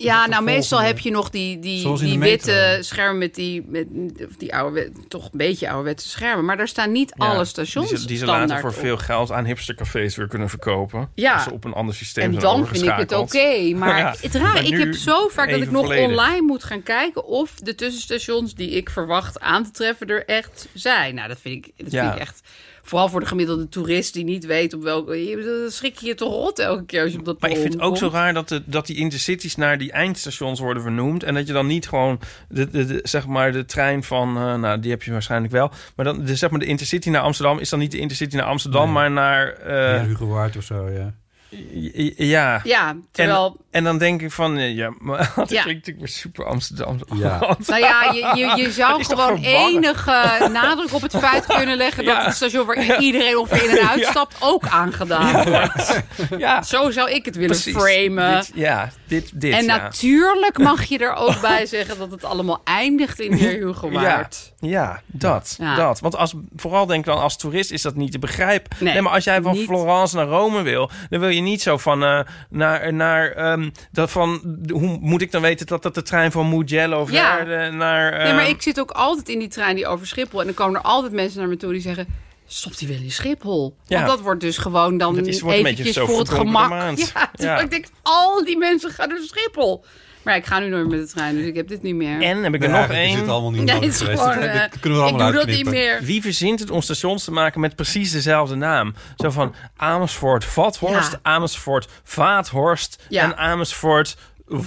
[SPEAKER 4] Ja,
[SPEAKER 2] de
[SPEAKER 4] nou meestal
[SPEAKER 2] volgende-
[SPEAKER 4] heb je nog die, die,
[SPEAKER 2] Zoals in de
[SPEAKER 4] die
[SPEAKER 2] metro.
[SPEAKER 4] witte schermen met die, met, of die oude, toch een beetje ouderwetse schermen. Maar daar staan niet alle stations
[SPEAKER 5] Die ze, die ze later
[SPEAKER 4] standaard
[SPEAKER 5] voor
[SPEAKER 4] op.
[SPEAKER 5] veel geld aan hipstercafés weer kunnen verkopen.
[SPEAKER 4] Ja.
[SPEAKER 5] Als ze op een ander systeem
[SPEAKER 4] En
[SPEAKER 5] zijn
[SPEAKER 4] dan vind ik het oké.
[SPEAKER 5] overgeschakeld.
[SPEAKER 4] maar
[SPEAKER 5] Ja.
[SPEAKER 4] het raar,
[SPEAKER 5] Maar
[SPEAKER 4] ik
[SPEAKER 5] nu
[SPEAKER 4] heb zo vaak dat ik
[SPEAKER 5] even
[SPEAKER 4] nog
[SPEAKER 5] volledig.
[SPEAKER 4] online moet gaan kijken of de tussenstations die ik verwacht aan te treffen er echt zijn. Nou, dat vind ik, dat
[SPEAKER 5] Ja.
[SPEAKER 4] vind ik echt. Vooral voor de gemiddelde toerist die niet weet op welke. je- Dan schrik je je toch rot elke keer als je op dat
[SPEAKER 5] Maar ik vind het
[SPEAKER 4] perron
[SPEAKER 5] ook zo
[SPEAKER 4] komt.
[SPEAKER 5] raar dat, de, dat die intercities naar die eindstations worden vernoemd. En dat je dan niet gewoon, de, de, de- zeg maar, de trein van, eh, nou, die heb je waarschijnlijk wel. Maar dan, de, zeg maar, de intercity naar Amsterdam is dan niet de intercity naar Amsterdam,
[SPEAKER 2] Nee.
[SPEAKER 5] maar naar, eh,
[SPEAKER 2] ja, Hugo Waard of zo, ja.
[SPEAKER 5] j- j- ja.
[SPEAKER 4] Ja, terwijl.
[SPEAKER 5] En dan denk ik van, eh, ja, maar dat
[SPEAKER 4] Ja.
[SPEAKER 5] klinkt natuurlijk weer super Amsterdam.
[SPEAKER 2] Ja.
[SPEAKER 4] Nou ja, je, je, je zou
[SPEAKER 5] is toch
[SPEAKER 4] gewoon
[SPEAKER 5] verwarrend?
[SPEAKER 4] enige nadruk op het feit kunnen leggen dat
[SPEAKER 5] Ja.
[SPEAKER 4] het station waar iedereen ongeveer in en uitstapt ook aangedaan wordt.
[SPEAKER 5] Ja,
[SPEAKER 4] Zo zou ik het willen
[SPEAKER 5] precies.
[SPEAKER 4] framen.
[SPEAKER 5] Dit, ja, dit, dit,
[SPEAKER 4] En
[SPEAKER 5] ja.
[SPEAKER 4] natuurlijk mag je er ook bij zeggen dat het allemaal eindigt in Heer Hugo Waard.
[SPEAKER 5] Ja, ja, dat,
[SPEAKER 4] Ja.
[SPEAKER 5] dat. Want als, vooral denk ik dan, als toerist is dat niet te begrijpen.
[SPEAKER 4] Nee,
[SPEAKER 5] Nee, maar als jij van
[SPEAKER 4] niet.
[SPEAKER 5] Florence naar Rome wil, dan wil je niet zo van eh, naar, naar ehm, dat van, hoe moet ik dan weten dat dat de trein van Mugello of
[SPEAKER 4] Ja.
[SPEAKER 5] naar, de- naar
[SPEAKER 4] Nee, maar
[SPEAKER 5] ehm,
[SPEAKER 4] ik zit ook altijd in die trein die over Schiphol. En dan komen er altijd mensen naar me toe die zeggen... Stopt hij wel in Schiphol?
[SPEAKER 5] Ja.
[SPEAKER 4] Want dat wordt dus gewoon dan
[SPEAKER 5] Dat is- wordt een beetje
[SPEAKER 4] eventjes
[SPEAKER 5] zo
[SPEAKER 4] voor het
[SPEAKER 5] verdonkerde
[SPEAKER 4] gemak.
[SPEAKER 5] maand.
[SPEAKER 4] Ja, terwijl
[SPEAKER 5] Ja.
[SPEAKER 4] ik denk, al die mensen gaan naar Schiphol. Maar Maar ik ga nu nooit met de trein, dus ik heb dit niet meer.
[SPEAKER 5] En heb ik er
[SPEAKER 2] Nee,
[SPEAKER 5] nog
[SPEAKER 2] eigenlijk is
[SPEAKER 5] één.
[SPEAKER 2] het allemaal niet
[SPEAKER 4] Nee,
[SPEAKER 2] nodig
[SPEAKER 4] het is
[SPEAKER 2] geweest.
[SPEAKER 4] gewoon,
[SPEAKER 2] Dat-
[SPEAKER 4] eh,
[SPEAKER 2] dat kunnen we allemaal
[SPEAKER 4] ik doe dat niet
[SPEAKER 2] uitknippen.
[SPEAKER 4] meer.
[SPEAKER 5] Wie verzint het om stations te maken met precies dezelfde naam? Zo van Amersfoort Vathorst,
[SPEAKER 4] Ja.
[SPEAKER 5] Amersfoort Vaathorst
[SPEAKER 4] Ja.
[SPEAKER 5] en Amersfoort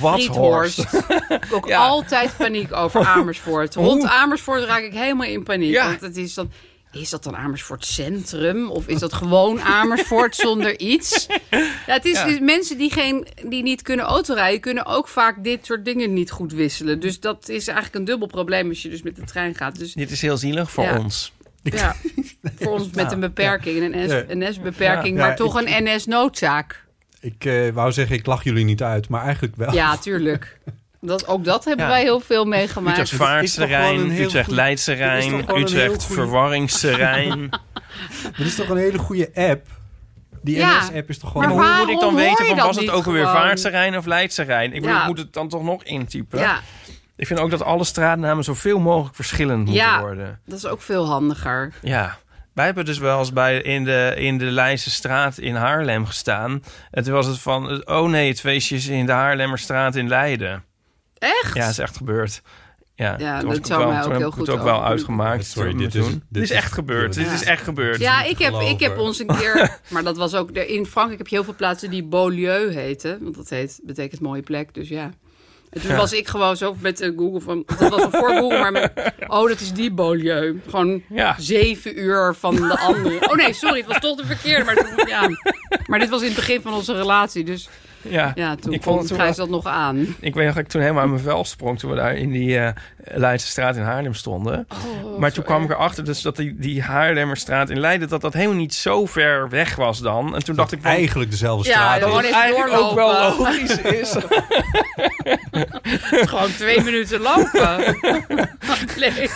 [SPEAKER 5] Wathorst.
[SPEAKER 4] Friethorst. ook
[SPEAKER 5] Ja.
[SPEAKER 4] altijd paniek over Amersfoort. Rond
[SPEAKER 5] Hoe?
[SPEAKER 4] Amersfoort raak ik helemaal in paniek.
[SPEAKER 5] Ja.
[SPEAKER 4] Want het is dan... Is dat dan Amersfoort Centrum? Of is dat gewoon Amersfoort zonder iets? Ja, het is
[SPEAKER 5] Ja.
[SPEAKER 4] dus mensen die, geen, die niet kunnen autorijden... kunnen ook vaak dit soort dingen niet goed wisselen. Dus dat is eigenlijk een dubbel probleem als je dus met de trein gaat. Dus
[SPEAKER 5] Dit is heel zielig voor
[SPEAKER 4] Ja.
[SPEAKER 5] ons.
[SPEAKER 4] ja, voor ons met een beperking, een
[SPEAKER 2] Ja.
[SPEAKER 4] NS- NS-beperking...
[SPEAKER 2] Ja,
[SPEAKER 4] maar
[SPEAKER 2] ik-
[SPEAKER 4] toch een NS-noodzaak.
[SPEAKER 2] Ik eh, wou zeggen, ik lach jullie niet uit, maar eigenlijk wel.
[SPEAKER 4] Ja, tuurlijk. Dat, ook dat hebben
[SPEAKER 5] Oh. Ja.
[SPEAKER 4] wij heel veel meegemaakt.
[SPEAKER 5] Utrecht
[SPEAKER 2] is toch
[SPEAKER 5] Vaartse
[SPEAKER 2] gewoon een
[SPEAKER 5] Rijn,
[SPEAKER 2] heel
[SPEAKER 5] Utrecht
[SPEAKER 2] goed-
[SPEAKER 5] Leidse
[SPEAKER 2] is toch
[SPEAKER 5] Rijn,
[SPEAKER 2] gewoon een heel
[SPEAKER 5] Utrecht
[SPEAKER 2] goede-
[SPEAKER 5] Verwarringse Rijn.
[SPEAKER 2] Er is toch een hele goede app. Die
[SPEAKER 4] Ja.
[SPEAKER 2] NS-app is toch
[SPEAKER 4] Maar
[SPEAKER 2] gewoon...
[SPEAKER 5] Maar
[SPEAKER 2] een-
[SPEAKER 5] hoe moet ik dan
[SPEAKER 4] waarom hoor
[SPEAKER 5] weten
[SPEAKER 4] je
[SPEAKER 5] van
[SPEAKER 4] dat
[SPEAKER 5] was het
[SPEAKER 4] niet
[SPEAKER 5] ook alweer
[SPEAKER 4] gewoon?
[SPEAKER 5] Vaartse Rijn of Leidse Rijn? Ik, bedoel,
[SPEAKER 4] Ja.
[SPEAKER 5] ik moet het dan toch nog intypen.
[SPEAKER 4] Ja,
[SPEAKER 5] Ik vind ook dat alle straatnamen zoveel mogelijk verschillend moeten
[SPEAKER 4] Ja.
[SPEAKER 5] worden.
[SPEAKER 4] dat is ook veel handiger.
[SPEAKER 5] Ja. Wij hebben dus wel eens bij, in, de, in de Leidse straat in Haarlem gestaan. En toen was het van, oh nee, het feestje is in de Haarlemmerstraat in Leiden.
[SPEAKER 4] Echt?
[SPEAKER 5] Ja, is echt gebeurd. Ja,
[SPEAKER 4] Ja,
[SPEAKER 5] toen was
[SPEAKER 4] dat
[SPEAKER 5] ik
[SPEAKER 4] zou
[SPEAKER 5] wel-
[SPEAKER 4] mij ook
[SPEAKER 5] toen heb
[SPEAKER 4] heel
[SPEAKER 5] ik het
[SPEAKER 4] goed
[SPEAKER 5] ook wel
[SPEAKER 4] overkomen.
[SPEAKER 5] uitgemaakt.
[SPEAKER 2] Sorry,
[SPEAKER 5] toen-
[SPEAKER 2] dit is-
[SPEAKER 5] toen.
[SPEAKER 2] dit
[SPEAKER 5] Dit is
[SPEAKER 2] is-
[SPEAKER 5] echt gebeurd.
[SPEAKER 2] Ja.
[SPEAKER 5] Dit is echt gebeurd.
[SPEAKER 4] Ja, ik heb,
[SPEAKER 2] geloven.
[SPEAKER 4] ik heb ons een keer. Maar dat was ook. de- In Frankrijk heb je heel veel plaatsen die Beaulieu heten. Want dat heet, betekent mooie plek. Dus ja. En toen was ik gewoon zo met eh, Google van. Dat was van voor Google, maar met. Oh, dat is die Beaulieu. Gewoon
[SPEAKER 5] Ja.
[SPEAKER 4] zeven uur van de andere. Oh nee, sorry, het was toch de verkeerde. Maar, toen- ja. maar dit was in het begin van onze relatie. Dus
[SPEAKER 5] Ja.
[SPEAKER 4] ja, toen
[SPEAKER 5] Ik vond
[SPEAKER 4] ik kon
[SPEAKER 5] het toen
[SPEAKER 4] Gijs dat nog aan.
[SPEAKER 5] Ik weet nog dat ik toen helemaal aan mijn vel sprong toen we daar in die eh, Leidse straat in Haarlem stonden.
[SPEAKER 4] Oh,
[SPEAKER 5] maar toen kwam ik erachter dus dat die, die Haarlemmerstraat in Leiden, dat dat helemaal niet zo ver weg was dan. En toen dacht ik van,
[SPEAKER 2] Eigenlijk dezelfde
[SPEAKER 4] Ja,
[SPEAKER 2] straat.
[SPEAKER 4] dan
[SPEAKER 2] is.
[SPEAKER 4] gewoon
[SPEAKER 5] dat
[SPEAKER 4] even
[SPEAKER 5] eigenlijk ook wel
[SPEAKER 4] doorlopen.
[SPEAKER 5] logisch is.
[SPEAKER 4] Gewoon twee minuten lopen. Nee.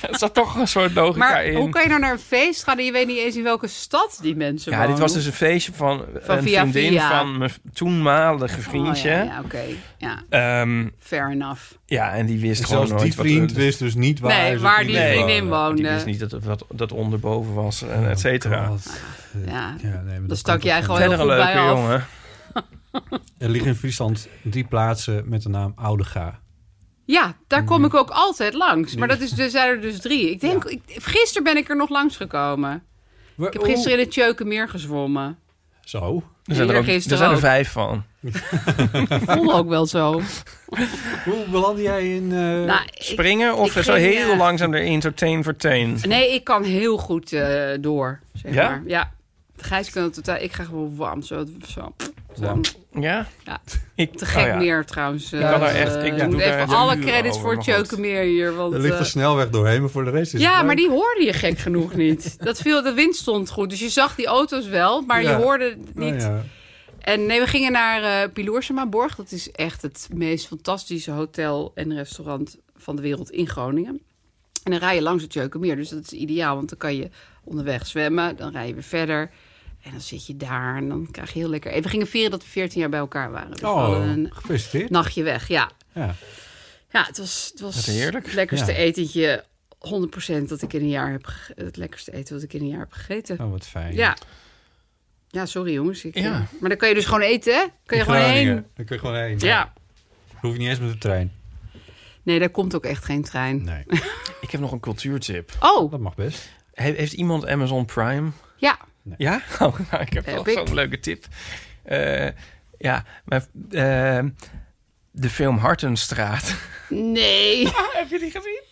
[SPEAKER 5] Er zat toch een soort logica
[SPEAKER 4] Maar
[SPEAKER 5] in.
[SPEAKER 4] hoe kan je nou naar een feest gaan en je weet niet eens in welke stad die mensen
[SPEAKER 5] Ja,
[SPEAKER 4] wonen?
[SPEAKER 5] dit was dus een feestje van,
[SPEAKER 4] Van
[SPEAKER 5] een
[SPEAKER 4] via
[SPEAKER 5] vriendin
[SPEAKER 4] via.
[SPEAKER 5] van mijn toenmalige vriendje.
[SPEAKER 4] Oh, ja,
[SPEAKER 5] Ehm,
[SPEAKER 4] ja oké. Ja,
[SPEAKER 5] ja.
[SPEAKER 4] fair enough.
[SPEAKER 5] en die wist gewoon
[SPEAKER 2] Zelfs
[SPEAKER 5] nooit
[SPEAKER 2] die vriend
[SPEAKER 5] wat...
[SPEAKER 2] wist dus niet waar
[SPEAKER 4] nee,
[SPEAKER 2] zijn
[SPEAKER 4] waar die
[SPEAKER 5] Nee,
[SPEAKER 4] vriendin
[SPEAKER 2] woonde.
[SPEAKER 4] woonde.
[SPEAKER 5] Die wist niet dat het wat, dat onderboven was, en et
[SPEAKER 2] Oh,
[SPEAKER 5] cetera.
[SPEAKER 2] God.
[SPEAKER 4] Ja.
[SPEAKER 2] Ja, nee, maar
[SPEAKER 4] Dan
[SPEAKER 2] dat
[SPEAKER 4] stak
[SPEAKER 2] kan
[SPEAKER 4] jij
[SPEAKER 2] toch
[SPEAKER 4] gewoon heel
[SPEAKER 5] Verder een
[SPEAKER 4] goed bij
[SPEAKER 5] leuke
[SPEAKER 4] af.
[SPEAKER 5] jongen.
[SPEAKER 2] niet? Er liggen in Friesland drie plaatsen met de naam Oudega.
[SPEAKER 4] Ja, daar
[SPEAKER 5] Mm.
[SPEAKER 4] kom ik ook altijd langs. Maar dat is, er zijn er dus drie. Ik denk, ik, gisteren ben ik er nog langs gekomen. Ik heb gisteren in het Tjeukenmeer gezwommen.
[SPEAKER 2] Zo.
[SPEAKER 5] Er zijn er, ook, er
[SPEAKER 4] Eergisteren
[SPEAKER 5] zijn er
[SPEAKER 4] ook.
[SPEAKER 5] vijf van.
[SPEAKER 4] Voelde ook wel zo.
[SPEAKER 2] Hoe belandde jij in... eh,
[SPEAKER 4] Nou, ik,
[SPEAKER 5] springen of
[SPEAKER 4] ik
[SPEAKER 5] zo
[SPEAKER 4] ging,
[SPEAKER 5] heel
[SPEAKER 4] eh,
[SPEAKER 5] langzaam erin, zo teen voor teen?
[SPEAKER 4] nee, ik kan heel goed eh, door. Zeg
[SPEAKER 5] Ja?
[SPEAKER 4] Maar. ja. Gijs kan het totaal. Ik ga gewoon warm. Zo, zo. zo.
[SPEAKER 2] Warm.
[SPEAKER 5] Ja?
[SPEAKER 4] Ja.
[SPEAKER 5] Ik,
[SPEAKER 4] Te gek
[SPEAKER 5] oh ja.
[SPEAKER 4] meer trouwens. eh, Ik
[SPEAKER 5] kan er echt- ik doe
[SPEAKER 4] moet
[SPEAKER 5] daar
[SPEAKER 4] even
[SPEAKER 5] echt
[SPEAKER 4] alle
[SPEAKER 5] uren
[SPEAKER 4] credits
[SPEAKER 5] over,
[SPEAKER 4] voor
[SPEAKER 5] maar
[SPEAKER 4] het
[SPEAKER 5] goed.
[SPEAKER 4] Tjeukenmeer hier. Want,
[SPEAKER 2] Er ligt
[SPEAKER 4] eh,
[SPEAKER 2] de snelweg doorheen, maar voor de rest is het
[SPEAKER 4] Ja,
[SPEAKER 2] leuk.
[SPEAKER 4] maar die hoorde je gek genoeg niet. Dat viel, de wind stond goed. Dus je zag die auto's wel, maar
[SPEAKER 2] Ja.
[SPEAKER 4] je hoorde het
[SPEAKER 2] Nou
[SPEAKER 5] Oh
[SPEAKER 4] niet.
[SPEAKER 2] ja.
[SPEAKER 4] En nee, we gingen naar eh Piloorsemaborg. Dat is echt het meest fantastische hotel en restaurant van de wereld in Groningen. En dan rij je langs het Jeukenmeer. Dus dat is ideaal, want dan kan je onderweg zwemmen. Dan rij je weer verder. En dan zit je daar en dan krijg je heel lekker... En we gingen vieren dat we 14 jaar bij elkaar waren. Dus we hadden
[SPEAKER 2] Oh,
[SPEAKER 4] een
[SPEAKER 2] gefeliciteerd.
[SPEAKER 4] nachtje weg, ja.
[SPEAKER 2] Ja.
[SPEAKER 4] Ja, het was, het was
[SPEAKER 5] Wat heerlijk.
[SPEAKER 4] het lekkerste
[SPEAKER 2] Ja.
[SPEAKER 4] etentje. 100% dat ik in een jaar heb gege- het lekkerste eten wat ik in een jaar heb gegeten.
[SPEAKER 2] Oh, wat fijn.
[SPEAKER 4] Ja. Ja, sorry jongens. Ik,
[SPEAKER 5] Ja.
[SPEAKER 4] eh, Maar dan kan je dus gewoon eten, hè? Kan
[SPEAKER 2] In
[SPEAKER 4] je gewoon
[SPEAKER 2] Groningen.
[SPEAKER 4] heen.
[SPEAKER 2] Dan kun je gewoon heen.
[SPEAKER 4] Ja.
[SPEAKER 2] Dan hoef je niet eens met de trein.
[SPEAKER 4] Nee, daar komt ook echt geen trein.
[SPEAKER 2] Nee,
[SPEAKER 5] Ik heb nog een cultuurtip.
[SPEAKER 4] Oh,
[SPEAKER 2] dat mag best.
[SPEAKER 5] He- heeft iemand Amazon Prime?
[SPEAKER 4] ja.
[SPEAKER 5] Ja? Oh, nou, ik heb
[SPEAKER 4] Heb
[SPEAKER 5] wel
[SPEAKER 4] ik.
[SPEAKER 5] zo'n leuke tip. Eh, ja, maar, eh, de film Hartenstraat.
[SPEAKER 4] Nee.
[SPEAKER 5] Ah, heb je die gezien?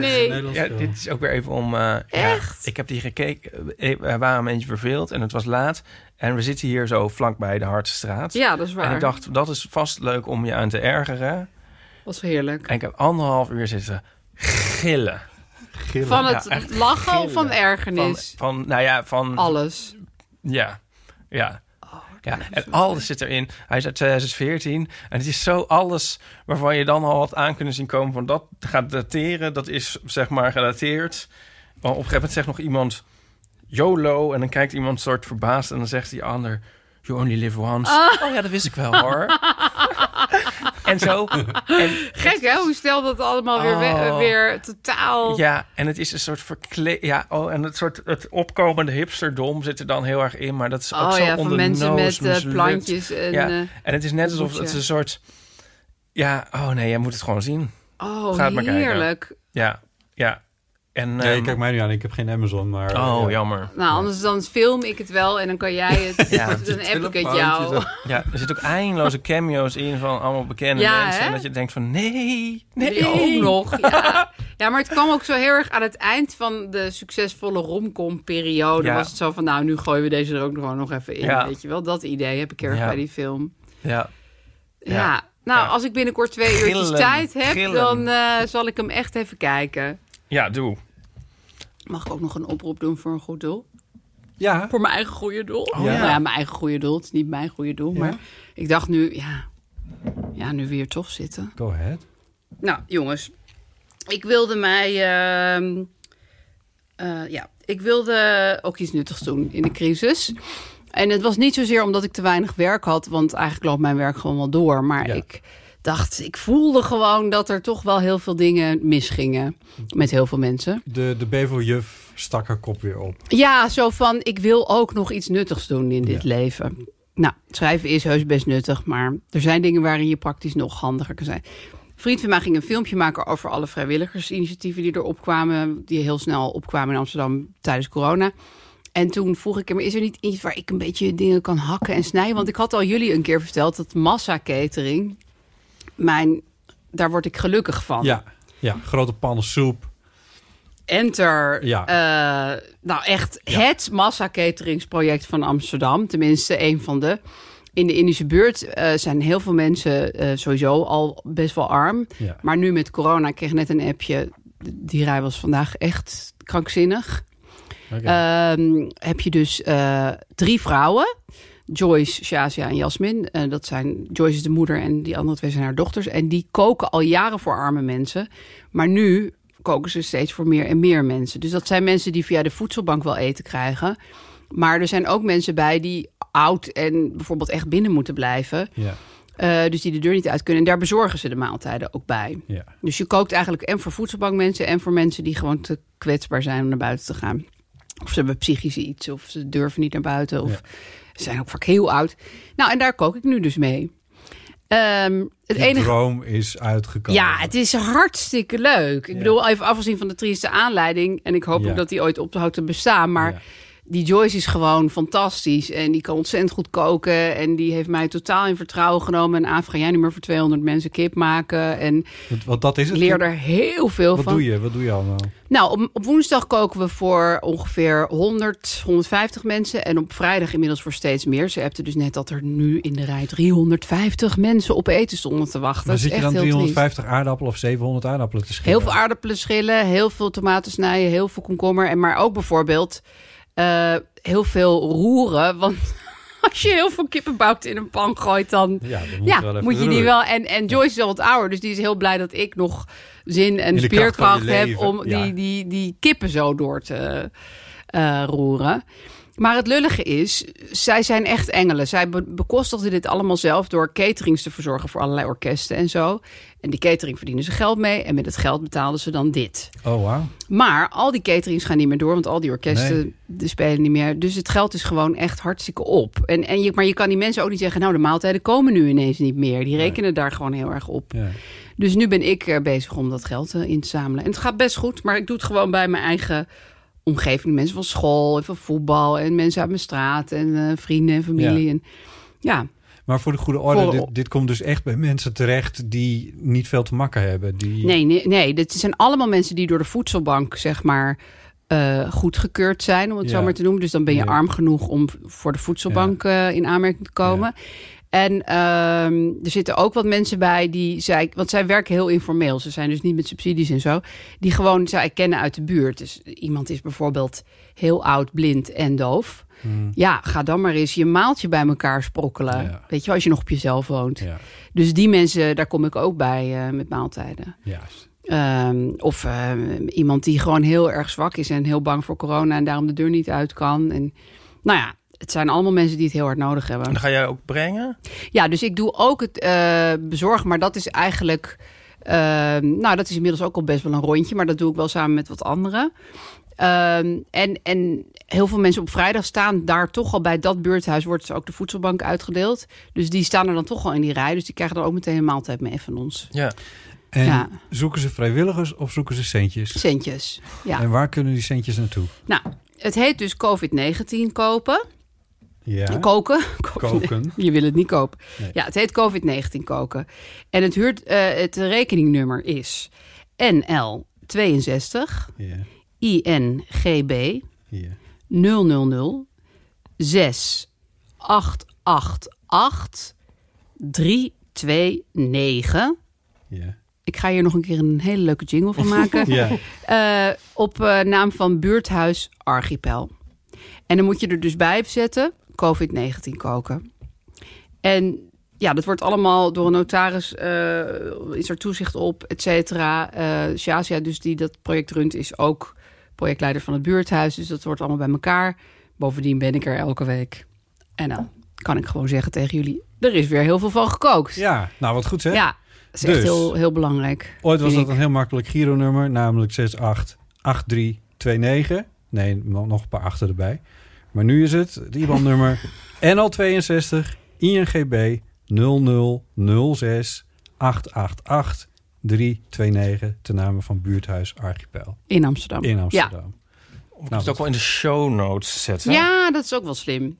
[SPEAKER 4] Nee.
[SPEAKER 2] Nederlands
[SPEAKER 5] Ja, dit is ook weer even om... eh,
[SPEAKER 4] Echt?
[SPEAKER 5] Ja, ik heb die gekeken. Eh, We waren een beetje verveeld en het was laat. En we zitten hier zo vlakbij de Hartenstraat.
[SPEAKER 4] Ja, dat is waar.
[SPEAKER 5] En ik dacht, dat is vast leuk om je aan te ergeren.
[SPEAKER 4] was heerlijk.
[SPEAKER 5] En ik heb anderhalf uur zitten gillen.
[SPEAKER 2] Gillen.
[SPEAKER 4] Van
[SPEAKER 5] Ja,
[SPEAKER 4] het
[SPEAKER 5] echt
[SPEAKER 4] lachen of
[SPEAKER 5] gillen.
[SPEAKER 4] van
[SPEAKER 5] Van,
[SPEAKER 4] ergernis?
[SPEAKER 5] van nou ja, van...
[SPEAKER 4] Alles.
[SPEAKER 5] Ja, ja. ja, en alles zit erin. Hij is uit 2014. En het is zo alles waarvan je dan al wat aan kunnen zien komen... van dat gaat dateren, dat is zeg maar gedateerd. Maar op een gegeven moment zegt nog iemand YOLO... en dan kijkt iemand soort verbaasd en dan zegt die ander... You only live once. Oh, ja, dat wist ik wel hoor. en zo. En
[SPEAKER 4] Gek, hè? Hoe snel dat allemaal weer, we-
[SPEAKER 5] Oh.
[SPEAKER 4] weer totaal...
[SPEAKER 5] Ja, en het is een soort verkleed. Ja, oh, en het soort het opkomende hipsterdom zit er dan heel erg in, maar dat is ook
[SPEAKER 4] Oh
[SPEAKER 5] zo
[SPEAKER 4] ja, van
[SPEAKER 5] onder
[SPEAKER 4] mensen
[SPEAKER 5] de
[SPEAKER 4] met
[SPEAKER 5] neus
[SPEAKER 4] eh,
[SPEAKER 5] mislukt.
[SPEAKER 4] plantjes en...
[SPEAKER 5] Ja,
[SPEAKER 4] eh,
[SPEAKER 5] en het is net alsof
[SPEAKER 4] hoedje.
[SPEAKER 5] het een soort Ja, oh nee, jij moet het gewoon zien.
[SPEAKER 4] Oh,
[SPEAKER 5] Ga het maar kijken.
[SPEAKER 4] heerlijk.
[SPEAKER 5] Ja, ja. En,
[SPEAKER 2] Nee,
[SPEAKER 5] ehm,
[SPEAKER 2] kijk mij nu aan. Ik heb geen Amazon, maar...
[SPEAKER 5] Oh,
[SPEAKER 2] eh,
[SPEAKER 5] jammer.
[SPEAKER 4] Nou, anders dan film ik het wel en dan kan jij het.
[SPEAKER 5] Ja.
[SPEAKER 4] dan app ik het
[SPEAKER 9] Telefoontjes
[SPEAKER 4] jou.
[SPEAKER 9] en-
[SPEAKER 5] Ja, er zitten ook eindeloze cameo's in van allemaal bekende
[SPEAKER 4] Ja,
[SPEAKER 5] mensen.
[SPEAKER 4] hè?
[SPEAKER 5] En dat je denkt van, nee, nee.
[SPEAKER 4] Die Ook nog. Ja. ja, maar het kwam ook zo heel erg aan het eind van de succesvolle romcom-periode.
[SPEAKER 5] Ja.
[SPEAKER 4] Was het zo van, nou, nu gooien we deze er ook gewoon nog even in.
[SPEAKER 5] Ja.
[SPEAKER 4] Weet je wel, dat idee heb ik heel erg
[SPEAKER 5] Ja.
[SPEAKER 4] bij die film.
[SPEAKER 5] Ja,
[SPEAKER 4] Ja.
[SPEAKER 5] Ja.
[SPEAKER 4] Nou,
[SPEAKER 5] Ja.
[SPEAKER 4] als ik binnenkort twee uurtjes
[SPEAKER 5] Gillen,
[SPEAKER 4] tijd heb,
[SPEAKER 5] gillen.
[SPEAKER 4] dan eh, zal ik hem echt even kijken.
[SPEAKER 5] ja doe.
[SPEAKER 4] Mag ik ook nog een oproep doen voor een goed doel?
[SPEAKER 2] Ja,
[SPEAKER 4] Voor mijn eigen goede doel.
[SPEAKER 5] Oh,
[SPEAKER 4] ja.
[SPEAKER 5] ja.
[SPEAKER 4] ja, mijn eigen goede doel. Het is niet mijn goede doel. Maar ik dacht nu, ja, ja, nu weer toch zitten.
[SPEAKER 2] go ahead.
[SPEAKER 4] Nou, jongens. Ik wilde mij... ehm, eh, ja, ik wilde ook iets nuttigs doen in de crisis. En het was niet zozeer omdat ik te weinig werk had. Want eigenlijk loopt mijn werk gewoon wel door. Maar
[SPEAKER 2] Ja.
[SPEAKER 4] ik dacht, ik voelde gewoon dat er toch wel heel veel dingen misgingen. Met heel veel mensen.
[SPEAKER 2] De, de Bevo-juf stak haar kop weer op.
[SPEAKER 4] Ja, zo van ik wil ook nog iets nuttigs doen in dit leven. Nou, schrijven is heus best nuttig, maar er zijn dingen waarin je praktisch nog handiger kan zijn. Een vriend van mij ging een filmpje maken over alle vrijwilligersinitiatieven die er opkwamen, die heel snel opkwamen in Amsterdam tijdens corona. En toen vroeg ik hem, is er niet iets waar ik een beetje dingen kan hakken en snijden? Want ik had al jullie een keer verteld dat massa catering, mijn, daar word ik gelukkig van.
[SPEAKER 2] Ja, ja, grote pannen soep.
[SPEAKER 4] Enter.
[SPEAKER 2] Ja.
[SPEAKER 4] eh, nou, echt het massacateringsproject van Amsterdam. Tenminste, een van de. In de Indische buurt eh, zijn heel veel mensen eh, sowieso al best wel arm.
[SPEAKER 2] Ja.
[SPEAKER 4] Maar nu met corona ik kreeg net een appje. Die rij was vandaag echt krankzinnig.
[SPEAKER 2] Oké.
[SPEAKER 4] Ehm, heb je dus eh, drie vrouwen. Joyce, Shazia en Jasmin. Eh, dat zijn, Joyce is de moeder en die andere twee zijn haar dochters. En die koken al jaren voor arme mensen. Maar nu koken ze steeds voor meer en meer mensen. Dus dat zijn mensen die via de voedselbank wel eten krijgen. Maar er zijn ook mensen bij die oud en bijvoorbeeld echt binnen moeten blijven.
[SPEAKER 2] ja,
[SPEAKER 4] Eh, dus die de deur niet uit kunnen. En daar bezorgen ze de maaltijden ook bij.
[SPEAKER 2] ja.
[SPEAKER 4] Dus je kookt eigenlijk en voor voedselbankmensen en voor mensen die gewoon te kwetsbaar zijn om naar buiten te gaan. Of ze hebben psychisch iets, of ze durven niet naar buiten, of
[SPEAKER 2] Ja.
[SPEAKER 4] ze zijn ook vaak heel oud. Nou, en daar kook ik nu dus mee. Ehm, het
[SPEAKER 2] Die
[SPEAKER 4] enige
[SPEAKER 2] droom is uitgekomen.
[SPEAKER 4] ja, het is hartstikke leuk. Ik bedoel, even afgezien van de trieste aanleiding. En ik hoop
[SPEAKER 2] Ja.
[SPEAKER 4] ook dat die ooit ophoudt te bestaan. Maar
[SPEAKER 2] Ja.
[SPEAKER 4] die Joyce is gewoon fantastisch. En die kan ontzettend goed koken. En die heeft mij totaal in vertrouwen genomen. En Aaf, ga jij nu maar voor 200 mensen kip maken? En
[SPEAKER 2] Want, want dat is
[SPEAKER 4] ik
[SPEAKER 2] het.
[SPEAKER 4] leer er heel veel
[SPEAKER 2] Wat
[SPEAKER 4] van.
[SPEAKER 2] doe je? Wat doe je allemaal?
[SPEAKER 4] Nou, op, op woensdag koken we voor ongeveer 100, 150 mensen. En op vrijdag inmiddels voor steeds meer. Ze appte dus net dat er nu in de rij 350 mensen op eten stonden te wachten.
[SPEAKER 2] Maar
[SPEAKER 4] Dat
[SPEAKER 2] zit
[SPEAKER 4] is
[SPEAKER 2] je
[SPEAKER 4] echt
[SPEAKER 2] dan
[SPEAKER 4] heel triest.
[SPEAKER 2] 350 aardappelen of 700 aardappelen te schillen?
[SPEAKER 4] Heel veel aardappelen schillen, heel veel tomaten snijden, heel veel komkommer. En maar ook bijvoorbeeld eh, heel veel roeren. Want als je heel veel kippen bouwt in een pan gooit, dan
[SPEAKER 2] Ja, dat moet,
[SPEAKER 4] ja,
[SPEAKER 2] wel
[SPEAKER 4] moet,
[SPEAKER 2] even
[SPEAKER 4] je die
[SPEAKER 2] runnen.
[SPEAKER 4] wel. En, en Joyce is al wat ouder, dus die is heel blij dat ik nog zin en
[SPEAKER 2] In de kracht van je
[SPEAKER 4] spierkracht heb
[SPEAKER 2] leven,
[SPEAKER 4] om
[SPEAKER 2] ja.
[SPEAKER 4] die, die, die kippen zo door te eh, roeren. Maar het lullige is, zij zijn echt engelen. Zij be- bekostigden dit allemaal zelf door caterings te verzorgen voor allerlei orkesten en zo. En die catering verdienen ze geld mee en met het geld betaalden ze dan dit.
[SPEAKER 2] Oh, wauw.
[SPEAKER 4] Maar al die caterings gaan niet meer door, want al die orkesten
[SPEAKER 2] Nee.
[SPEAKER 4] die spelen niet meer. Dus het geld is gewoon echt hartstikke op. En, en je, maar je kan die mensen ook niet zeggen, nou de maaltijden komen nu ineens niet meer. Die rekenen daar gewoon heel erg op.
[SPEAKER 2] Ja.
[SPEAKER 4] Dus nu ben ik eh, bezig om dat geld eh, in te zamelen. En het gaat best goed, maar ik doe het gewoon bij mijn eigen omgeving. Mensen van school en van voetbal en mensen uit mijn straat en eh, vrienden en familie.
[SPEAKER 2] Ja.
[SPEAKER 4] En, ja,
[SPEAKER 2] Maar voor de goede orde,
[SPEAKER 4] Voor-
[SPEAKER 2] dit, dit komt dus echt bij mensen terecht die niet veel te makken hebben. Die...
[SPEAKER 4] Nee, nee, nee, dit zijn allemaal mensen die door de voedselbank, zeg maar, eh, goedgekeurd zijn, om het
[SPEAKER 2] Ja.
[SPEAKER 4] zo maar te noemen. Dus dan ben je
[SPEAKER 2] Ja.
[SPEAKER 4] arm genoeg om v- voor de voedselbank eh, in aanmerking te komen. En ehm, er zitten ook wat mensen bij die zij, want zij werken heel informeel. Ze zijn dus niet met subsidies en zo. Die gewoon zij kennen uit de buurt. Dus iemand is bijvoorbeeld heel oud, blind en doof.
[SPEAKER 2] Hmm.
[SPEAKER 4] Ja, ga dan maar eens je maaltje bij elkaar sprokkelen.
[SPEAKER 2] Ja.
[SPEAKER 4] Weet je, wel, als je nog op jezelf woont.
[SPEAKER 2] Ja,
[SPEAKER 4] Dus die mensen, daar kom ik ook bij eh, met maaltijden.
[SPEAKER 2] juist.
[SPEAKER 4] Ehm, of ehm, iemand die gewoon heel erg zwak is en heel bang voor corona en daarom de deur niet uit kan. En, nou ja, het zijn allemaal mensen die het heel hard nodig
[SPEAKER 5] En
[SPEAKER 4] hebben.
[SPEAKER 5] dan ga jij ook brengen?
[SPEAKER 4] Ja, dus ik doe ook het eh, bezorgen, maar dat is eigenlijk. ehm, nou, dat is inmiddels ook al best wel een rondje, maar dat doe ik wel samen met wat anderen. Eh, Ehm, en, en heel veel mensen op vrijdag staan daar toch al bij dat buurthuis. Wordt dus ook de voedselbank uitgedeeld. Dus die staan er dan toch al in die rij. Dus die krijgen dan ook meteen een maaltijd mee van ons.
[SPEAKER 5] Ja.
[SPEAKER 2] En
[SPEAKER 4] Ja.
[SPEAKER 2] zoeken ze vrijwilligers of zoeken ze centjes?
[SPEAKER 4] Centjes. Ja.
[SPEAKER 2] En waar kunnen die centjes naartoe?
[SPEAKER 4] Nou, het heet dus COVID-19 kopen.
[SPEAKER 2] Ja,
[SPEAKER 4] Koken. Koken.
[SPEAKER 2] koken.
[SPEAKER 4] Je wil het niet kopen.
[SPEAKER 2] Nee.
[SPEAKER 4] Ja, het heet COVID-19 koken. En het, huurt, eh, het rekeningnummer is NL62
[SPEAKER 2] Ja,
[SPEAKER 4] INGB
[SPEAKER 2] ja.
[SPEAKER 4] 000 6 888 329.
[SPEAKER 2] ja.
[SPEAKER 4] Ik ga hier nog een keer een hele leuke jingle van maken.
[SPEAKER 2] ja.
[SPEAKER 4] Eh, op eh, naam van buurthuis Archipel. En dan moet je er dus bij zetten, COVID-19 koken. En ja, dat wordt allemaal door een notaris, eh, is er toezicht op, et cetera. Eh Shazia dus die dat project runt, is ook projectleider van het buurthuis. Dus dat wordt allemaal bij elkaar. Bovendien ben ik er elke week. En dan kan ik gewoon zeggen tegen jullie, er is weer heel veel van gekookt.
[SPEAKER 2] ja, nou wat goed hè?
[SPEAKER 4] Ja, dat is echt
[SPEAKER 2] Dus.
[SPEAKER 4] heel, heel belangrijk.
[SPEAKER 2] Ooit was
[SPEAKER 4] vind
[SPEAKER 2] dat
[SPEAKER 4] ik.
[SPEAKER 2] een heel makkelijk Giro-nummer, namelijk 688329. Nee, no- nog een paar achter erbij. Maar nu is het het IBAN-nummer NL62 INGB 0006 888 329 ten name van Buurthuis Archipel
[SPEAKER 4] In Amsterdam.
[SPEAKER 2] in
[SPEAKER 4] Ja,
[SPEAKER 2] Amsterdam.
[SPEAKER 5] Of ik
[SPEAKER 2] Nou,
[SPEAKER 5] het ook wel in de show notes zetten.
[SPEAKER 4] Ja, dat is ook wel slim.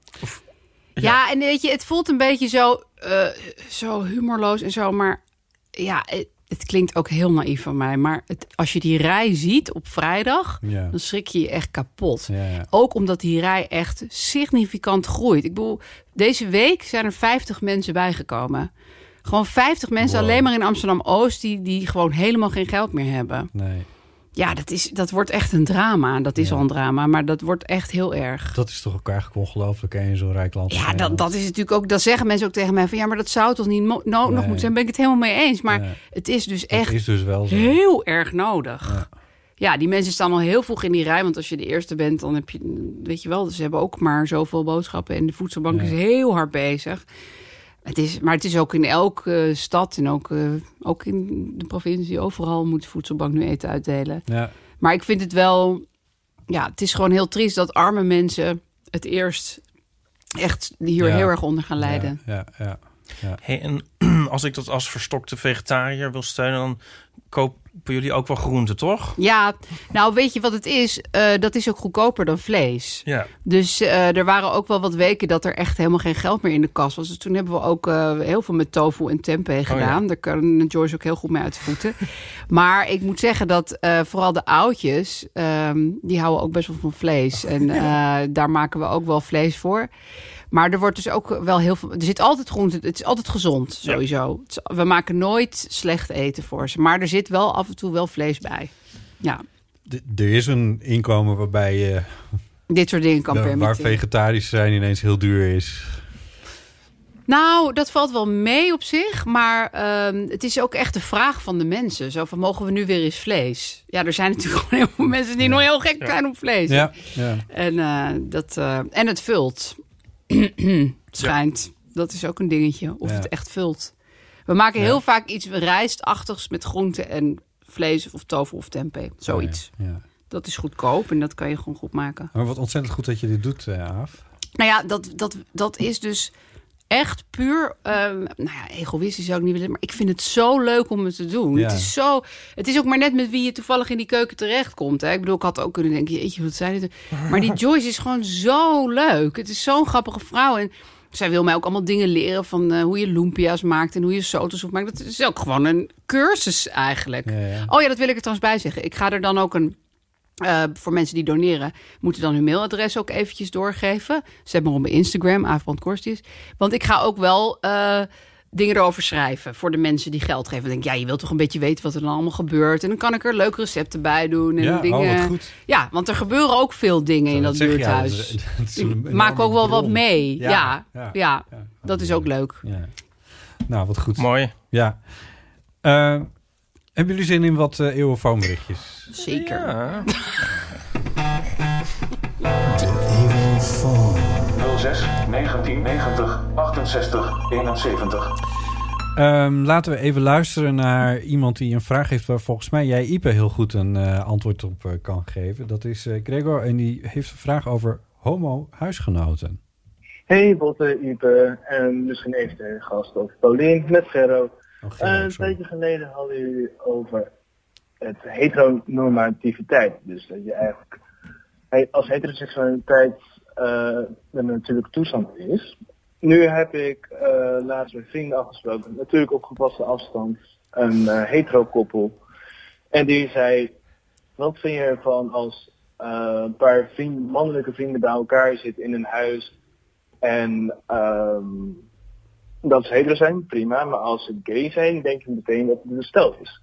[SPEAKER 4] ja. en weet je, het voelt een beetje zo, eh, zo humorloos en zo, maar ja, het, het klinkt ook heel naïef van mij. Maar het, als je die rij ziet op vrijdag,
[SPEAKER 2] Ja.
[SPEAKER 4] dan schrik je je echt kapot.
[SPEAKER 2] Ja, ja.
[SPEAKER 4] Ook omdat die rij echt significant groeit. Ik bedoel, deze week zijn er 50 mensen bijgekomen. Gewoon 50 mensen
[SPEAKER 2] Wow.
[SPEAKER 4] alleen maar in Amsterdam-Oost... Die, die gewoon helemaal geen geld meer hebben.
[SPEAKER 2] Nee,
[SPEAKER 4] Ja, dat, is, dat wordt echt een drama. Dat is
[SPEAKER 2] Ja.
[SPEAKER 4] al een drama, maar dat wordt echt heel erg.
[SPEAKER 2] dat is toch ook eigenlijk ongelooflijk hè, in zo'n rijk land. als
[SPEAKER 4] Ja, dat,
[SPEAKER 2] Nederland.
[SPEAKER 4] dat is natuurlijk ook. Dat zeggen mensen ook tegen mij van ja, maar dat zou toch niet mo- no-
[SPEAKER 2] Nee.
[SPEAKER 4] nog moeten zijn. Ben ik het helemaal mee eens. Maar
[SPEAKER 2] Ja,
[SPEAKER 4] het is dus
[SPEAKER 2] dat
[SPEAKER 4] echt
[SPEAKER 2] is dus wel zo.
[SPEAKER 4] heel erg nodig. Ja. die mensen staan al heel vroeg in die rij. Want als je de eerste bent, dan heb je, weet je wel, dus ze hebben ook maar zoveel boodschappen. En de voedselbank
[SPEAKER 2] Ja.
[SPEAKER 4] is heel hard bezig. Het is, maar het is ook in elke eh, stad en ook, eh, ook in de provincie, overal moet de voedselbank nu eten uitdelen.
[SPEAKER 2] Ja,
[SPEAKER 4] Maar ik vind het wel, ja, het is gewoon heel triest dat arme mensen het eerst echt hier
[SPEAKER 2] Ja.
[SPEAKER 4] heel erg onder gaan lijden.
[SPEAKER 2] Ja, ja, ja.
[SPEAKER 5] Hey, en als ik dat als verstokte vegetariër wil steunen, dan kopen jullie ook wel groenten, toch?
[SPEAKER 4] Ja, nou weet je wat het is? Eh, dat is ook goedkoper dan vlees.
[SPEAKER 5] Ja.
[SPEAKER 4] Dus eh, er waren ook wel wat weken dat er echt helemaal geen geld meer in de kas was. Dus toen hebben we ook eh, heel veel met tofu en tempeh gedaan. Daar kan Joyce ook heel goed mee uit de voeten. maar ik moet zeggen dat eh, vooral de oudjes, ehm, die houden ook best wel van vlees. En eh, daar maken we ook wel vlees voor. Maar er wordt dus ook wel heel veel. Er zit altijd groente. Het is altijd gezond,
[SPEAKER 5] Ja.
[SPEAKER 4] sowieso. Het is- We maken nooit slecht eten voor ze. Maar er zit wel af en toe wel vlees bij. Ja,
[SPEAKER 2] D- er is een inkomen waarbij je
[SPEAKER 4] dit soort dingen kan
[SPEAKER 2] Waar- Waar
[SPEAKER 4] permitteren.
[SPEAKER 2] vegetarisch zijn ineens heel duur is.
[SPEAKER 4] Nou, dat valt wel mee op zich. Maar ehm, het is ook echt de vraag van de mensen. Zo van, mogen we nu weer eens vlees? Ja, er zijn natuurlijk gewoon heel veel mensen die nog heel gek zijn op vlees.
[SPEAKER 2] Ja, ja.
[SPEAKER 4] En, eh, dat, eh, en het vult. Schijnt. Dat is ook een dingetje. Of
[SPEAKER 2] Ja.
[SPEAKER 4] het echt vult. We maken heel vaak iets rijstachtigs met groenten en vlees of tofu of tempeh. Zoiets.
[SPEAKER 2] Ja, ja.
[SPEAKER 4] Dat is goedkoop en dat kan je gewoon goed maken.
[SPEAKER 2] Maar wat ontzettend goed dat je dit doet, eh, Aaf.
[SPEAKER 4] Nou ja, dat, dat, dat is dus echt puur, ehm, nou ja, egoïstisch zou ik niet willen, maar ik vind het zo leuk om het te doen.
[SPEAKER 2] Ja.
[SPEAKER 4] Het is zo, het is ook maar net met wie je toevallig in die keuken terechtkomt. Hè? Ik bedoel, ik had ook kunnen denken, jeetje, wat zijn dit? Maar die Joyce is gewoon zo leuk. Het is zo'n grappige vrouw en zij wil mij ook allemaal dingen leren van eh, hoe je lumpia's maakt en hoe je sotosoep maakt. Dat is ook gewoon een cursus eigenlijk.
[SPEAKER 2] Ja, ja.
[SPEAKER 4] Oh ja, dat wil ik er trouwens bij zeggen. Ik ga er dan ook een. eh, voor mensen die doneren, moeten dan hun mailadres ook eventjes doorgeven. Zet maar op mijn Instagram, Aafbrand Korstius. Want ik ga ook wel eh, dingen erover schrijven voor de mensen die geld geven. Ik denk, ja, je wilt toch een beetje weten wat er dan allemaal gebeurt. En dan kan ik er leuke recepten bij doen. En
[SPEAKER 2] ja,
[SPEAKER 4] dingen.
[SPEAKER 2] oh, wat goed.
[SPEAKER 4] Ja, want er gebeuren ook veel dingen in dat
[SPEAKER 2] zeg je, ja,
[SPEAKER 4] buurthuis.
[SPEAKER 2] dat is- dat is een
[SPEAKER 4] ik
[SPEAKER 2] enorme
[SPEAKER 4] maak ook wel wat
[SPEAKER 2] bron.
[SPEAKER 4] mee.
[SPEAKER 2] Ja,
[SPEAKER 4] Ja,
[SPEAKER 2] ja,
[SPEAKER 4] ja, dat is ook leuk.
[SPEAKER 2] Ja. Nou, wat goed.
[SPEAKER 5] Mooi.
[SPEAKER 2] Ja. Eh, hebben jullie zin in wat eh eeuwenfoonberichtjes?
[SPEAKER 4] Zeker.
[SPEAKER 5] Ja.
[SPEAKER 9] 06 1990 68 71.
[SPEAKER 2] Ehm, laten we even luisteren naar iemand die een vraag heeft waar volgens mij jij, Ipe, heel goed een eh, antwoord op eh, kan geven. Dat is eh, Gregor en die heeft een vraag over homo-huisgenoten.
[SPEAKER 9] Hey Botte, Ipe en misschien even de gast of Paulien met Gerro.
[SPEAKER 2] Oh,
[SPEAKER 9] Eh,
[SPEAKER 2] Gerard,
[SPEAKER 9] een
[SPEAKER 2] sorry.
[SPEAKER 9] tijdje geleden hadden jullie over het heteronormativiteit. Dus dat je eigenlijk he- als heteroseksualiteit eh, een natuurlijke toestand is. Nu heb ik eh, laatst met vrienden afgesproken, natuurlijk op gepaste afstand, een eh hetero-koppel. En die zei, wat vind je ervan als eh, een paar vriend, mannelijke vrienden bij elkaar zitten in een huis en ehm, dat ze hetero zijn, prima. Maar als ze gay zijn, denk je meteen dat het een stel is.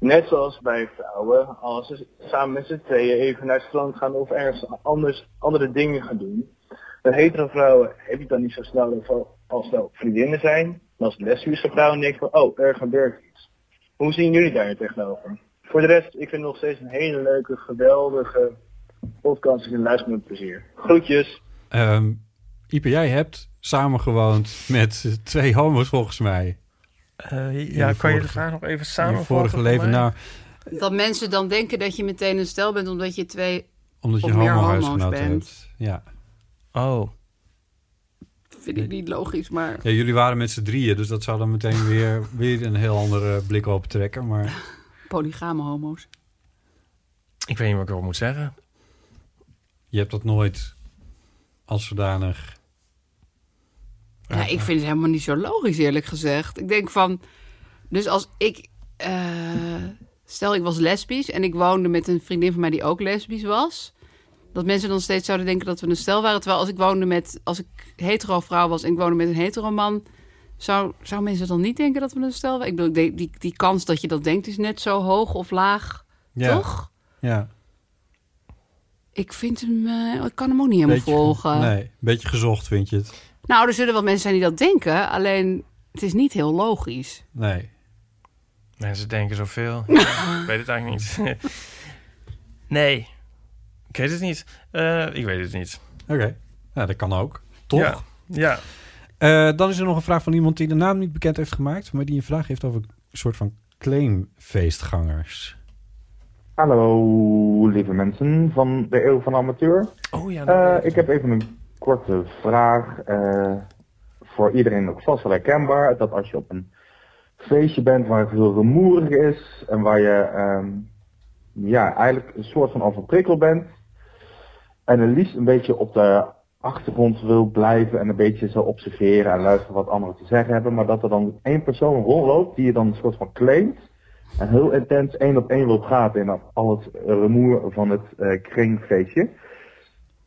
[SPEAKER 9] Net zoals bij vrouwen, als ze samen met z'n tweeën even naar het strand gaan of ergens anders andere dingen gaan doen. Bij hetero vrouwen heb je dan niet zo snel over als wel vriendinnen zijn. Maar als lesbische vrouwen denk je van, oh, er gebeurt iets. Hoe zien jullie daar tegenover? Voor de rest, ik vind het nog steeds een hele leuke, geweldige podcast. Ik luister met plezier. Groetjes!
[SPEAKER 2] Ehm Ipe, jij hebt samengewoond met eh, twee homo's volgens mij.
[SPEAKER 5] Eh,
[SPEAKER 2] je
[SPEAKER 5] ja, kan je
[SPEAKER 2] vorige-
[SPEAKER 5] de vraag nog even
[SPEAKER 2] In
[SPEAKER 5] samenvatten?
[SPEAKER 2] je vorige leven.
[SPEAKER 5] voor mij?
[SPEAKER 2] Nou,
[SPEAKER 4] Dat mensen dan denken dat je meteen een stel bent omdat je twee...
[SPEAKER 2] omdat je
[SPEAKER 4] Of meer homo's
[SPEAKER 2] homo-huisgenoten
[SPEAKER 4] bent.
[SPEAKER 2] hebt. Ja.
[SPEAKER 5] Oh,
[SPEAKER 4] Vind ik niet logisch, maar...
[SPEAKER 2] ja, jullie waren met z'n drieën, dus dat zou dan meteen weer, weer een heel andere blik op trekken. Maar
[SPEAKER 4] Polygame homo's.
[SPEAKER 5] ik weet niet wat ik erop moet zeggen.
[SPEAKER 2] je hebt dat nooit als zodanig.
[SPEAKER 4] Ja, ik vind het helemaal niet zo logisch, eerlijk gezegd. Ik denk van... Dus als ik... eh, stel, ik was lesbisch en ik woonde met een vriendin van mij die ook lesbisch was. Dat mensen dan steeds zouden denken dat we een stel waren. Terwijl als ik woonde met... Als ik hetero vrouw was en ik woonde met een hetero man... Zou, zou mensen dan niet denken dat we een stel waren? Ik bedoel, die, die, die kans dat je dat denkt is net zo hoog of laag,
[SPEAKER 2] Ja.
[SPEAKER 4] toch?
[SPEAKER 2] Ja.
[SPEAKER 4] Ik vind hem... eh, ik kan hem ook niet helemaal
[SPEAKER 2] Beetje-
[SPEAKER 4] volgen.
[SPEAKER 2] Nee, een beetje gezocht vind je het.
[SPEAKER 4] Nou, er zullen wel mensen zijn die dat denken. Alleen, het is niet heel logisch.
[SPEAKER 2] Nee.
[SPEAKER 5] Mensen denken zoveel. Ja, ik weet het eigenlijk niet. nee, ik weet het niet. Eh, ik weet het niet.
[SPEAKER 2] Oké, nou, dat kan ook. Toch?
[SPEAKER 5] Ja. ja.
[SPEAKER 2] Eh, dan is er nog een vraag van iemand die de naam niet bekend heeft gemaakt, maar die een vraag heeft over een soort van claimfeestgangers.
[SPEAKER 10] Hallo, lieve mensen van de Eeuw van de Amateur.
[SPEAKER 5] Oh ja, dat-
[SPEAKER 10] Eh, ik heb even een korte vraag. eh, voor iedereen ook vast wel herkenbaar. Dat als je op een feestje bent waar veel rumoerig is en waar je ehm, ja, eigenlijk een soort van overprikkel bent. En het liefst een beetje op de achtergrond wil blijven en een beetje zo observeren en luisteren wat anderen te zeggen hebben. Maar dat er dan één persoon rondloopt die je dan een soort van claimt. En heel intens één op één wil praten in al het rumoer van het eh, kringfeestje.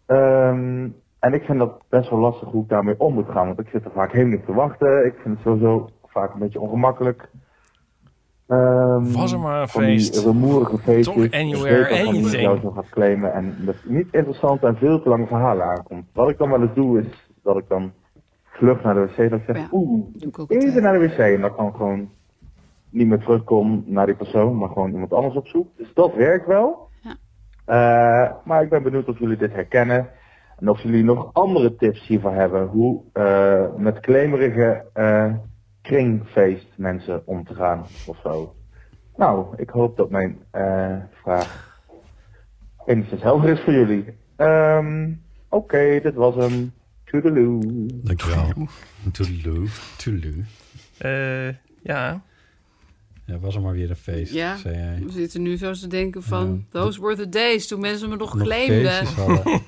[SPEAKER 10] Ehm, en ik vind dat best wel lastig hoe ik daarmee om moet gaan, want ik zit er vaak helemaal niet op te wachten. Ik vind het sowieso vaak een beetje ongemakkelijk. Ehm,
[SPEAKER 5] Was er maar een
[SPEAKER 10] van die
[SPEAKER 5] feest.
[SPEAKER 10] rumoerige feestjes.
[SPEAKER 5] Toch
[SPEAKER 10] Ik weet
[SPEAKER 5] anywhere,
[SPEAKER 10] dat van iemand
[SPEAKER 5] anything.
[SPEAKER 10] jou zo gaat claimen en dat het niet interessant en veel te lange verhalen aankomt. Wat ik dan wel eens doe is dat ik dan vlug naar de wc dat ik zeg,
[SPEAKER 4] Ja,
[SPEAKER 10] oeh,
[SPEAKER 4] Doe ik ook
[SPEAKER 10] even
[SPEAKER 4] altijd.
[SPEAKER 10] naar de wc en dan kan gewoon niet meer terugkom naar die persoon, maar gewoon iemand anders op zoek. Dus dat werkt wel.
[SPEAKER 4] Ja.
[SPEAKER 10] Eh, maar ik ben benieuwd of jullie dit herkennen en of jullie nog andere tips hiervoor hebben hoe eh, met klemerige eh kringfeest mensen om te gaan of zo. Nou, ik hoop dat mijn eh, vraag enigszins helder is voor jullie. Ehm, Oké, dit was hem. Toedeloe.
[SPEAKER 2] Dankjewel. Toedeloe. Toedeloe.
[SPEAKER 5] Eh, ja.
[SPEAKER 2] Ja, was er maar weer een feest,
[SPEAKER 4] Ja.
[SPEAKER 2] zei jij.
[SPEAKER 4] We zitten nu zo te denken van...
[SPEAKER 2] Ja.
[SPEAKER 4] Those were the days, toen mensen me nog
[SPEAKER 2] Nog
[SPEAKER 4] claimden.
[SPEAKER 2] feestjes hadden.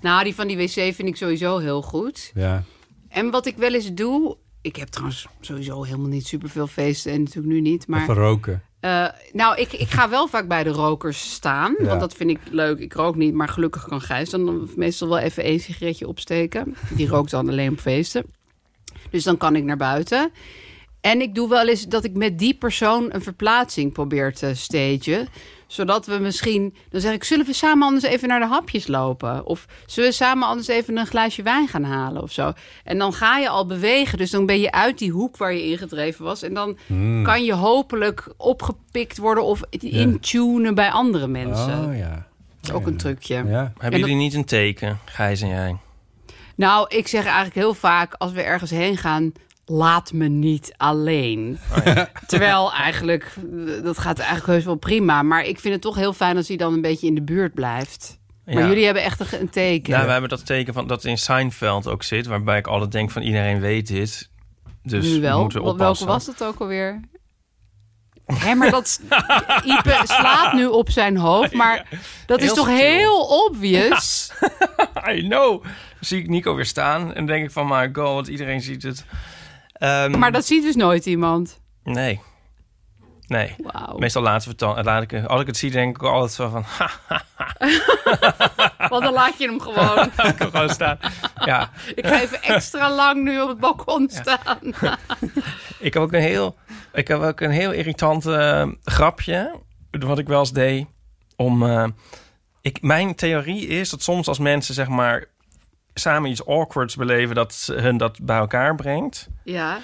[SPEAKER 4] Nou, die van die wc vind ik sowieso heel goed.
[SPEAKER 2] ja.
[SPEAKER 4] En wat ik wel eens doe... Ik heb trouwens sowieso helemaal niet superveel feesten. En natuurlijk nu niet, maar...
[SPEAKER 2] Even roken.
[SPEAKER 4] Eh, nou, ik, ik ga wel vaak bij de rokers staan.
[SPEAKER 2] Ja.
[SPEAKER 4] Want dat vind ik leuk. Ik rook niet, maar gelukkig kan Gijs dan meestal wel even één sigaretje opsteken. Die rookt dan alleen op feesten. Dus dan kan ik naar buiten. En ik doe wel eens dat ik met die persoon een verplaatsing probeer te stagen. Zodat we misschien... Dan zeg ik, zullen we samen anders even naar de hapjes lopen? Of zullen we samen anders even een glaasje wijn gaan halen of zo? En dan ga je al bewegen. Dus dan ben je uit die hoek waar je ingedreven was. En dan
[SPEAKER 2] Hmm.
[SPEAKER 4] kan je hopelijk opgepikt worden of intunen bij andere mensen.
[SPEAKER 2] Oh ja.
[SPEAKER 4] Dat is ook een trucje.
[SPEAKER 2] Ja.
[SPEAKER 5] Hebben
[SPEAKER 4] dat-
[SPEAKER 5] jullie niet een teken, Gijs en jij?
[SPEAKER 4] Nou, ik zeg eigenlijk heel vaak als we ergens heen gaan... laat me niet alleen.
[SPEAKER 2] Oh,
[SPEAKER 4] Terwijl eigenlijk, eh, dat gaat eigenlijk heus wel prima. Maar ik vind het toch heel fijn als hij dan een beetje in de buurt blijft. Maar
[SPEAKER 5] Ja.
[SPEAKER 4] jullie hebben echt een, een teken.
[SPEAKER 5] Nou, we hebben dat teken van dat in Seinfeld ook zit, waarbij ik altijd denk van iedereen weet dit. Dus
[SPEAKER 4] nu wel.
[SPEAKER 5] we moeten
[SPEAKER 4] Wel-
[SPEAKER 5] oppassen.
[SPEAKER 4] Welke was het ook alweer? Hé, maar dat s- Ipe slaat nu op zijn hoofd, maar dat is
[SPEAKER 5] Heel
[SPEAKER 4] toch
[SPEAKER 5] subtiel.
[SPEAKER 4] heel obvious?
[SPEAKER 5] I know. Dan Zie ik Nico weer staan en denk ik van my god, want iedereen ziet het. Ehm,
[SPEAKER 4] Maar dat ziet dus nooit iemand.
[SPEAKER 5] Nee. Nee.
[SPEAKER 4] Wauw.
[SPEAKER 5] Meestal laten we het dan. Laat ik, als ik het zie, denk ik altijd zo van. Ha,
[SPEAKER 4] Want dan laat je hem gewoon.
[SPEAKER 5] laat ik hem gewoon staan. Ja.
[SPEAKER 4] Ik ga even extra lang nu op het balkon staan.
[SPEAKER 5] Ik heb ook een heel, ik heb ook een heel irritant eh, grapje. Wat ik wel eens deed. Om, eh, ik, mijn theorie is dat soms als mensen zeg maar samen iets awkwards beleven, dat ze- hun dat bij elkaar brengt.
[SPEAKER 4] Ja.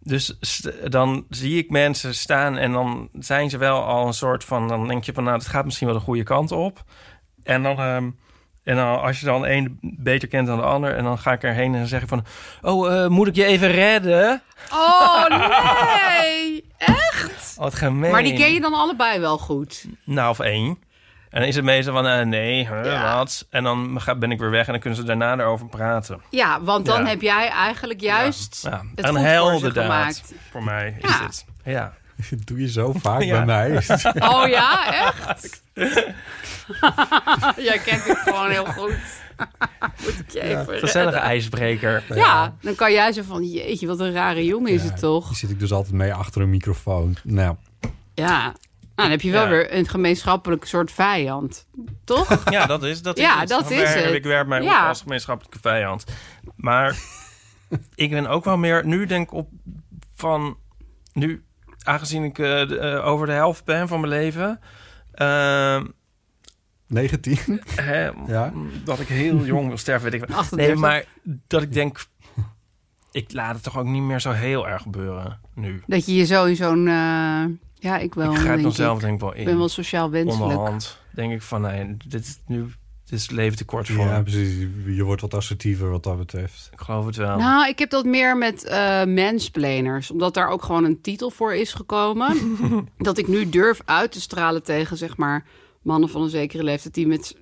[SPEAKER 5] Dus st- dan zie ik mensen staan en dan zijn ze wel al een soort van... Dan denk je van, nou, het gaat misschien wel de goede kant op. En dan, ehm, en dan als je dan een beter kent dan de ander... en dan ga ik erheen en zeg ik van... Oh, eh, moet ik je even redden?
[SPEAKER 4] Oh nee! Echt?
[SPEAKER 5] Wat gemeen.
[SPEAKER 4] Maar die ken je dan allebei wel goed.
[SPEAKER 5] Nou, of één. En dan is het meestal van, eh, nee, huh, wat? En dan ga- ben ik weer weg en dan kunnen ze daarna erover praten.
[SPEAKER 4] Ja, want dan
[SPEAKER 5] Ja.
[SPEAKER 4] heb jij eigenlijk juist
[SPEAKER 5] Ja,
[SPEAKER 4] het
[SPEAKER 5] een
[SPEAKER 4] goed voor ze
[SPEAKER 5] heldendaad
[SPEAKER 4] gemaakt.
[SPEAKER 5] voor mij is
[SPEAKER 4] Ja.
[SPEAKER 5] het. Ja.
[SPEAKER 2] Dat doe je zo vaak
[SPEAKER 5] Ja.
[SPEAKER 2] bij mij.
[SPEAKER 4] Oh ja, echt? Jij kent het gewoon heel goed. Moet ik je even
[SPEAKER 5] Gezellige
[SPEAKER 4] redden.
[SPEAKER 5] ijsbreker.
[SPEAKER 4] Ja, dan kan jij zo van, jeetje, wat een rare jongen is het
[SPEAKER 2] Daar
[SPEAKER 4] toch?
[SPEAKER 2] zit ik dus altijd mee achter een microfoon. Nou,
[SPEAKER 4] Ja. Nou, dan heb je wel
[SPEAKER 5] Ja.
[SPEAKER 4] weer een gemeenschappelijk soort vijand. Toch?
[SPEAKER 5] Ja, dat is, dat is
[SPEAKER 4] Ja,
[SPEAKER 5] het. Ik
[SPEAKER 4] dat is
[SPEAKER 5] werp-
[SPEAKER 4] het.
[SPEAKER 5] Ik werp mij
[SPEAKER 4] Ja.
[SPEAKER 5] op als gemeenschappelijke vijand. Maar ik ben ook wel meer... Nu denk ik op van... Nu, aangezien ik eh, de- eh, over de helft ben van mijn leven... eh,
[SPEAKER 2] 19.
[SPEAKER 5] hè,
[SPEAKER 2] Ja.
[SPEAKER 5] Dat ik heel jong wil sterven, weet ik wel.
[SPEAKER 4] 38.
[SPEAKER 5] Nee, maar dat ik denk... Ik laat het toch ook niet meer zo heel erg gebeuren nu.
[SPEAKER 4] Dat je je zo in zo'n... eh, ja, ik wel,
[SPEAKER 5] ik ga het
[SPEAKER 4] denk
[SPEAKER 5] dan
[SPEAKER 4] ik.
[SPEAKER 5] zelf denk ik wel
[SPEAKER 4] Ik
[SPEAKER 5] in.
[SPEAKER 4] ben wel sociaal wenselijk.
[SPEAKER 5] Onderhand denk ik van... Nee, dit is nu... Dit is leven te kort voor.
[SPEAKER 2] Ja, precies. Je wordt wat assertiever wat dat betreft.
[SPEAKER 5] Ik geloof het wel.
[SPEAKER 4] Nou, ik heb dat meer met eh mansplainers. Omdat daar ook gewoon een titel voor is gekomen. dat ik nu durf uit te stralen tegen, zeg maar, mannen van een zekere leeftijd... die met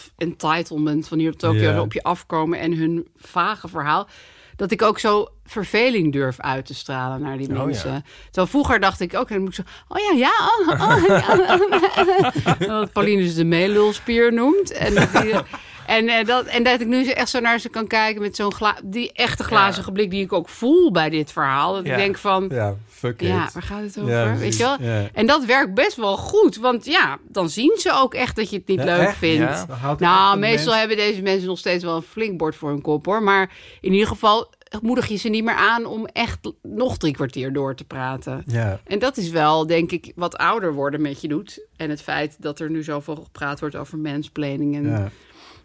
[SPEAKER 4] zelf-entitlement van hier op Tokio
[SPEAKER 2] Ja.
[SPEAKER 4] op je afkomen... en hun vage verhaal... dat ik ook zo verveling durf uit te stralen naar die
[SPEAKER 5] Oh, ja.
[SPEAKER 4] mensen. Terwijl vroeger dacht ik ook, en dan moet ik zo... oh ja, ja, oh, oh, ja. Wat Pauline dus de meelulspier noemt. En dat, die- en, eh, dat, en dat ik nu echt zo naar ze kan kijken met zo'n gla- die echte glazige blik die ik ook voel bij dit verhaal. Dat ik
[SPEAKER 5] Ja.
[SPEAKER 4] denk van, ja,
[SPEAKER 2] Ja, fuck it.
[SPEAKER 4] waar gaat het over?
[SPEAKER 2] Ja,
[SPEAKER 4] Weet
[SPEAKER 2] precies.
[SPEAKER 4] je wel?
[SPEAKER 2] Ja.
[SPEAKER 4] En dat werkt best wel goed, want ja, dan zien ze ook echt dat je het niet
[SPEAKER 2] Ja,
[SPEAKER 4] leuk
[SPEAKER 2] echt?
[SPEAKER 4] vindt.
[SPEAKER 5] Ja.
[SPEAKER 2] Dan houdt het echt
[SPEAKER 4] Nou,
[SPEAKER 2] een
[SPEAKER 4] meestal
[SPEAKER 2] mens-
[SPEAKER 4] hebben deze mensen nog steeds wel een flink bord voor hun kop hoor. Maar in ieder geval moedig je ze niet meer aan om echt nog drie kwartier door te praten.
[SPEAKER 2] Ja,
[SPEAKER 4] En dat is wel, denk ik, wat ouder worden met je doet. En het feit dat er nu zoveel gepraat wordt over mansplaining en
[SPEAKER 2] ja.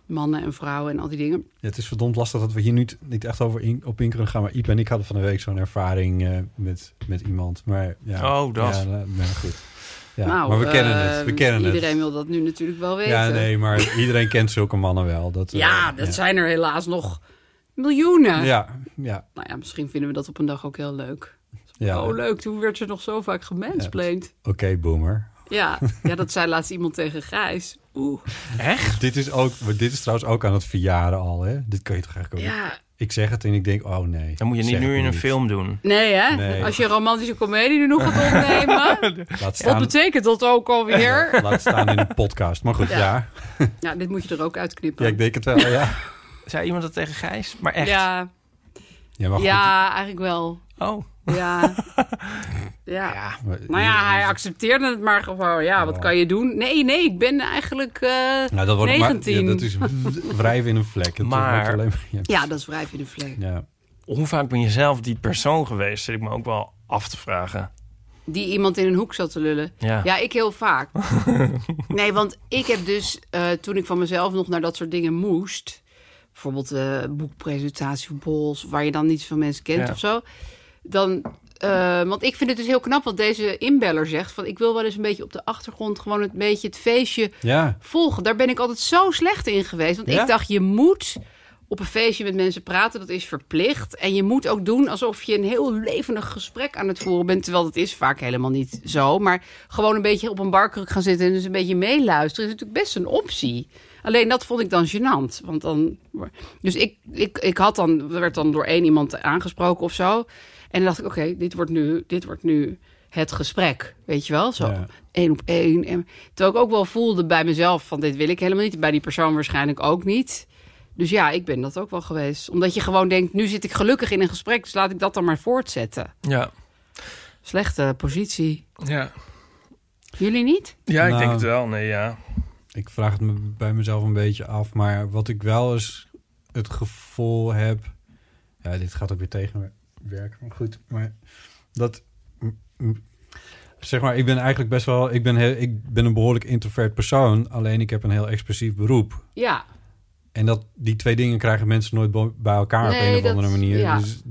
[SPEAKER 4] mannen en vrouwen en al die dingen.
[SPEAKER 2] Ja, het is verdomd lastig dat we hier niet, niet echt over in, op in kunnen gaan. Maar Iep en ik hadden van de week zo'n ervaring eh, met, met iemand. Maar, ja,
[SPEAKER 5] Oh, dat.
[SPEAKER 2] Ja, nou, nou, goed. Ja,
[SPEAKER 4] nou,
[SPEAKER 2] maar we
[SPEAKER 4] eh,
[SPEAKER 2] kennen het. We kennen
[SPEAKER 4] iedereen
[SPEAKER 2] het.
[SPEAKER 4] wil dat nu natuurlijk wel weten.
[SPEAKER 2] Ja, nee, maar iedereen kent zulke mannen wel. Dat, eh,
[SPEAKER 4] Ja, dat zijn er helaas nog miljoenen.
[SPEAKER 2] Ja, ja,
[SPEAKER 4] Nou ja, misschien vinden we dat op een dag ook heel leuk.
[SPEAKER 2] ja.
[SPEAKER 4] Oh,
[SPEAKER 2] Oké,
[SPEAKER 4] leuk. Toen werd ze nog zo vaak gemansplained.
[SPEAKER 2] boomer.
[SPEAKER 4] Ja. ja, dat zei laatst iemand tegen Gijs. Oeh.
[SPEAKER 2] Dit is, ook, maar dit is trouwens ook aan het verjaren al, hè? Dit kun je toch eigenlijk ook...
[SPEAKER 4] Ja,
[SPEAKER 2] Ik zeg het en ik denk, oh nee.
[SPEAKER 5] Dan moet je niet
[SPEAKER 2] zeg
[SPEAKER 5] nu
[SPEAKER 2] het
[SPEAKER 5] in een film doen.
[SPEAKER 4] nee hè?
[SPEAKER 2] Nee.
[SPEAKER 4] Als je een romantische komedie nu nog gaat opnemen,
[SPEAKER 2] Laat
[SPEAKER 4] wat
[SPEAKER 2] staan,
[SPEAKER 4] betekent dat ook alweer?
[SPEAKER 2] laat staan in een podcast. Maar goed,
[SPEAKER 4] Ja.
[SPEAKER 2] ja. Ja,
[SPEAKER 4] Ja, dit moet je er ook uitknippen.
[SPEAKER 2] ik denk het wel, ja.
[SPEAKER 5] Zei iemand dat tegen Gijs? Maar echt?
[SPEAKER 4] Ja,
[SPEAKER 2] Ja, maar goed.
[SPEAKER 4] ja eigenlijk wel.
[SPEAKER 5] Oh.
[SPEAKER 4] Ja. ja.
[SPEAKER 2] Maar-
[SPEAKER 4] Nou ja, hij accepteerde het maar gewoon. Ja, wat kan je doen? Nee, nee, ik ben eigenlijk eh,
[SPEAKER 2] Oh. Nou, dat wordt
[SPEAKER 4] 19.
[SPEAKER 2] Maar, ja, dat is w- wrijven in een vlek. Het
[SPEAKER 5] Maar-
[SPEAKER 2] wordt alleen maar- ja.
[SPEAKER 4] Ja, dat is wrijf in de vlees.
[SPEAKER 2] Ja.
[SPEAKER 5] Hoe vaak ben je zelf die persoon geweest? Zit ik me ook wel af te vragen.
[SPEAKER 4] Die iemand in een hoek zat te lullen.
[SPEAKER 5] Ja.
[SPEAKER 4] Ja, ik heel vaak. nee, want ik heb dus, eh, toen ik van mezelf nog naar dat soort dingen moest... bijvoorbeeld eh boekpresentatie of bols, waar je dan niet zoveel mensen kent
[SPEAKER 5] Ja.
[SPEAKER 4] of zo... dan, eh, want ik vind het dus heel knap wat deze inbeller zegt... van ik wil wel eens een beetje op de achtergrond gewoon een beetje het feestje
[SPEAKER 2] ja,
[SPEAKER 4] volgen. Daar ben ik altijd zo slecht in geweest. Want
[SPEAKER 2] Ja?
[SPEAKER 4] ik dacht, je moet op een feestje met mensen praten, dat is verplicht. En je moet ook doen alsof je een heel levendig gesprek aan het voeren bent. Terwijl dat is vaak helemaal niet zo. Maar gewoon een beetje op een barkruk gaan zitten en dus een beetje meeluisteren is natuurlijk best een optie. Alleen dat vond ik dan gênant. Want dan, dus ik, ik, ik had dan, werd dan door één iemand aangesproken of zo. En dan dacht ik, oké, dit wordt nu, dit wordt nu het gesprek. Weet je wel? Zo
[SPEAKER 2] Ja.
[SPEAKER 4] één op één. En, terwijl ik ook wel voelde bij mezelf van dit wil ik helemaal niet. Bij die persoon waarschijnlijk ook niet. Dus ja, ik ben dat ook wel geweest. Omdat je gewoon denkt, nu zit ik gelukkig in een gesprek, dus laat ik dat dan maar voortzetten.
[SPEAKER 5] Ja.
[SPEAKER 4] Slechte positie.
[SPEAKER 5] Ja.
[SPEAKER 4] Jullie niet?
[SPEAKER 5] Ja, ik
[SPEAKER 2] Nou.
[SPEAKER 5] denk het wel. Nee, ja.
[SPEAKER 2] Ik vraag het me bij mezelf een beetje af. Maar wat ik wel eens het gevoel heb. Ja, dit gaat ook weer tegenwerken. Maar goed, maar dat. m- m- Zeg maar, ik ben eigenlijk best wel. Ik ben, heel, ik ben een behoorlijk introvert persoon. Alleen ik heb een heel expressief beroep.
[SPEAKER 4] Ja.
[SPEAKER 2] En dat, die twee dingen krijgen mensen nooit bo- bij elkaar op
[SPEAKER 4] Nee,
[SPEAKER 2] een of
[SPEAKER 4] dat-
[SPEAKER 2] andere manier.
[SPEAKER 4] ja.
[SPEAKER 2] Dus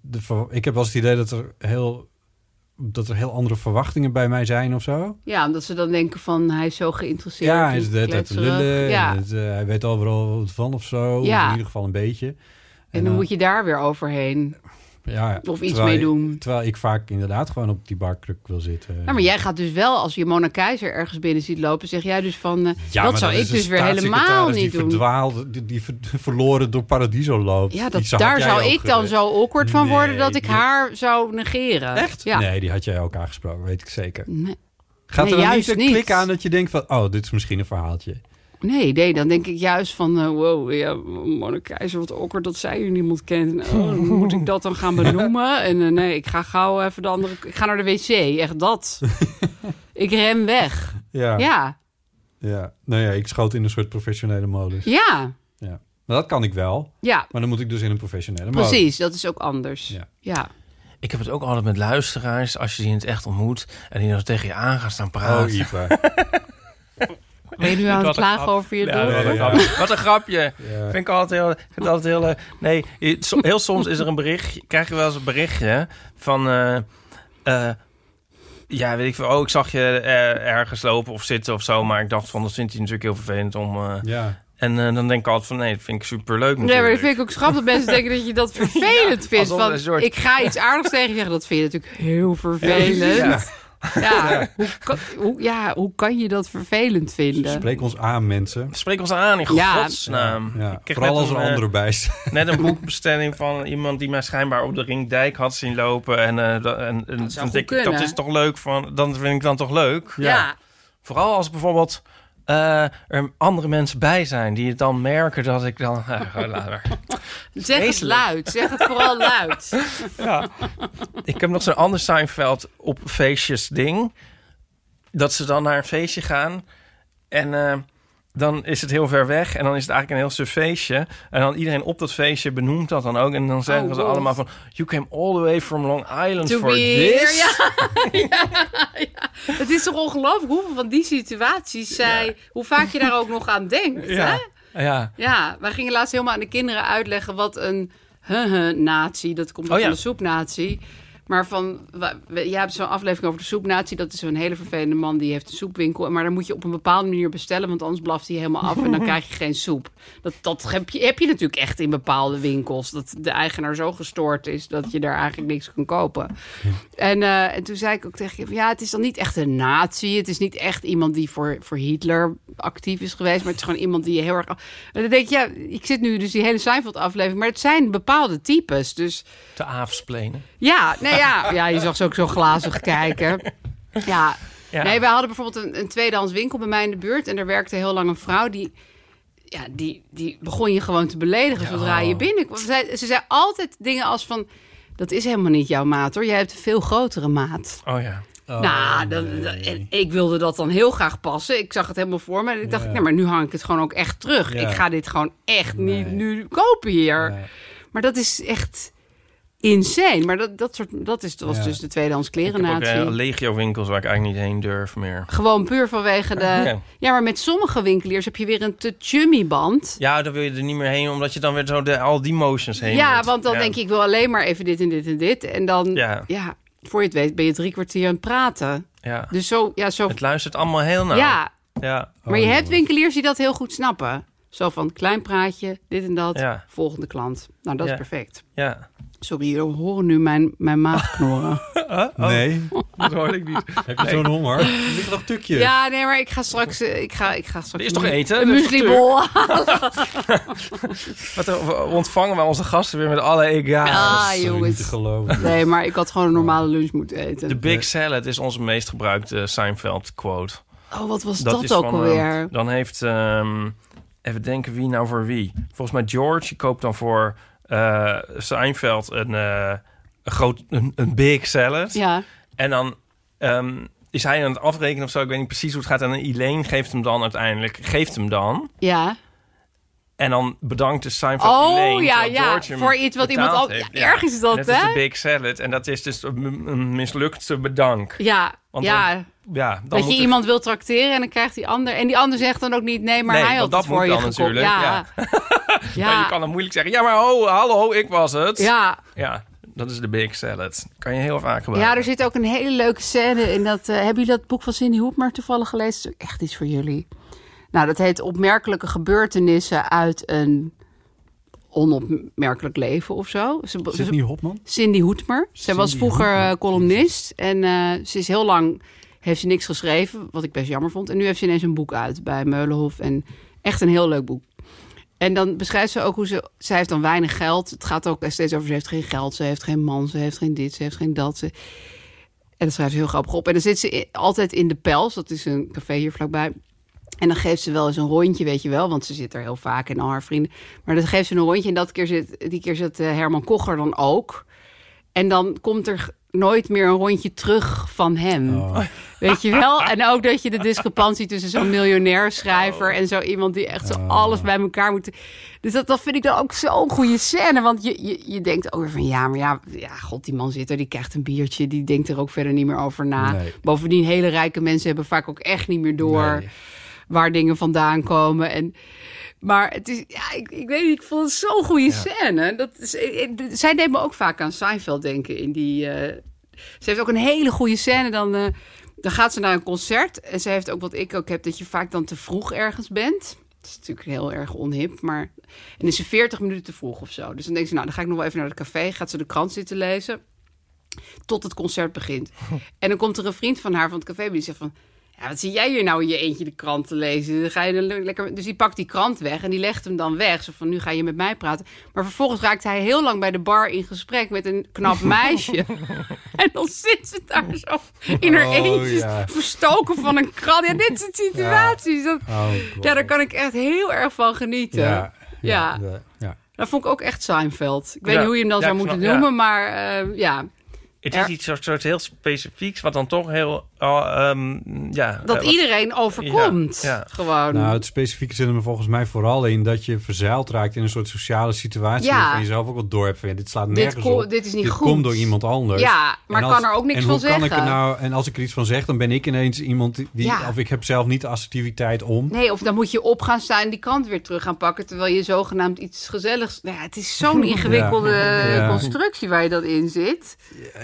[SPEAKER 2] de ver- ik heb wel eens het idee dat er heel. Dat er heel andere verwachtingen bij mij zijn of zo.
[SPEAKER 4] Ja, omdat ze dan denken van hij is zo geïnteresseerd.
[SPEAKER 2] Ja,
[SPEAKER 4] en
[SPEAKER 2] hij is de hele tijd te
[SPEAKER 4] kletserig.
[SPEAKER 2] lullen.
[SPEAKER 4] Ja.
[SPEAKER 2] En het, eh, hij weet overal wat van of zo.
[SPEAKER 4] Ja.
[SPEAKER 2] Of in ieder geval een beetje. En,
[SPEAKER 4] En dan moet je daar weer overheen.
[SPEAKER 2] ja,
[SPEAKER 4] of iets
[SPEAKER 2] terwijl-
[SPEAKER 4] mee doen.
[SPEAKER 2] Terwijl ik vaak inderdaad gewoon op die barkruk wil zitten.
[SPEAKER 4] Nou, maar jij gaat dus wel, als je Mona Keizer ergens binnen ziet lopen, zeg jij dus van, eh,
[SPEAKER 2] Ja,
[SPEAKER 4] dat
[SPEAKER 2] maar
[SPEAKER 4] zou
[SPEAKER 2] dan
[SPEAKER 4] ik
[SPEAKER 2] is een
[SPEAKER 4] dus weer helemaal
[SPEAKER 2] staatssecretaris
[SPEAKER 4] niet
[SPEAKER 2] die
[SPEAKER 4] doen.
[SPEAKER 2] Verdwaald, die, die ver- verloren door Paradiso loopt.
[SPEAKER 4] Ja,
[SPEAKER 2] Die
[SPEAKER 4] dat,
[SPEAKER 2] zag
[SPEAKER 4] daar
[SPEAKER 2] jij
[SPEAKER 4] zou
[SPEAKER 2] ook,
[SPEAKER 4] ik dan
[SPEAKER 2] eh,
[SPEAKER 4] zo awkward van worden
[SPEAKER 2] Nee,
[SPEAKER 4] dat ik
[SPEAKER 2] die-
[SPEAKER 4] haar zou negeren. Echt? Ja.
[SPEAKER 2] Nee, die had jij ook aangesproken, weet ik zeker.
[SPEAKER 4] Nee.
[SPEAKER 2] Gaat
[SPEAKER 4] Nee,
[SPEAKER 2] er dan
[SPEAKER 4] juist
[SPEAKER 2] niet een
[SPEAKER 4] niet.
[SPEAKER 2] klik aan dat je denkt van... oh, dit is misschien een verhaaltje.
[SPEAKER 4] Nee, nee, dan denk ik juist van, eh, wow, ja, Mona Keizer, wat awkward dat zij hier niemand kent. En, oh, moet ik dat dan gaan benoemen? En eh, nee, ik ga gauw even de andere, ik ga naar de wc, echt dat. ik rem weg.
[SPEAKER 2] Ja.
[SPEAKER 4] Ja,
[SPEAKER 2] ja. Nou ja, ik schoot in een soort professionele modus.
[SPEAKER 4] ja,
[SPEAKER 2] Ja. Maar Nou, dat kan ik wel.
[SPEAKER 4] ja,
[SPEAKER 2] Maar dan moet ik dus in een professionele modus.
[SPEAKER 4] precies, dat is ook anders.
[SPEAKER 2] Ja.
[SPEAKER 4] ja.
[SPEAKER 3] Ik heb het ook altijd met luisteraars, als je die in het echt ontmoet... en die dan tegen je aan gaan staan praten.
[SPEAKER 2] Oh, Ipa.
[SPEAKER 4] Ben je nu aan het
[SPEAKER 5] Wat een
[SPEAKER 4] klagen
[SPEAKER 5] grap.
[SPEAKER 4] over je
[SPEAKER 5] Ja,
[SPEAKER 4] dood?
[SPEAKER 5] wat, een
[SPEAKER 2] Ja.
[SPEAKER 5] grapje. wat een grapje.
[SPEAKER 2] Ja.
[SPEAKER 5] Vind ik altijd heel... Vind ik altijd heel eh, nee, je- so- heel soms is er een bericht... Krijg je wel eens een berichtje van... eh, eh, ja, weet ik veel. Oh, ik zag je eh, ergens lopen of zitten of zo. Maar ik dacht van, dat vindt hij natuurlijk heel vervelend om... eh,
[SPEAKER 2] Ja.
[SPEAKER 5] en eh, dan denk ik altijd van, nee, dat vind ik superleuk natuurlijk.
[SPEAKER 4] Nee, maar dat vind ik ook grappig dat mensen denken dat je dat vervelend vindt.
[SPEAKER 5] alsof
[SPEAKER 4] Van,
[SPEAKER 5] een soort-
[SPEAKER 4] Ik ga iets aardigs tegen je zeggen, dat vind je natuurlijk heel vervelend. Ja, Hoe, kan, hoe- ja hoe kan je dat vervelend vinden?
[SPEAKER 2] Spreek ons aan, mensen.
[SPEAKER 5] Spreek ons aan in
[SPEAKER 4] Ja.
[SPEAKER 5] godsnaam.
[SPEAKER 2] Ja.
[SPEAKER 5] Ehm, Ik kreeg
[SPEAKER 2] Vooral
[SPEAKER 5] net
[SPEAKER 2] als er
[SPEAKER 5] een, eh,
[SPEAKER 2] anderen bij zijn.
[SPEAKER 5] Net een boekbestelling van iemand die mij schijnbaar op de Ringdijk had zien lopen. En, eh, da- en, en
[SPEAKER 4] zou
[SPEAKER 5] toen
[SPEAKER 4] goed
[SPEAKER 5] denk ik, dat
[SPEAKER 4] kunnen.
[SPEAKER 5] is toch leuk van. Dan vind ik dan toch leuk.
[SPEAKER 4] Ja.
[SPEAKER 5] Vooral als bijvoorbeeld eh, er andere mensen bij zijn die het dan merken dat ik dan. eh, ga later.
[SPEAKER 4] zeg het
[SPEAKER 5] Vreselijk.
[SPEAKER 4] luid. Zeg het vooral luid.
[SPEAKER 5] ik heb nog zo'n ander Seinfeld op feestjes ding. Dat ze dan naar een feestje gaan. En eh, dan is het heel ver weg. En dan is het eigenlijk een heel suf feestje. En dan iedereen op dat feestje benoemt dat dan ook. En dan zeggen
[SPEAKER 4] Oh,
[SPEAKER 5] ze
[SPEAKER 4] wow.
[SPEAKER 5] allemaal van... You came all the way from Long Island
[SPEAKER 4] To
[SPEAKER 5] for
[SPEAKER 4] be
[SPEAKER 5] this.
[SPEAKER 4] here, ja. ja, ja. Het is toch ongelooflijk hoeveel van die situaties zij... Hoe vaak je daar ook nog aan denkt, hè?
[SPEAKER 5] Ja.
[SPEAKER 4] Ja, wij gingen laatst helemaal aan de kinderen uitleggen wat een natie, dat komt
[SPEAKER 5] Oh ja.
[SPEAKER 4] van de soepnatie. Maar van, wa- we- jij hebt zo'n aflevering over de soepnatie. Dat is zo'n hele vervelende man die heeft een soepwinkel. Maar dan moet je op een bepaalde manier bestellen, want anders blaft hij helemaal af en dan krijg je geen soep. Dat, dat heb, je, heb je natuurlijk echt in bepaalde winkels. Dat de eigenaar zo gestoord is dat je daar eigenlijk niks kan kopen. En, eh, en toen zei ik ook tegen je, van, ja, het is dan niet echt een nazi. Het is niet echt iemand die voor, voor Hitler actief is geweest. Maar het is gewoon iemand die heel erg... En dan denk je, ja, ik zit nu dus die hele Seinfeld-aflevering. Maar het zijn bepaalde types. Dus
[SPEAKER 5] Te aafsplenen.
[SPEAKER 4] ja, nee, ja. ja, je zag ze ook zo glazig kijken. Ja.
[SPEAKER 5] Ja.
[SPEAKER 4] Nee, wij hadden bijvoorbeeld een, een tweedehands winkel bij mij in de buurt. En daar werkte heel lang een vrouw die... Ja, die, die begon je gewoon te beledigen zodra je binnenkwam. Ze zei, ze zei altijd dingen als van... Dat is helemaal niet jouw maat hoor. Jij hebt een veel grotere maat.
[SPEAKER 5] Oh ja.
[SPEAKER 4] nou, dat- dat- en ik wilde dat dan heel graag passen. Ik zag het helemaal voor me. En ik dacht, nee, maar nu hang ik het gewoon ook echt terug.
[SPEAKER 2] Ja.
[SPEAKER 4] Ik ga dit gewoon echt niet nu kopen hier.
[SPEAKER 2] Nee.
[SPEAKER 4] Maar dat is echt insane. Maar dat, dat, soort, dat is, was
[SPEAKER 2] Ja.
[SPEAKER 4] dus de tweedehands
[SPEAKER 5] Ik heb ook eh,
[SPEAKER 4] klerennatie.
[SPEAKER 5] legio winkels waar ik eigenlijk niet heen durf meer.
[SPEAKER 4] Gewoon puur vanwege de...
[SPEAKER 5] Ja.
[SPEAKER 4] Ja. maar met sommige winkeliers heb je weer een te chummy band.
[SPEAKER 5] Ja, dan wil je er niet meer heen, omdat je dan weer zo de, al die motions heen
[SPEAKER 4] Ja,
[SPEAKER 5] moet.
[SPEAKER 4] want dan denk je, ik wil alleen maar even dit en dit en dit. En dan,
[SPEAKER 5] Ja.
[SPEAKER 4] ja. voor je het weet ben je drie kwartier aan het praten.
[SPEAKER 5] Ja.
[SPEAKER 4] Dus zo, ja, zo...
[SPEAKER 5] Het luistert allemaal heel nauw.
[SPEAKER 4] ja,
[SPEAKER 5] ja.
[SPEAKER 4] maar je hebt winkeliers die dat heel goed snappen. Zo van klein praatje, dit en dat,
[SPEAKER 5] Ja.
[SPEAKER 4] volgende klant. Nou, dat
[SPEAKER 5] Ja.
[SPEAKER 4] is perfect.
[SPEAKER 5] Ja.
[SPEAKER 4] Sorry, jullie horen nu mijn, mijn maag knorren. oh.
[SPEAKER 2] Nee,
[SPEAKER 5] Dat hoorde ik niet.
[SPEAKER 2] heb je zo'n honger? Er liggen nog tukjes.
[SPEAKER 4] ja, nee, maar ik ga straks... eh, Ik ga, ik ga straks
[SPEAKER 5] Er is toch eten?
[SPEAKER 4] Een
[SPEAKER 5] Er is toch
[SPEAKER 4] mueslibol.
[SPEAKER 5] Wat eh, we ontvangen wij onze gasten weer met alle ega's.
[SPEAKER 4] Ah,
[SPEAKER 2] Sorry, niet te
[SPEAKER 4] jongens.
[SPEAKER 2] geloven.
[SPEAKER 4] Nee, maar ik had gewoon een normale lunch moeten eten.
[SPEAKER 5] Oh. De Big Salad is onze meest gebruikte Seinfeld quote.
[SPEAKER 4] Oh, wat was
[SPEAKER 5] Dat
[SPEAKER 4] dat,
[SPEAKER 5] is
[SPEAKER 4] ook
[SPEAKER 5] van,
[SPEAKER 4] alweer?
[SPEAKER 5] ehm, dan heeft, ehm, even denken wie nou voor wie. Volgens mij George, die koopt dan voor eh Seinfeld een, eh, een groot, een, een big salad.
[SPEAKER 4] ja.
[SPEAKER 5] En dan ehm, is hij aan het afrekenen of zo. Ik weet niet precies hoe het gaat. En Elaine geeft hem dan uiteindelijk, geeft hem dan.
[SPEAKER 4] Ja.
[SPEAKER 5] En dan bedankt de Seinfeld Elaine.
[SPEAKER 4] Oh ja,
[SPEAKER 5] terwijl
[SPEAKER 4] ja.
[SPEAKER 5] George hem
[SPEAKER 4] Voor iets wat iemand
[SPEAKER 5] betaald
[SPEAKER 4] al.
[SPEAKER 5] heeft.
[SPEAKER 4] Ja,
[SPEAKER 5] Ja.
[SPEAKER 4] erg is dat,
[SPEAKER 5] dat is de
[SPEAKER 4] hè?
[SPEAKER 5] big salad. En dat is dus een een mislukte bedank.
[SPEAKER 4] Ja,
[SPEAKER 5] Want
[SPEAKER 4] ja.
[SPEAKER 5] Ja, dan
[SPEAKER 4] dat
[SPEAKER 5] moet
[SPEAKER 4] je
[SPEAKER 5] er-
[SPEAKER 4] iemand wil tracteren en dan krijgt die ander. En die ander zegt dan ook niet: nee, maar
[SPEAKER 5] Nee,
[SPEAKER 4] hij had
[SPEAKER 5] want dat
[SPEAKER 4] het voor
[SPEAKER 5] moet dan
[SPEAKER 4] je gekocht.
[SPEAKER 5] natuurlijk,
[SPEAKER 4] Ja.
[SPEAKER 5] Maar
[SPEAKER 4] Ja.
[SPEAKER 5] je kan dan moeilijk zeggen, ja, maar ho, hallo, ik was het.
[SPEAKER 4] ja.
[SPEAKER 5] Ja, dat is de big salad. Kan je heel vaak gebruiken.
[SPEAKER 4] Ja, dus- er zit ook een hele leuke scène in dat. eh, hebben jullie dat boek van Cindy Hoepmer toevallig gelezen? Het is ook echt iets voor jullie. Nou, dat heet Opmerkelijke gebeurtenissen uit een onopmerkelijk leven of zo. Ze,
[SPEAKER 2] Is
[SPEAKER 4] ze-
[SPEAKER 2] het niet Hopman?
[SPEAKER 4] Cindy Hoetmer. Zij was
[SPEAKER 2] Cindy
[SPEAKER 4] vroeger
[SPEAKER 2] Hoetmer.
[SPEAKER 4] eh, columnist en eh, ze is heel lang heeft ze niks geschreven, wat ik best jammer vond. En nu heeft ze ineens een boek uit bij Meulenhof en echt een heel leuk boek. En dan beschrijft ze ook hoe ze... Zij heeft dan weinig geld. Het gaat ook steeds over ze heeft geen geld, ze heeft geen man, ze heeft geen dit, ze heeft geen dat. Ze, en dat schrijft ze heel grappig op. En dan zit ze i- altijd in de Pels, dat is een café hier vlakbij. En dan geeft ze wel eens een rondje, weet je wel, want ze zit er heel vaak en al haar vrienden. Maar dan geeft ze een rondje en dat keer zit, die keer zit eh, Herman Kocher dan ook. En dan komt er g- nooit meer een rondje terug van hem. Weet je wel? En ook dat je de discrepantie tussen zo'n miljonair schrijver en zo iemand die echt zo alles bij elkaar moet. Dus dat, dat vind ik dan ook zo'n goede scène. Want je, je, je denkt ook weer van ja, maar ja, ja, god, die man zit er, die krijgt een biertje, die denkt er ook verder niet meer over na.
[SPEAKER 2] Nee.
[SPEAKER 4] Bovendien, hele rijke mensen hebben vaak ook echt niet meer door waar dingen vandaan komen. En, maar het is, ja, ik, ik weet niet, ik vond het zo'n goede scène. Dat is, eh, eh, d- zij deed me ook vaak aan Seinfeld denken. In die, eh, ze heeft ook een hele goede scène. Dan, eh, dan gaat ze naar een concert. En ze heeft ook wat ik ook heb, dat je vaak dan te vroeg ergens bent. Dat is natuurlijk heel erg onhip, maar... En dan is ze 40 minuten te vroeg of zo. Dus dan denkt ze, nou, dan ga ik nog wel even naar het café. Gaat ze de krant zitten lezen tot het concert begint. En dan komt er een vriend van haar van het café en die zegt van... Ja, wat zie jij hier nou in je eentje de krant te lezen? Dan ga je dan le- lekker... Dus die pakt die krant weg en die legt hem dan weg. Zo van, nu ga je met mij praten. Maar vervolgens raakt hij heel lang bij de bar in gesprek met een knap meisje. en dan zit ze daar zo in haar
[SPEAKER 2] Oh,
[SPEAKER 4] eentje,
[SPEAKER 2] ja.
[SPEAKER 4] verstoken van een krant. Ja, dit soort situaties. Dus Dat,
[SPEAKER 2] Oh,
[SPEAKER 4] ja, daar kan ik echt heel erg van genieten.
[SPEAKER 2] ja, ja,
[SPEAKER 4] Ja.
[SPEAKER 2] ja, ja.
[SPEAKER 4] Dat vond ik ook echt Seinfeld. Ik weet
[SPEAKER 5] Ja.
[SPEAKER 4] niet hoe je hem dan
[SPEAKER 5] Ja,
[SPEAKER 4] zou
[SPEAKER 5] ik
[SPEAKER 4] moeten
[SPEAKER 5] snap- ja.
[SPEAKER 4] noemen, maar eh, ja...
[SPEAKER 5] Het
[SPEAKER 4] Ja.
[SPEAKER 5] is iets soort, soort heel specifieks, wat dan toch heel... ah, ehm, ja, eh,
[SPEAKER 4] dat
[SPEAKER 5] wat-
[SPEAKER 4] iedereen overkomt.
[SPEAKER 5] Ja, ja.
[SPEAKER 4] Gewoon.
[SPEAKER 2] Nou, het specifieke zit er me volgens mij vooral in dat je verzeild raakt in een soort sociale situatie
[SPEAKER 4] Ja.
[SPEAKER 2] waarvan je zelf ook wat door hebt. van, ja, Dit slaat nergens
[SPEAKER 4] ko-
[SPEAKER 2] op.
[SPEAKER 4] dit is niet
[SPEAKER 2] dit
[SPEAKER 4] goed.
[SPEAKER 2] komt door iemand anders.
[SPEAKER 4] ja, maar
[SPEAKER 2] dus- En
[SPEAKER 4] kan
[SPEAKER 2] als-
[SPEAKER 4] er ook niks
[SPEAKER 2] en
[SPEAKER 4] van
[SPEAKER 2] hoe kan
[SPEAKER 4] zeggen.
[SPEAKER 2] Ik er nou, en als ik er iets van zeg, dan ben ik ineens iemand die...
[SPEAKER 4] Ja.
[SPEAKER 2] Of ik heb zelf niet de assertiviteit om.
[SPEAKER 4] Nee, of dan moet je op gaan staan en die kant weer terug gaan pakken... terwijl je zogenaamd iets gezelligs... Nou ja, het is zo'n ingewikkelde
[SPEAKER 2] Ja.
[SPEAKER 4] constructie waar je dat in zit.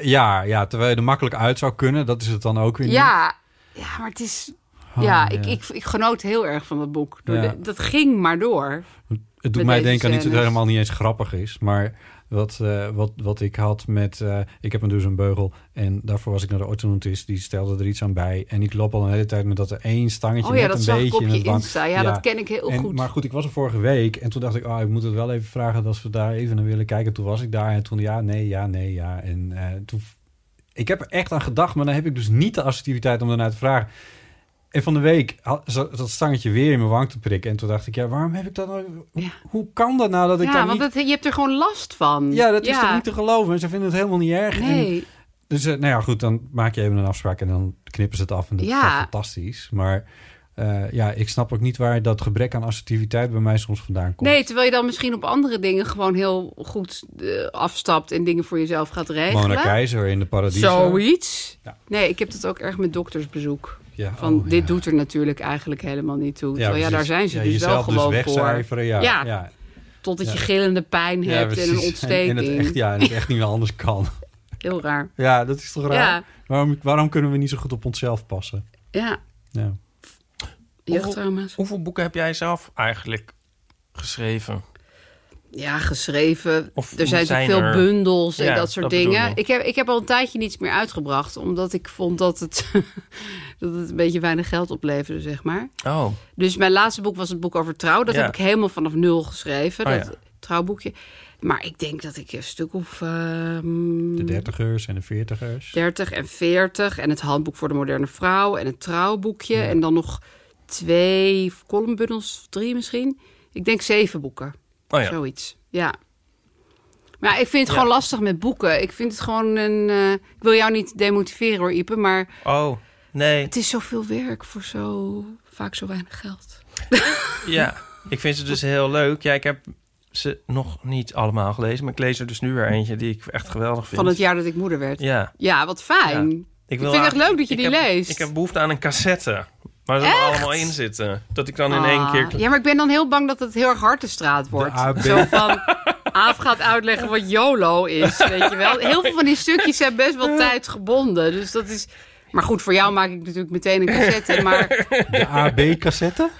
[SPEAKER 2] Ja, ja, terwijl je er makkelijk uit zou kunnen. Dat is het dan ook weer Ah, niet.
[SPEAKER 4] Ja, ja maar het is... ja, ik, Ik, ik genoot heel erg van dat boek. Door
[SPEAKER 2] Oh, Ja.
[SPEAKER 4] de- dat ging maar door.
[SPEAKER 2] Het
[SPEAKER 4] Met
[SPEAKER 2] doet mij
[SPEAKER 4] deze
[SPEAKER 2] denken aan iets dat
[SPEAKER 4] scènes.
[SPEAKER 2] helemaal niet eens grappig is. Maar wat, eh, wat, wat ik had met... eh, ik heb dus een beugel. En daarvoor was ik naar de orthodontist. Die stelde er iets aan bij. En ik loop al een hele tijd met dat er één stangetje...
[SPEAKER 4] Oh ja,
[SPEAKER 2] net
[SPEAKER 4] dat
[SPEAKER 2] een
[SPEAKER 4] zag ik
[SPEAKER 2] beetje
[SPEAKER 4] op
[SPEAKER 2] in
[SPEAKER 4] je
[SPEAKER 2] het wang-
[SPEAKER 4] Insta. Ja, dat ken ik heel
[SPEAKER 2] En-
[SPEAKER 4] goed.
[SPEAKER 2] Maar goed, ik was er vorige week. En toen dacht ik, ah, ik moet het wel even vragen als we daar even naar willen kijken. Toen was ik daar. En toen ja, nee, ja, nee, ja. En eh, toen... Ik heb er echt aan gedacht. Maar dan heb ik dus niet de assertiviteit om daarna te vragen. En van de week had- zat dat stangetje weer in mijn wang te prikken. En toen dacht ik, ja, waarom heb ik dat nou... Hoe,
[SPEAKER 4] Ja.
[SPEAKER 2] hoe kan dat nou dat ik
[SPEAKER 4] ja,
[SPEAKER 2] daar
[SPEAKER 4] want
[SPEAKER 2] niet...
[SPEAKER 4] dat, je hebt er gewoon last van.
[SPEAKER 2] Ja, dat is toch niet te geloven? En ze vinden het helemaal niet erg. En
[SPEAKER 4] Nee,
[SPEAKER 2] dus, eh, nou ja, goed, dan maak je even een afspraak en dan knippen ze het af. En dat
[SPEAKER 4] Ja.
[SPEAKER 2] is toch fantastisch. Maar eh, ja, ik snap ook niet waar dat gebrek aan assertiviteit bij mij soms vandaan komt.
[SPEAKER 4] nee, terwijl je dan misschien op andere dingen gewoon heel goed eh, afstapt en dingen voor jezelf gaat regelen.
[SPEAKER 2] Mona Keizer in de Paradiso.
[SPEAKER 4] Zoiets.
[SPEAKER 2] Ja.
[SPEAKER 4] Nee, ik heb dat ook erg met doktersbezoek.
[SPEAKER 2] Ja,
[SPEAKER 4] Van
[SPEAKER 2] oh,
[SPEAKER 4] dit
[SPEAKER 2] ja.
[SPEAKER 4] doet er natuurlijk eigenlijk helemaal niet toe.
[SPEAKER 2] Ja,
[SPEAKER 4] Terwijl, Ja,
[SPEAKER 2] precies.
[SPEAKER 4] daar zijn ze
[SPEAKER 2] Ja,
[SPEAKER 4] dus wel
[SPEAKER 2] jezelf
[SPEAKER 4] gewoon
[SPEAKER 2] dus
[SPEAKER 4] voor.
[SPEAKER 2] wegcijferen, ja.
[SPEAKER 4] Ja.
[SPEAKER 2] ja.
[SPEAKER 4] Totdat je
[SPEAKER 2] Ja.
[SPEAKER 4] gillende pijn
[SPEAKER 2] Ja,
[SPEAKER 4] hebt en een
[SPEAKER 2] precies.
[SPEAKER 4] ontsteking.
[SPEAKER 2] En, en het echt, ja, en het echt niet meer anders kan.
[SPEAKER 4] Heel raar.
[SPEAKER 2] Ja, dat is toch raar?
[SPEAKER 4] Ja,
[SPEAKER 2] Waarom, waarom kunnen we niet zo goed op onszelf passen?
[SPEAKER 4] ja.
[SPEAKER 2] Ja.
[SPEAKER 4] Jeugdtrauma's.
[SPEAKER 5] Hoeveel boeken heb jij zelf eigenlijk geschreven?
[SPEAKER 4] Ja, geschreven.
[SPEAKER 5] Of
[SPEAKER 4] er zijn,
[SPEAKER 5] zijn
[SPEAKER 4] veel
[SPEAKER 5] er-
[SPEAKER 4] bundels en
[SPEAKER 5] Ja,
[SPEAKER 4] dat soort
[SPEAKER 5] dat bedoel
[SPEAKER 4] dingen.
[SPEAKER 5] ik.
[SPEAKER 4] Ik. heb, ik heb al een tijdje niets meer uitgebracht, omdat ik vond dat het, dat het een beetje weinig geld opleverde, zeg maar.
[SPEAKER 5] Oh,
[SPEAKER 4] Dus mijn laatste boek was het boek over trouw. Dat
[SPEAKER 5] Ja.
[SPEAKER 4] heb ik helemaal vanaf nul geschreven,
[SPEAKER 5] Oh,
[SPEAKER 4] dat
[SPEAKER 5] ja.
[SPEAKER 4] trouwboekje. Maar ik denk dat ik een stuk of ehm,
[SPEAKER 2] De dertigers en de veertigers.
[SPEAKER 4] 30 en 40 en het handboek voor de moderne vrouw en het trouwboekje. En dan nog twee columnbundels, drie misschien. Ik denk zeven boeken.
[SPEAKER 5] oh ja.
[SPEAKER 4] Zoiets, ja. Maar ja, ik vind het
[SPEAKER 5] Ja.
[SPEAKER 4] gewoon lastig met boeken. Ik vind het gewoon een... eh, ik wil jou niet demotiveren hoor, Ipe, maar
[SPEAKER 5] Oh, nee.
[SPEAKER 4] het is zoveel werk voor zo vaak zo weinig geld.
[SPEAKER 5] Ja, ik vind ze dus heel leuk. Ja, ik heb ze nog niet allemaal gelezen, maar ik lees er dus nu weer eentje die ik echt geweldig vind.
[SPEAKER 4] Van het jaar dat ik moeder werd. Ja,
[SPEAKER 5] Ja.
[SPEAKER 4] wat fijn. Ik vind het
[SPEAKER 5] eigenlijk-
[SPEAKER 4] echt leuk dat je
[SPEAKER 5] ik
[SPEAKER 4] die
[SPEAKER 5] heb-
[SPEAKER 4] leest.
[SPEAKER 5] Ik heb behoefte aan een cassette. Waar ze
[SPEAKER 4] Echt?
[SPEAKER 5] allemaal in zitten. Dat ik dan in één
[SPEAKER 4] Ah,
[SPEAKER 5] keer...
[SPEAKER 4] Ja, maar ik ben dan heel bang dat het heel erg hard de straat wordt.
[SPEAKER 2] AB.
[SPEAKER 4] Zo van... Aaf gaat uitleggen wat YOLO is, weet je wel. Heel veel van die stukjes zijn best wel tijdsgebonden. Dus dat is... Maar goed, voor jou maak ik natuurlijk meteen een cassette. Maar
[SPEAKER 2] De AB-cassette?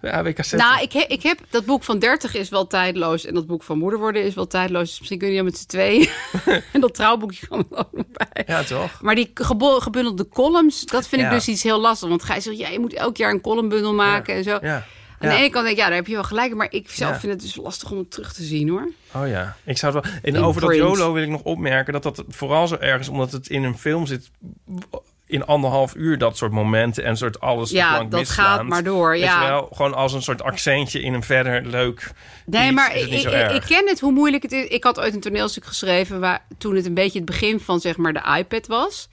[SPEAKER 5] De AB-cassette.
[SPEAKER 4] Nou, ik, he- ik heb dat boek van 30 is wel tijdloos. En dat boek van moeder worden is wel tijdloos. Dus misschien kun je dan met z'n tweeën. en dat trouwboekje kan er ook nog bij.
[SPEAKER 5] Ja, toch?
[SPEAKER 4] Maar die gebo- gebundelde columns, dat vind
[SPEAKER 5] Ja.
[SPEAKER 4] ik dus iets heel lastig. Want Gij zegt, ja, je moet elk jaar een columnbundel maken en zo.
[SPEAKER 5] Ja.
[SPEAKER 4] Aan
[SPEAKER 5] Ja.
[SPEAKER 4] de ene kant denk ik, ja, daar heb je wel gelijk. in, Maar ik zelf
[SPEAKER 5] Ja.
[SPEAKER 4] vind het dus lastig om het terug te zien, hoor.
[SPEAKER 5] Oh ja. Ik zou het wel... En
[SPEAKER 4] In
[SPEAKER 5] over dat
[SPEAKER 4] print.
[SPEAKER 5] YOLO wil ik nog opmerken... dat dat vooral zo erg is omdat het in een film zit... in anderhalf uur dat soort momenten... en soort alles de
[SPEAKER 4] Ja,
[SPEAKER 5] plank
[SPEAKER 4] dat
[SPEAKER 5] mislaand.
[SPEAKER 4] gaat maar door,
[SPEAKER 5] Weet je
[SPEAKER 4] ja.
[SPEAKER 5] wel, gewoon als een soort accentje in een verder leuk...
[SPEAKER 4] Nee,
[SPEAKER 5] iets
[SPEAKER 4] maar
[SPEAKER 5] is het
[SPEAKER 4] ik,
[SPEAKER 5] niet
[SPEAKER 4] ik,
[SPEAKER 5] zo erg.
[SPEAKER 4] ik ken het hoe moeilijk het is. Ik had ooit een toneelstuk geschreven waar toen het een beetje het begin van zeg maar de iPad was.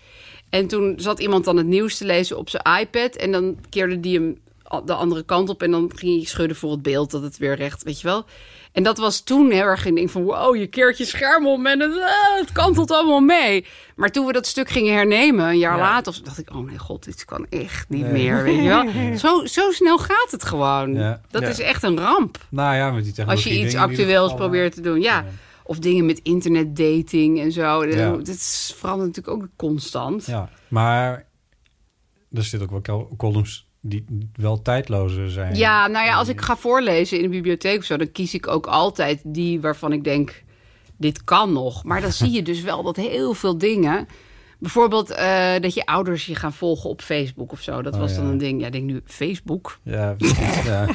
[SPEAKER 4] En toen zat iemand dan het nieuws te lezen op zijn iPad en dan keerde die hem a- de andere kant op en dan ging hij schudden voor het beeld dat het weer recht, weet je wel. En dat was toen heel erg een ding van wow, je keert je scherm om en het, ah, het kantelt allemaal mee. Maar toen we dat stuk gingen hernemen, een jaar
[SPEAKER 5] Ja.
[SPEAKER 4] later, of zo, dacht ik, oh mijn god, dit kan echt niet meer, weet je wel. Zo, zo snel gaat het gewoon.
[SPEAKER 2] Ja.
[SPEAKER 4] Dat
[SPEAKER 5] Ja.
[SPEAKER 4] is echt een ramp.
[SPEAKER 2] Nou ja, met die technologie.
[SPEAKER 4] Als je iets
[SPEAKER 2] dingen in ieder
[SPEAKER 4] actueels
[SPEAKER 2] geval, eh,
[SPEAKER 4] probeert te doen, ja. Of dingen met internetdating en zo. Eh,
[SPEAKER 2] Ja.
[SPEAKER 4] Dat is- verandert natuurlijk ook constant.
[SPEAKER 2] Ja, maar er zitten ook wel col- columns die wel tijdlozer zijn.
[SPEAKER 4] Ja, nou ja, als ik ga voorlezen in de bibliotheek of zo, dan kies ik ook altijd die waarvan ik denk, dit kan nog. Maar dan zie je dus wel dat heel veel dingen. Bijvoorbeeld eh, dat je ouders je gaan volgen op Facebook of zo. Dat
[SPEAKER 2] Oh,
[SPEAKER 4] was dan
[SPEAKER 2] ja.
[SPEAKER 4] een ding. Ja, ik denk nu Facebook.
[SPEAKER 2] Ja, ja,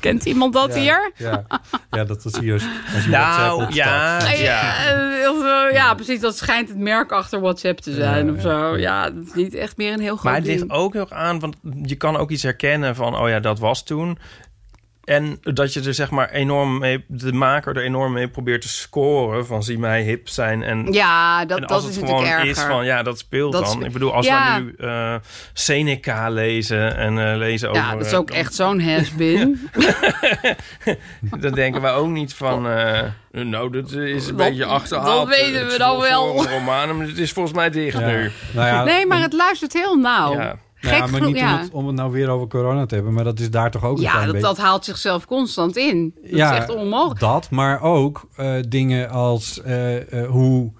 [SPEAKER 4] Kent iemand dat
[SPEAKER 2] ja,
[SPEAKER 4] hier?
[SPEAKER 2] Ja, ja dat is hier. Als je WhatsApp
[SPEAKER 5] Nou,
[SPEAKER 2] opstart.
[SPEAKER 5] ja,
[SPEAKER 4] Ah,
[SPEAKER 5] ja.
[SPEAKER 4] Ja, eh, of, eh, ja, precies. Dat schijnt het merk achter WhatsApp te zijn
[SPEAKER 2] Ja,
[SPEAKER 4] of
[SPEAKER 2] ja.
[SPEAKER 4] zo. Ja, dat is niet echt meer een heel groot
[SPEAKER 5] Maar het ligt
[SPEAKER 4] ding.
[SPEAKER 5] ook heel erg aan, want je kan ook iets herkennen van, oh ja, dat was toen. En dat je er zeg maar enorm mee, de maker er enorm mee probeert te scoren van zie mij hip zijn. En,
[SPEAKER 4] Ja, dat,
[SPEAKER 5] en als
[SPEAKER 4] dat is
[SPEAKER 5] het gewoon
[SPEAKER 4] natuurlijk erger.
[SPEAKER 5] is van, ja, dat speelt
[SPEAKER 4] Dat
[SPEAKER 5] dan.
[SPEAKER 4] spe-
[SPEAKER 5] Ik bedoel, als
[SPEAKER 4] Ja.
[SPEAKER 5] we nu eh, Seneca lezen en eh, lezen over...
[SPEAKER 4] ja, dat is ook
[SPEAKER 5] eh,
[SPEAKER 4] echt zo'n has-been.
[SPEAKER 5] Dan denken we ook niet van, eh, nou, dat is een
[SPEAKER 4] Oh. Dat-
[SPEAKER 5] beetje achterhaald.
[SPEAKER 4] dat weten
[SPEAKER 5] Het
[SPEAKER 4] we
[SPEAKER 5] is
[SPEAKER 4] dan
[SPEAKER 5] voor-
[SPEAKER 4] wel.
[SPEAKER 5] voor een roman, maar het is volgens mij dicht
[SPEAKER 2] Ja.
[SPEAKER 5] nu.
[SPEAKER 2] Nou ja,
[SPEAKER 4] nee, maar het luistert heel nauw.
[SPEAKER 5] Ja.
[SPEAKER 2] nou ja,
[SPEAKER 4] Gek
[SPEAKER 2] maar
[SPEAKER 4] genoeg,
[SPEAKER 2] niet om
[SPEAKER 4] ja.
[SPEAKER 2] het, om het nou weer over corona te hebben, maar dat is daar toch ook een
[SPEAKER 4] Ja,
[SPEAKER 2] klein
[SPEAKER 4] dat,
[SPEAKER 2] beetje.
[SPEAKER 4] dat oh. haalt zichzelf constant in. Dat
[SPEAKER 2] Ja,
[SPEAKER 4] is echt onmogelijk.
[SPEAKER 2] Dat, maar ook eh, dingen als eh, eh, hoe...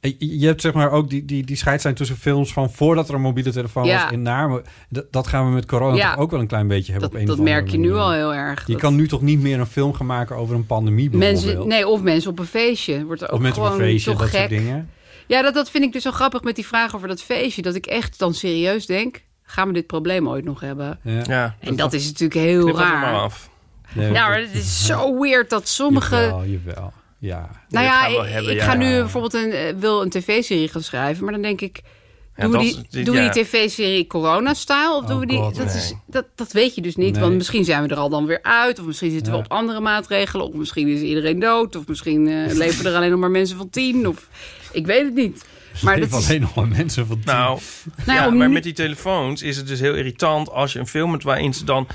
[SPEAKER 2] eh, Je hebt zeg maar ook die, die, die scheidslijn tussen films van voordat er een mobiele telefoon
[SPEAKER 4] Ja.
[SPEAKER 2] was in namen. Dat, dat gaan we met corona
[SPEAKER 4] Ja.
[SPEAKER 2] toch ook wel een klein beetje hebben
[SPEAKER 4] Dat,
[SPEAKER 2] op een
[SPEAKER 4] dat
[SPEAKER 2] of andere
[SPEAKER 4] merk je nu
[SPEAKER 2] manier.
[SPEAKER 4] al heel erg.
[SPEAKER 2] Je
[SPEAKER 4] Dat
[SPEAKER 2] kan nu toch niet meer een film gaan maken over een pandemie bijvoorbeeld?
[SPEAKER 4] mensen, nee, of mensen op een feestje. Wordt er ook
[SPEAKER 2] of mensen op
[SPEAKER 4] gewoon
[SPEAKER 2] een feestje,
[SPEAKER 4] zo
[SPEAKER 2] dat
[SPEAKER 4] gek.
[SPEAKER 2] soort dingen.
[SPEAKER 4] Ja, dat, dat vind ik dus zo grappig met die vraag over dat feestje. Dat ik echt dan serieus denk, gaan we dit probleem ooit nog hebben?
[SPEAKER 2] Ja.
[SPEAKER 5] Ja,
[SPEAKER 4] En dat is natuurlijk heel
[SPEAKER 5] knip dat er
[SPEAKER 4] raar.
[SPEAKER 5] maar af.
[SPEAKER 2] Nee,
[SPEAKER 4] Nou, maar het is zo weird dat sommige...
[SPEAKER 2] Jawel, jawel. Ja.
[SPEAKER 4] Nou
[SPEAKER 5] Ja,
[SPEAKER 4] ja,
[SPEAKER 5] dat gaan we wel
[SPEAKER 4] ik,
[SPEAKER 5] hebben,
[SPEAKER 4] ik
[SPEAKER 5] ja.
[SPEAKER 4] ga nu bijvoorbeeld een, eh, wil een tv-serie gaan schrijven, maar dan denk ik,
[SPEAKER 5] Ja,
[SPEAKER 4] doen
[SPEAKER 5] dat
[SPEAKER 4] we
[SPEAKER 5] is-
[SPEAKER 4] die,
[SPEAKER 5] dit-
[SPEAKER 4] doen we
[SPEAKER 5] ja.
[SPEAKER 4] die tv-serie Corona-style? Of
[SPEAKER 2] Oh
[SPEAKER 4] doen we die?
[SPEAKER 2] God,
[SPEAKER 4] dat,
[SPEAKER 5] nee.
[SPEAKER 4] is, dat, dat weet je dus niet,
[SPEAKER 2] Nee.
[SPEAKER 4] want misschien zijn we er al dan weer uit, of misschien zitten
[SPEAKER 2] Ja.
[SPEAKER 4] we op andere maatregelen, of misschien is iedereen dood, of misschien eh, leven er alleen nog maar mensen van tien, of ik weet het niet. Maar
[SPEAKER 2] Maar
[SPEAKER 4] dat is,
[SPEAKER 2] Dus alleen nog maar mensen van tien.
[SPEAKER 5] Nou,
[SPEAKER 4] Nou,
[SPEAKER 5] ja,
[SPEAKER 4] om
[SPEAKER 5] maar
[SPEAKER 4] nu-
[SPEAKER 5] met die telefoons is het dus heel irritant als je een film hebt waarin ze dan.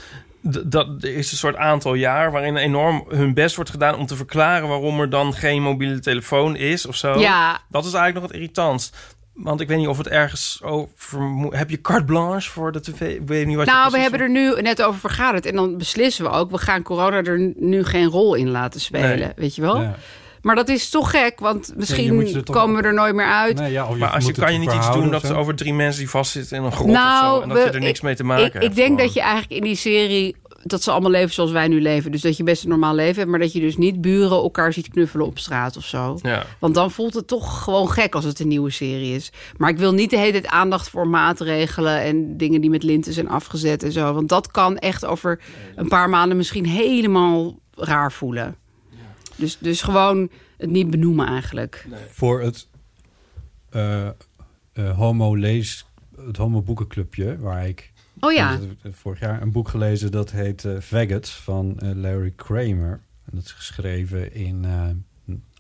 [SPEAKER 5] d- Dat er is een soort aantal jaar waarin enorm hun best wordt gedaan om te verklaren waarom er dan geen mobiele telefoon is of zo.
[SPEAKER 4] ja,
[SPEAKER 5] Dat Oh, is eigenlijk nog het irritantst. Want ik weet niet of het ergens over. moet- Heb je carte blanche voor de tv? Ik weet niet wat
[SPEAKER 4] nou, we hebben er nu net over vergaderd en dan beslissen we ook, we gaan corona er nu geen rol in laten spelen,
[SPEAKER 5] Nee.
[SPEAKER 4] weet je wel?
[SPEAKER 2] Ja.
[SPEAKER 4] Maar dat is toch gek, want misschien
[SPEAKER 2] moet je er toch-
[SPEAKER 4] komen we er nooit meer uit.
[SPEAKER 2] Nee, ja, of
[SPEAKER 5] Maar als je
[SPEAKER 2] moet het
[SPEAKER 5] kan je niet iets
[SPEAKER 2] verhouden
[SPEAKER 5] doen
[SPEAKER 2] of
[SPEAKER 5] dat ze
[SPEAKER 2] zo.
[SPEAKER 5] over drie mensen die vastzitten in een grot of zo. En dat
[SPEAKER 4] Nou, we-
[SPEAKER 5] je er niks
[SPEAKER 4] ik-
[SPEAKER 5] mee te maken
[SPEAKER 4] ik,
[SPEAKER 5] hebt.
[SPEAKER 4] ik denk
[SPEAKER 5] gewoon.
[SPEAKER 4] dat je eigenlijk in die serie dat ze allemaal leven zoals wij nu leven. Dus dat je best een normaal leven hebt, maar dat je dus niet buren elkaar ziet knuffelen op straat of zo.
[SPEAKER 5] Ja.
[SPEAKER 4] Want dan voelt het toch gewoon gek als het een nieuwe serie is. Maar ik wil niet de hele tijd aandacht voor maatregelen en dingen die met linten zijn afgezet en zo. Want dat kan echt over een paar maanden misschien helemaal raar voelen. Dus, dus gewoon het niet benoemen eigenlijk.
[SPEAKER 2] Voor het eh, eh, homo lees, het homo boekenclubje, waar ik
[SPEAKER 4] Oh ja.
[SPEAKER 2] ik heb vorig jaar een boek gelezen dat heet eh, Faggots van eh, Larry Kramer. En dat is geschreven in eh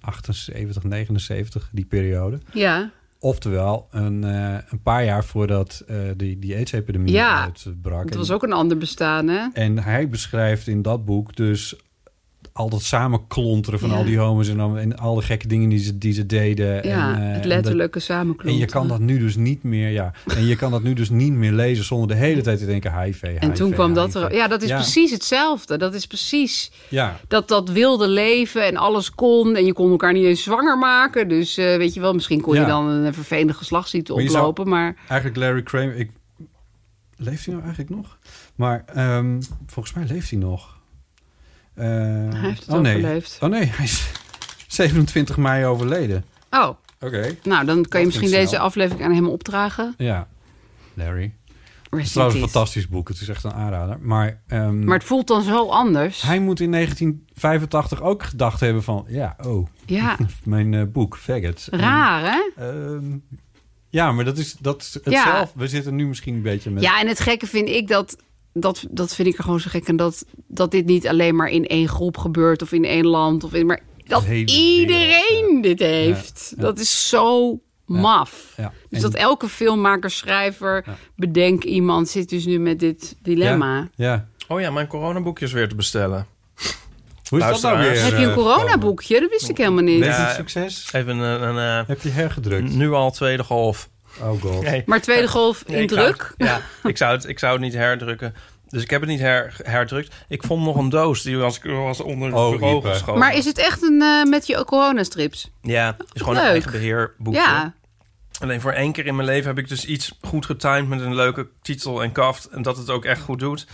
[SPEAKER 2] 78, 79, die periode.
[SPEAKER 4] Ja.
[SPEAKER 2] Oftewel, een, eh, een paar jaar voordat eh, die, die AIDS-epidemie
[SPEAKER 4] Ja,
[SPEAKER 2] uitbrak.
[SPEAKER 4] Het
[SPEAKER 2] En-
[SPEAKER 4] was ook een ander bestaan, hè?
[SPEAKER 2] en hij beschrijft in dat boek dus al dat samenklonteren van
[SPEAKER 4] Ja.
[SPEAKER 2] al die homo's en, al- en alle gekke dingen die ze, die ze deden.
[SPEAKER 4] ja,
[SPEAKER 2] en, eh,
[SPEAKER 4] het
[SPEAKER 2] en dat-
[SPEAKER 4] letterlijke samenkloppen.
[SPEAKER 2] en je kan dat nu dus niet meer, ja. En je kan dat nu dus niet meer lezen zonder de hele tijd te denken HIV.
[SPEAKER 4] En toen kwam dat er. Ja, dat is
[SPEAKER 2] Ja.
[SPEAKER 4] precies hetzelfde. Dat is precies
[SPEAKER 2] Ja,
[SPEAKER 4] dat dat wilde leven en alles kon. En je kon elkaar niet eens zwanger maken. Dus eh, weet je wel, misschien kon je
[SPEAKER 2] Ja.
[SPEAKER 4] dan een vervelende geslachtsziekte
[SPEAKER 2] Maar je zou-
[SPEAKER 4] oplopen. Maar
[SPEAKER 2] eigenlijk Larry Kramer. Ik, leeft hij nou eigenlijk nog? Maar ehm, volgens mij leeft hij nog. Eh,
[SPEAKER 4] heeft het
[SPEAKER 2] oh, nee.
[SPEAKER 4] overleefd.
[SPEAKER 2] Oh nee, hij is 27 mei overleden.
[SPEAKER 4] oh,
[SPEAKER 2] Oké.
[SPEAKER 4] nou dan kan je
[SPEAKER 2] ging
[SPEAKER 4] misschien deze
[SPEAKER 2] snel.
[SPEAKER 4] aflevering aan hem opdragen.
[SPEAKER 2] Ja, Larry.
[SPEAKER 4] Rest
[SPEAKER 2] Het
[SPEAKER 4] in
[SPEAKER 2] is trouwens een
[SPEAKER 4] peace.
[SPEAKER 2] fantastisch boek. Het is echt een aanrader. Maar, ehm,
[SPEAKER 4] Maar het voelt dan zo anders.
[SPEAKER 2] hij moet in 1985 ook gedacht hebben van... Ja, oh,
[SPEAKER 4] Ja,
[SPEAKER 2] mijn eh, boek, Faggot.
[SPEAKER 4] raar hè?
[SPEAKER 2] Ehm, ja, maar dat is, dat is
[SPEAKER 4] Ja.
[SPEAKER 2] hetzelfde. We zitten nu misschien een beetje met...
[SPEAKER 4] Ja, en het gekke vind ik dat. Dat, dat vind ik er gewoon zo gek. En dat, dat dit niet alleen maar in één groep gebeurt of in één land. Of in, maar dat
[SPEAKER 2] De hele
[SPEAKER 4] iedereen
[SPEAKER 2] wereld,
[SPEAKER 4] dit heeft.
[SPEAKER 2] ja.
[SPEAKER 4] Dat is zo maf.
[SPEAKER 2] Ja.
[SPEAKER 4] Dus
[SPEAKER 2] En-
[SPEAKER 4] dat elke filmmaker, schrijver, bedenk iemand zit dus nu met dit dilemma.
[SPEAKER 2] Ja.
[SPEAKER 5] Oh ja, mijn coronaboekje is weer te bestellen.
[SPEAKER 2] Hoe is dat nou
[SPEAKER 5] Luisteraars.
[SPEAKER 2] weer?
[SPEAKER 4] Heb je
[SPEAKER 2] eh,
[SPEAKER 4] een coronaboekje? Dat wist ik helemaal niet.
[SPEAKER 2] Lees
[SPEAKER 5] Ja.
[SPEAKER 2] het succes?
[SPEAKER 5] Even een, een, eh,
[SPEAKER 2] Heb je hergedrukt?
[SPEAKER 5] nu al tweede golf.
[SPEAKER 2] Oh god.
[SPEAKER 5] Nee.
[SPEAKER 4] Maar tweede golf
[SPEAKER 5] Nee,
[SPEAKER 4] in
[SPEAKER 5] ik zou het-
[SPEAKER 4] druk.
[SPEAKER 5] ja, ik zou, het, ik zou het niet herdrukken. Dus ik heb het niet her, herdrukt. Ik vond nog een doos die was, was onder het
[SPEAKER 2] Oh,
[SPEAKER 5] bureau
[SPEAKER 2] riepen.
[SPEAKER 5] geschoven.
[SPEAKER 4] Maar is het echt een eh, met je coronastrips?
[SPEAKER 5] Ja, het is gewoon een
[SPEAKER 4] Leuk.
[SPEAKER 5] eigen beheerboekje.
[SPEAKER 4] Ja.
[SPEAKER 5] Alleen voor één keer in mijn leven heb ik dus iets goed getimed met een leuke titel en kaft. En dat het ook echt goed doet.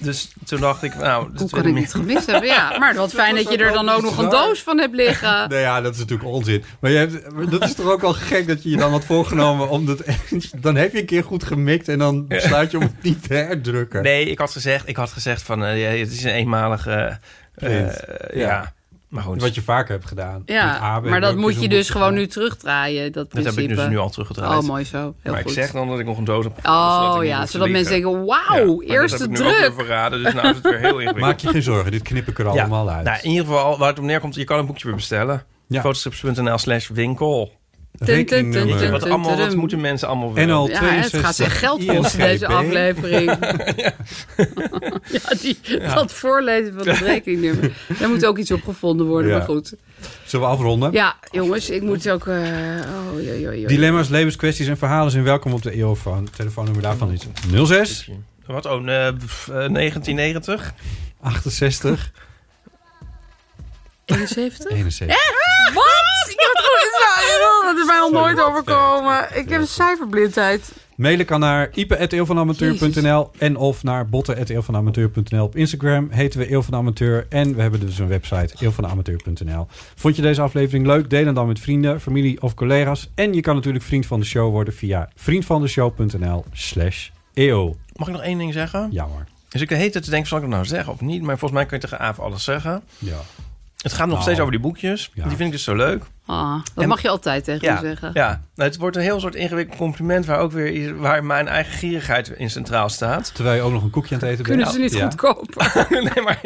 [SPEAKER 5] Dus toen dacht ik, nou,
[SPEAKER 4] Hoe
[SPEAKER 5] dit
[SPEAKER 4] kan
[SPEAKER 5] wil
[SPEAKER 4] ik
[SPEAKER 5] ik
[SPEAKER 4] niet gemist hebben? Ja, maar wat fijn dat je er dan ook nog een doos van hebt liggen.
[SPEAKER 2] Nou ja, dat is natuurlijk onzin. Maar, je hebt, maar dat is toch ook al gek dat je je dan had voorgenomen om dat... Dan heb je een keer goed gemikt en dan besluit je om het niet te herdrukken.
[SPEAKER 5] Nee, ik had gezegd, ik had gezegd van, eh, ja, het is een eenmalige... eh,
[SPEAKER 2] Print.
[SPEAKER 5] eh,
[SPEAKER 2] Ja.
[SPEAKER 5] ja. maar goed.
[SPEAKER 2] Wat je vaker hebt gedaan. Met
[SPEAKER 4] Ja,
[SPEAKER 2] AB
[SPEAKER 4] maar dat
[SPEAKER 2] heb
[SPEAKER 4] moet
[SPEAKER 2] zo'n
[SPEAKER 4] je dus
[SPEAKER 2] boekje
[SPEAKER 4] gewoon
[SPEAKER 2] gemaakt.
[SPEAKER 4] nu terugdraaien. Dat,
[SPEAKER 5] dat heb ik
[SPEAKER 4] principe.
[SPEAKER 5] dus nu al teruggedraaid.
[SPEAKER 4] Oh, mooi zo. Heel
[SPEAKER 5] maar
[SPEAKER 4] goed.
[SPEAKER 5] ik zeg dan Dus dat ik nog een doos heb
[SPEAKER 4] oh
[SPEAKER 5] zodat ik niet
[SPEAKER 4] ja,
[SPEAKER 5] hoef te
[SPEAKER 4] zodat mensen
[SPEAKER 5] liegen.
[SPEAKER 4] denken,
[SPEAKER 5] Ja,
[SPEAKER 4] wauw,
[SPEAKER 5] maar
[SPEAKER 4] eerste
[SPEAKER 5] Dat heb ik nu ook
[SPEAKER 4] druk.
[SPEAKER 5] weer verraden, dus nou is het weer heel ingewikkeld.
[SPEAKER 2] Maak je geen zorgen, dit knip ik er
[SPEAKER 5] Ja.
[SPEAKER 2] allemaal uit.
[SPEAKER 5] Nou, in ieder geval, waar het om neerkomt, je kan een boekje weer bestellen.
[SPEAKER 2] Ja.
[SPEAKER 5] Fotostrips.nl slash winkel.
[SPEAKER 2] Rekeningnummer.
[SPEAKER 4] Dun, dun, dun,
[SPEAKER 5] Wat,
[SPEAKER 4] dun.
[SPEAKER 5] allemaal, wat moeten mensen allemaal willen?
[SPEAKER 2] NL
[SPEAKER 4] Ja, het gaat echt geld kosten, deze aflevering. ja, die, dat voorlezen van het rekeningnummer. Daar moet ook iets op gevonden worden,
[SPEAKER 2] Ja.
[SPEAKER 4] maar goed.
[SPEAKER 2] Zullen we afronden?
[SPEAKER 4] Ja, jongens, ik moet ook... eh, oh, joi, joi, joi.
[SPEAKER 2] Dilemma's, levenskwesties en verhalen zijn welkom op de EOFoon. Telefoonnummer daarvan is 06
[SPEAKER 5] Wat, oh, eh, pff, eh, 1990?
[SPEAKER 2] 68
[SPEAKER 4] 71?
[SPEAKER 2] 71.
[SPEAKER 4] Wat? Ik heb het gewoon... Dat is mij nog nooit overkomen. Ik heb cijferblindheid.
[SPEAKER 2] Mailen kan naar ipe.eeuwvanamateur.nl en of naar botten.eeuwvanamateur.nl. Op Instagram heten we Eeuw van Amateur en we hebben dus een website eeuwvanamateur.nl. Vond je deze aflevering leuk? Deel hem dan met vrienden, familie of collega's. En je kan natuurlijk vriend van de show worden via vriendvandeshow.nl slash eeuw.
[SPEAKER 5] Mag ik nog één ding zeggen?
[SPEAKER 2] Jammer.
[SPEAKER 5] Dus ik de hele tijd te denken, zal ik dat nou zeggen of niet? Maar volgens mij kun je tegen Aaf alles zeggen.
[SPEAKER 2] Ja.
[SPEAKER 5] Het gaat nog
[SPEAKER 2] Nou.
[SPEAKER 5] steeds over die boekjes.
[SPEAKER 2] Ja.
[SPEAKER 5] Die vind ik dus zo leuk.
[SPEAKER 4] Ah, dat
[SPEAKER 5] En-
[SPEAKER 4] mag je altijd tegen me
[SPEAKER 5] Ja,
[SPEAKER 4] zeggen.
[SPEAKER 5] ja. Nou, het wordt een heel soort ingewikkeld compliment... waar ook weer i- waar mijn eigen gierigheid in centraal staat.
[SPEAKER 2] Terwijl je ook nog een koekje aan het eten bent.
[SPEAKER 4] Kunnen ze niet
[SPEAKER 2] Ja.
[SPEAKER 4] goedkoper?
[SPEAKER 5] nee, maar...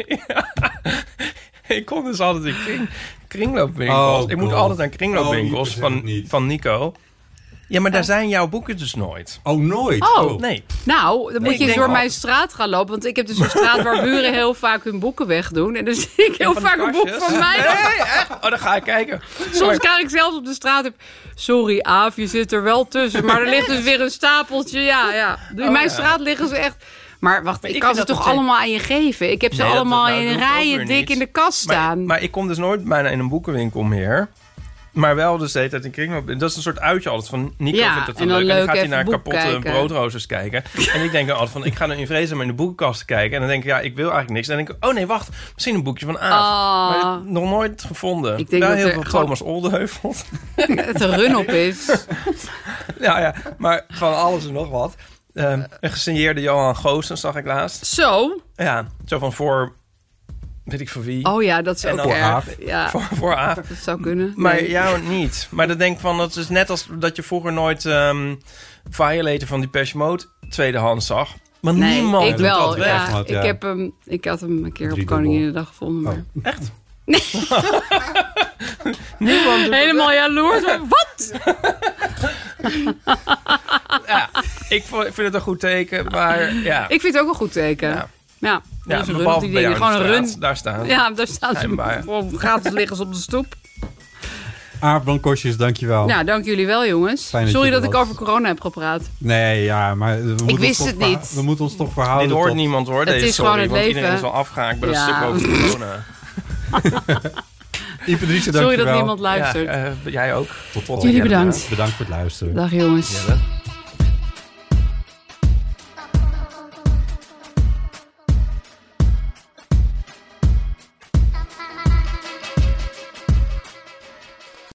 [SPEAKER 5] ik kon dus altijd in kring, kringloopwinkels.
[SPEAKER 2] Oh,
[SPEAKER 5] ik moet
[SPEAKER 2] God.
[SPEAKER 5] altijd aan kringloopwinkels
[SPEAKER 2] Oh, je verzint
[SPEAKER 5] van,
[SPEAKER 2] het niet.
[SPEAKER 5] van Nico. Ja, maar daar zijn jouw boeken dus nooit.
[SPEAKER 2] Oh, nooit.
[SPEAKER 4] Oh.
[SPEAKER 5] Nee.
[SPEAKER 4] Nou,
[SPEAKER 5] Nee,
[SPEAKER 4] dan
[SPEAKER 5] ik
[SPEAKER 4] moet je eens
[SPEAKER 5] denk
[SPEAKER 4] door
[SPEAKER 5] wel.
[SPEAKER 4] mijn straat gaan lopen. Want ik heb dus een straat waar buren heel vaak hun boeken wegdoen. En dan zie ik heel
[SPEAKER 5] van die
[SPEAKER 4] vaak een boek
[SPEAKER 5] kastjes?
[SPEAKER 4] van mij.
[SPEAKER 5] Oh, dan ga ik kijken.
[SPEAKER 4] Soms krijg ik zelfs op de straat... Heb, Sorry, Aaf, je zit er wel tussen. Maar er ligt dus weer een stapeltje. Ja, Oh, ja. In mijn straat liggen ze echt... Maar wacht, ik
[SPEAKER 5] ik
[SPEAKER 4] kan
[SPEAKER 5] vind
[SPEAKER 4] ze
[SPEAKER 5] dat
[SPEAKER 4] toch
[SPEAKER 5] meteen-
[SPEAKER 4] allemaal aan je geven? Ik heb ze
[SPEAKER 5] Nee, dat-
[SPEAKER 4] allemaal
[SPEAKER 5] nou,
[SPEAKER 4] in
[SPEAKER 5] dat hoeft ook
[SPEAKER 4] rijen
[SPEAKER 5] weer
[SPEAKER 4] dik
[SPEAKER 5] niet.
[SPEAKER 4] in de kast staan.
[SPEAKER 5] Maar, maar ik kom dus nooit bijna in een boekenwinkel meer. Maar wel dus de hele tijd in kringloop. En Dat is een soort uitje altijd van Nico
[SPEAKER 4] Ja,
[SPEAKER 5] vindt het
[SPEAKER 4] en
[SPEAKER 5] dan
[SPEAKER 4] dan
[SPEAKER 5] leuk. En dan
[SPEAKER 4] leuk
[SPEAKER 5] gaat hij
[SPEAKER 4] even
[SPEAKER 5] naar
[SPEAKER 4] boek
[SPEAKER 5] kapotte
[SPEAKER 4] kijken.
[SPEAKER 5] broodroosters kijken. en ik denk dan altijd van, ik ga nu in vrezen maar in de boekenkast kijken. En dan denk ik, ja, ik wil eigenlijk niks. En dan denk ik, oh nee, wacht. Misschien een boekje van Aaf.
[SPEAKER 4] Ah.
[SPEAKER 5] Maar dat- nog nooit gevonden.
[SPEAKER 4] Ik denk
[SPEAKER 5] wel
[SPEAKER 4] dat
[SPEAKER 5] heel
[SPEAKER 4] er
[SPEAKER 5] veel
[SPEAKER 4] gewoon-
[SPEAKER 5] Thomas Oldeheuvelt.
[SPEAKER 4] het een run op is.
[SPEAKER 5] ja, ja, maar van alles en nog wat. Ehm, een gesigneerde Johan Goossens zag ik laatst.
[SPEAKER 4] Zo.
[SPEAKER 5] Ja, zo van voor, weet ik voor wie.
[SPEAKER 4] Oh ja, dat is
[SPEAKER 5] En
[SPEAKER 4] ook
[SPEAKER 5] dan-
[SPEAKER 4] erg. Ja,
[SPEAKER 5] Voor, voor Aaf.
[SPEAKER 4] dat zou kunnen.
[SPEAKER 5] Maar
[SPEAKER 4] Nee.
[SPEAKER 5] jou niet. Maar dan denk ik van, dat is net als dat je vroeger nooit ehm Violator van Depeche Mode tweedehands zag. Maar
[SPEAKER 4] Nee,
[SPEAKER 5] niemand
[SPEAKER 4] ik
[SPEAKER 5] doet
[SPEAKER 4] wel.
[SPEAKER 5] dat
[SPEAKER 4] ja.
[SPEAKER 5] weg.
[SPEAKER 2] Want, ja. Oh.
[SPEAKER 4] Ik, heb hem, ik had hem een keer op
[SPEAKER 2] Driedubbel.
[SPEAKER 4] Koninginnedag gevonden. Maar...
[SPEAKER 5] Echt?
[SPEAKER 4] Helemaal jaloers. maar Wat?
[SPEAKER 5] Ja, ik vo- vind het een goed teken, maar ja.
[SPEAKER 4] Ik vind het ook een goed teken.
[SPEAKER 5] Ja.
[SPEAKER 4] Ja,
[SPEAKER 5] ja,
[SPEAKER 4] Dus een run op
[SPEAKER 5] behalve
[SPEAKER 4] die
[SPEAKER 5] bij
[SPEAKER 4] dingen.
[SPEAKER 5] jou
[SPEAKER 4] Gewoon een
[SPEAKER 5] in de
[SPEAKER 4] run.
[SPEAKER 5] straat, daar staan.
[SPEAKER 4] Ja, daar staan
[SPEAKER 5] Schijnbaar.
[SPEAKER 4] ze voor gratis liggers op de stoep.
[SPEAKER 2] Aaf Blankosjes,
[SPEAKER 5] Oh.
[SPEAKER 2] dankjewel.
[SPEAKER 4] Nou, dank jullie wel, jongens.
[SPEAKER 2] Fijn dat
[SPEAKER 4] Sorry
[SPEAKER 2] je er
[SPEAKER 4] dat ik
[SPEAKER 2] was.
[SPEAKER 4] over corona heb gepraat.
[SPEAKER 2] Nee, ja, maar we moeten ons
[SPEAKER 4] wist
[SPEAKER 2] toch
[SPEAKER 4] het
[SPEAKER 2] verha-
[SPEAKER 4] niet.
[SPEAKER 2] We moeten ons toch
[SPEAKER 5] Dit
[SPEAKER 2] verhouden
[SPEAKER 5] hoort
[SPEAKER 2] tot-
[SPEAKER 5] niemand hoor,
[SPEAKER 4] Het
[SPEAKER 5] deze
[SPEAKER 4] is
[SPEAKER 5] sorry,
[SPEAKER 4] gewoon het
[SPEAKER 5] want
[SPEAKER 4] leven.
[SPEAKER 5] iedereen is al afgehaakt bij dat
[SPEAKER 4] Ja.
[SPEAKER 5] stuk over corona.
[SPEAKER 2] Ipe Driessen,
[SPEAKER 4] Sorry dat
[SPEAKER 2] dankjewel.
[SPEAKER 4] niemand luistert.
[SPEAKER 5] Ja, eh, jij ook.
[SPEAKER 2] Tot volgende
[SPEAKER 4] Jullie
[SPEAKER 2] keer.
[SPEAKER 4] bedankt.
[SPEAKER 2] Bedankt voor het luisteren.
[SPEAKER 4] Dag, jongens.
[SPEAKER 5] Jelle.